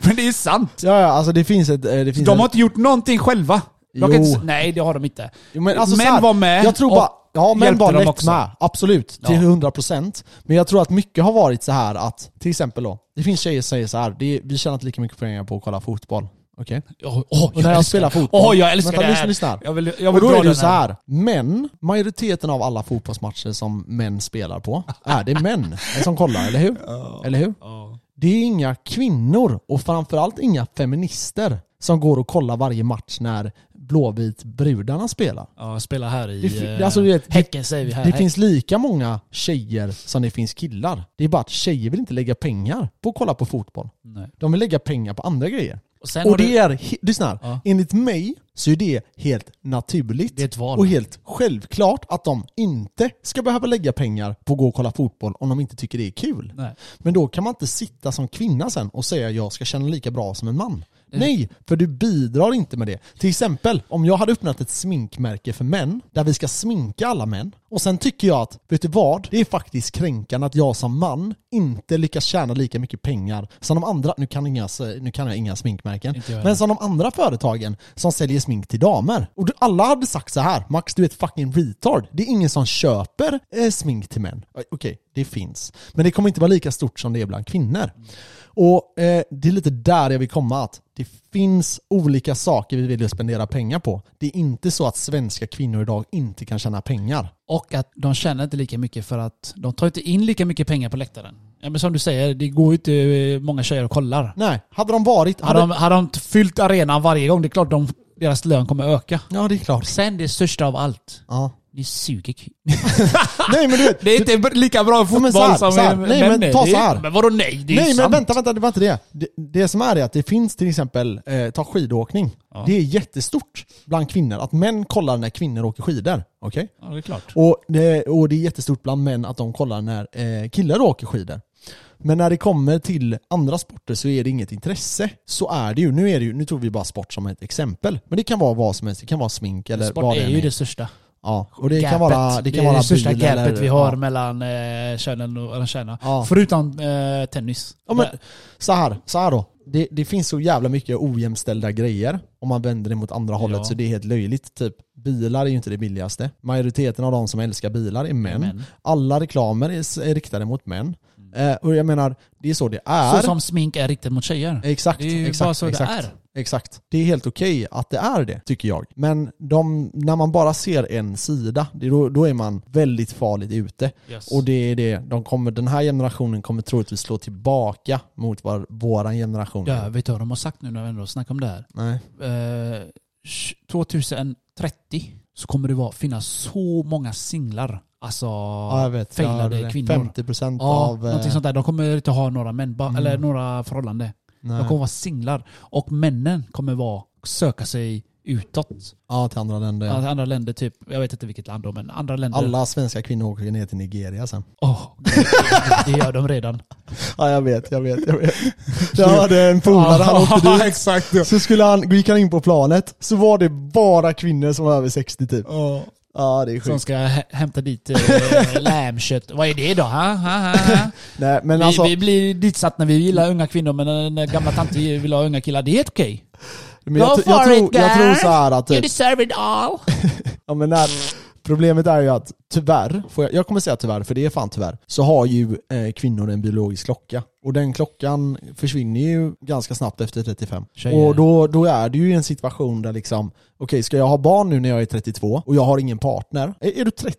Speaker 2: Men det är ju sant.
Speaker 1: Ja, ja, alltså det finns ett... eh, Det finns
Speaker 2: De har
Speaker 1: ett...
Speaker 2: inte gjort någonting själva. De kan
Speaker 1: Jo.
Speaker 2: inte, s- nej, det har de inte.
Speaker 1: Jo, men alltså,
Speaker 2: män
Speaker 1: så här,
Speaker 2: var med
Speaker 1: Jag tror
Speaker 2: och
Speaker 1: bara, ja män
Speaker 2: hjälpte
Speaker 1: var
Speaker 2: dem
Speaker 1: lätt
Speaker 2: också.
Speaker 1: med, absolut, till
Speaker 2: Ja.
Speaker 1: 100%. Men jag tror att mycket har varit så här att, till exempel då, det finns tjejer som säger så här, det är, vi tjänar inte lika mycket pengar på att kolla fotboll. Okej?
Speaker 2: Åh, åh,
Speaker 1: Och när jag
Speaker 2: älskar-
Speaker 1: spelar fotboll.
Speaker 2: Åh, jag älskar
Speaker 1: Vänta,
Speaker 2: det här.
Speaker 1: lyssna, lyssna.
Speaker 2: Jag vill, jag
Speaker 1: Och
Speaker 2: vill
Speaker 1: då
Speaker 2: dra
Speaker 1: är det
Speaker 2: den
Speaker 1: så här. men majoriteten av alla fotbollsmatcher som män spelar på, är det män som kollar, eller hur? Eller hur?
Speaker 2: Ja.
Speaker 1: Det är inga kvinnor och framförallt inga feminister som går och kollar varje match när Blåvit-brudarna spelar.
Speaker 2: Ja, spela här i...
Speaker 1: Det fi-
Speaker 2: eh,
Speaker 1: alltså, du vet, det-
Speaker 2: häcken säger vi här.
Speaker 1: Det
Speaker 2: Häck-
Speaker 1: finns lika många tjejer som det finns killar. Det är bara att tjejer vill inte lägga pengar på att kolla på fotboll.
Speaker 2: Nej.
Speaker 1: De vill lägga pengar på andra grejer.
Speaker 2: Och, sen
Speaker 1: Och
Speaker 2: har
Speaker 1: det
Speaker 2: du,
Speaker 1: är, he- lyssna här,
Speaker 2: Ja.
Speaker 1: enligt mig så är det helt naturligt
Speaker 2: Det är ett val.
Speaker 1: och helt självklart att de inte ska behöva lägga pengar på att gå och kolla fotboll om de inte tycker det är kul.
Speaker 2: Nej.
Speaker 1: Men då kan man inte sitta som kvinna sen och säga jag ska känna lika bra som en man. Nej, för du bidrar inte med det. Till exempel, om jag hade öppnat ett sminkmärke för män, där vi ska sminka alla män, och sen tycker jag att, vet du vad? Det är faktiskt kränkande att jag som man inte lyckas tjäna lika mycket pengar som de andra, nu kan, inga, nu kan jag inga sminkmärken,
Speaker 2: Inte jag
Speaker 1: men som de andra företagen som säljer smink till damer. Och du, alla hade sagt så här, Max du är ett fucking retard. Det är ingen som köper eh, smink till män. Eh, Okej, det finns. Men det kommer inte vara lika stort som det är bland kvinnor. Och eh, det är lite där jag vill komma att det finns olika saker vi vill spendera pengar på. Det är inte så att svenska kvinnor idag inte kan tjäna pengar.
Speaker 2: och att de tjänar inte lika mycket för att de tar inte in lika mycket pengar på läktaren. Ja, men som du säger, det går ju inte eh, många tjejer och kollar.
Speaker 1: Nej, hade de varit...
Speaker 2: Hade
Speaker 1: Hade,
Speaker 2: de, hade de inte fyllt arenan varje gång, det är klart de, deras lön kommer öka.
Speaker 1: Ja, det är klart.
Speaker 2: Sen det största av allt.
Speaker 1: Ja.
Speaker 2: Ni suger kvinnor.
Speaker 1: Nej, men du vet,
Speaker 2: Det är inte b- lika bra fotboll
Speaker 1: men så här,
Speaker 2: som
Speaker 1: så här.
Speaker 2: eh,
Speaker 1: Nej, men
Speaker 2: är.
Speaker 1: ta
Speaker 2: Det-
Speaker 1: så här.
Speaker 2: Men vadå nej? Det är
Speaker 1: Nej
Speaker 2: ju
Speaker 1: men
Speaker 2: sant.
Speaker 1: vänta, vänta, det var inte det. Det, det som är är att det finns till exempel, eh, ta skidåkning.
Speaker 2: Ja.
Speaker 1: Det är jättestort bland kvinnor att män kollar när kvinnor åker skidor. Okej?
Speaker 2: Ja, det är klart.
Speaker 1: Och, det, och det är jättestort bland män att de kollar när eh, killar åker skidor. Men när det kommer till andra sporter så är det inget intresse. Så är det ju. Nu, är det ju, nu tog vi bara sport som ett exempel. Men det kan vara vad som helst. Det kan vara smink eller
Speaker 2: Sport
Speaker 1: vad
Speaker 2: är ju det största.
Speaker 1: Ja, och det
Speaker 2: Gapet.
Speaker 1: kan vara, det kan
Speaker 2: är
Speaker 1: vara
Speaker 2: det största
Speaker 1: bil
Speaker 2: gapet
Speaker 1: eller-
Speaker 2: vi har
Speaker 1: ja.
Speaker 2: mellan eh, könen och eller tjejerna.
Speaker 1: Ja.
Speaker 2: Förutom eh, tennis.
Speaker 1: Ja, men,
Speaker 2: Där.
Speaker 1: så, här, så här då. Det, det finns så jävla mycket ojämställda grejer om man vänder det mot andra hållet
Speaker 2: Ja.
Speaker 1: så det är helt löjligt. Typ, bilar är ju inte det billigaste. Majoriteten av de som älskar bilar är män.
Speaker 2: Män. Mm.
Speaker 1: Alla reklamer är, s- är riktade mot män. Eh, och jag menar, det är så det är.
Speaker 2: Så som smink är riktat mot tjejer.
Speaker 1: Exakt,
Speaker 2: Det är ju
Speaker 1: exakt,
Speaker 2: bara så det
Speaker 1: exakt,
Speaker 2: är.
Speaker 1: Exakt. Det är helt okej att det är det, tycker jag. Men de, när man bara ser en sida, det, då, då är man väldigt farligt ute.
Speaker 2: Yes.
Speaker 1: Och det är det, de kommer, den här generationen kommer troligtvis slå tillbaka mot vad våran generation
Speaker 2: Ja, vet du vad de har sagt nu när vi ändå snackar om det här?
Speaker 1: Nej.
Speaker 2: Eh, 2030 så kommer det vara, finnas så många singlar. Alltså
Speaker 1: Ja, jag vet. Jag hörde
Speaker 2: failade
Speaker 1: det.
Speaker 2: kvinnor.
Speaker 1: 50%
Speaker 2: Ja,
Speaker 1: av... eh,
Speaker 2: någonting sånt där. De kommer inte ha några män, ba,
Speaker 1: Mm.
Speaker 2: eller några förhållande.
Speaker 1: nej.
Speaker 2: De kommer vara singlar. Och männen kommer vara och söka sig utåt.
Speaker 1: Ja, till andra länder.
Speaker 2: Alltså andra länder, typ, jag vet inte vilket land då, men andra länder.
Speaker 1: Alla svenska kvinnor åker ner till Nigeria sen.
Speaker 2: Åh, det gör de redan.
Speaker 1: Ja, jag vet, jag vet, jag vet. Jag hade en polare, han åkte dit.
Speaker 2: exakt.
Speaker 1: Så skulle han, gick han in på planet, så var det bara kvinnor som var över 60 typ.
Speaker 2: Oh.
Speaker 1: Ja, det är
Speaker 2: Som
Speaker 1: sjukt.
Speaker 2: ska hä- hämta dit eh, lammkött. Vad är det då? Ha, ha, ha, ha.
Speaker 1: Nej, men
Speaker 2: Vi,
Speaker 1: alltså,
Speaker 2: vi blir ditsatt när vi gillar unga kvinnor, men när- när gamla tanter vill ha unga killar, det är helt okej.
Speaker 1: men jag,
Speaker 2: Go
Speaker 1: tr- jag,
Speaker 2: for
Speaker 1: tror,
Speaker 2: it,
Speaker 1: jag tror
Speaker 2: girl.
Speaker 1: så här att
Speaker 2: You
Speaker 1: typ,
Speaker 2: deserve it all.
Speaker 1: ja, men när, problemet är ju att tyvärr, får jag, jag kommer säga tyvärr, för det är fan tyvärr, så har ju eh, kvinnor en biologisk klocka. Och den klockan försvinner ju ganska snabbt efter 35.
Speaker 2: Tjejer.
Speaker 1: Och då, då är det ju en situation där liksom, okej ska jag ha barn nu när jag är 32 och jag har ingen partner? Är, är du 30,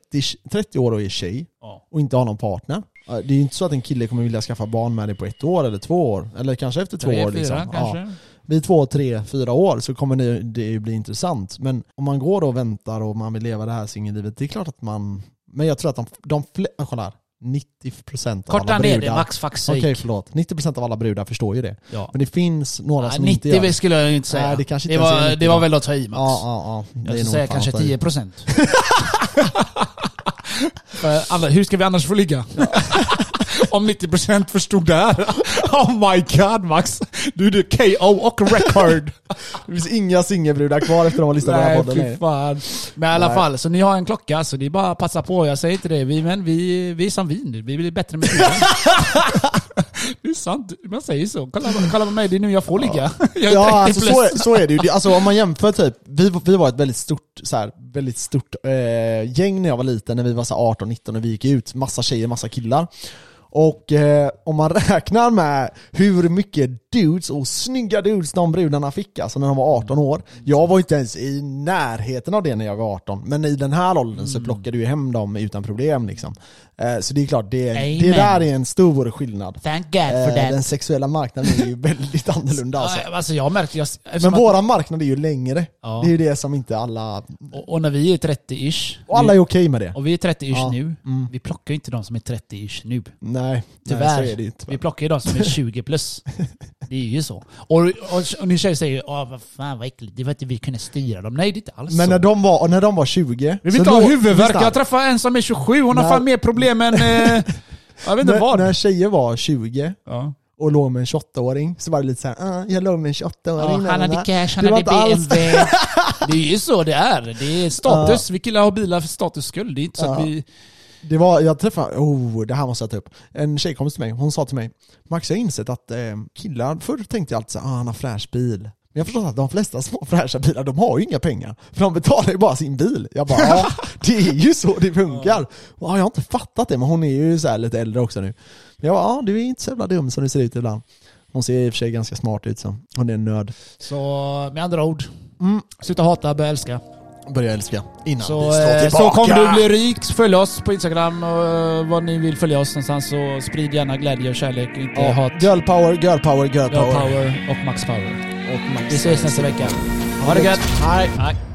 Speaker 1: 30 år och är tjej,
Speaker 2: Ja.
Speaker 1: och inte har någon partner. Det är ju inte så att en kille kommer vilja skaffa barn med dig på ett år eller två år. Eller kanske efter två
Speaker 2: Tre,
Speaker 1: år.
Speaker 2: fyra
Speaker 1: Liksom.
Speaker 2: kanske.
Speaker 1: Ja. Vid två, tre, fyra år så kommer det, det ju bli intressant. Men om man går då och väntar och man vill leva det här singellivet, det är klart att man... Men jag tror att de, de flesta... Kolla här. 90% av
Speaker 2: Korta
Speaker 1: alla
Speaker 2: ner det,
Speaker 1: brudar...
Speaker 2: max fuck
Speaker 1: Okej,
Speaker 2: sake.
Speaker 1: förlåt. 90% av alla brudar förstår ju det.
Speaker 2: Ja.
Speaker 1: Men det finns några
Speaker 3: Nej,
Speaker 1: som inte gör
Speaker 3: 90
Speaker 1: det.
Speaker 3: skulle jag inte säga.
Speaker 1: Nej, det
Speaker 3: det,
Speaker 1: kanske inte ens är
Speaker 3: var,
Speaker 1: 90,
Speaker 3: det var
Speaker 1: va?
Speaker 3: väl att ta i Max.
Speaker 1: Ja, ja, ja.
Speaker 2: Jag
Speaker 1: är
Speaker 2: skulle
Speaker 1: nog
Speaker 2: säga
Speaker 1: fan
Speaker 2: kanske
Speaker 1: att ta i.
Speaker 2: 10 procent. Hur ska vi annars få ligga? Om 90 procent förstod det här. Oh my god Max. Du är KO och record.
Speaker 1: Det finns inga singelbrudar kvar efter att de har lyssnat på den här podden.
Speaker 2: fy
Speaker 1: Nej.
Speaker 2: fan. Men i alla
Speaker 1: Nej.
Speaker 2: fall, så ni har en klocka så det är bara att passa på. Jag säger inte det, vi, men vi, vi är som vin. Vi blir bättre med tiden. det är sant, man säger så. Kolla, kolla på mig, det är nu jag får ligga. Jag är
Speaker 1: Ja,
Speaker 2: 30
Speaker 1: alltså,
Speaker 2: plus.
Speaker 1: så, är, så är det ju. Det- Alltså, om man jämför typ, vi, vi var ett väldigt stort, så här, väldigt stort eh, gäng när jag var liten, när vi var 18-19 och vi gick ut. Massa tjejer, massa killar. Och eh, om man räknar med hur mycket dudes och snygga dudes de brudarna fick alltså när de var 18 år. Jag var inte ens i närheten av det när jag var 18. Men i den här åldern
Speaker 2: Mm.
Speaker 1: så plockade du ju hem dem utan problem liksom. Eh, så det är klart, det, det
Speaker 2: Amen.
Speaker 1: där är en stor skillnad.
Speaker 2: Thank God
Speaker 1: Eh,
Speaker 2: for that.
Speaker 1: den sexuella marknaden är ju väldigt annorlunda alltså.
Speaker 2: Ja, alltså jag har märkt, jag,
Speaker 1: Men
Speaker 2: eftersom att,
Speaker 1: våran marknad är ju längre.
Speaker 2: Ja.
Speaker 1: Det är ju det som inte alla...
Speaker 2: och, och när vi är 30-ish.
Speaker 1: Och alla är okej med det.
Speaker 2: Och vi är 30-ish
Speaker 1: Ja, Mm.
Speaker 2: nu. Vi plockar ju inte de som är 30-ish nu.
Speaker 1: Nej,
Speaker 2: Tyvärr.
Speaker 1: Nej, så är det ju inte.
Speaker 2: Vi plockar ju de som är 20 plus. Det är ju så. Och, och, och ni tjejer säger Åh, vad fan vad äckligt, det var inte vi kunde styra dem. Nej det är inte alls
Speaker 1: Men
Speaker 2: så.
Speaker 1: när de var, och när de var 20...
Speaker 2: Vi vill
Speaker 1: så
Speaker 2: inte ha
Speaker 1: låg-
Speaker 2: huvudvärk.
Speaker 1: lyssna.
Speaker 2: Jag träffade en som är 27, hon har
Speaker 1: Nej.
Speaker 2: fan mer problem än... Eh, jag vet inte
Speaker 1: när,
Speaker 2: vad.
Speaker 1: när tjejer var 20
Speaker 2: Ja.
Speaker 1: och låg med en 28-åring så var det lite såhär, ah, jag låg med en 28-åring.
Speaker 2: han hade
Speaker 1: nanana."
Speaker 2: cash, han
Speaker 1: Det var
Speaker 2: hade
Speaker 1: inte alls-
Speaker 2: BMW. Det är ju så det är. Det är status. Vi killar har bilar för status skull. Det är inte så
Speaker 1: Ja.
Speaker 2: att vi...
Speaker 1: Det var, jag träffade, oh, det här måste jag ta upp. En tjejkompis till mig, hon sa till mig, Max jag har insett att eh, killar, förr tänkte jag alltid såhär, ah, han har fräsch bil. Men jag förstår att de flesta små fräscha bilar, de har ju inga pengar. För de betalar ju bara sin bil. Jag bara, ja, det är ju så det funkar. Och, ja, jag har inte fattat det, men hon är ju så här lite äldre också nu. Men jag bara, ja, du är inte så jävla dum som du ser ut ibland. Hon ser i och för sig ganska smart ut, så hon är en nörd.
Speaker 2: Så med andra ord,
Speaker 1: Mm.
Speaker 2: sluta hata, börja älska.
Speaker 1: Börjar älska. Innan vi
Speaker 2: Så,
Speaker 1: slår
Speaker 2: eh,
Speaker 1: tillbaka.
Speaker 2: så kommer du bli rik. Följ oss på Instagram och eh, vad ni vill följa oss någonstans. Så sprid gärna glädje och kärlek, inte
Speaker 1: Ja,
Speaker 2: hat.
Speaker 1: girl power, girl power, girl
Speaker 2: Girl
Speaker 1: power.
Speaker 2: power och max power.
Speaker 1: Och Max.
Speaker 2: Vi ses nästa vecka. Ha det gött! Hej!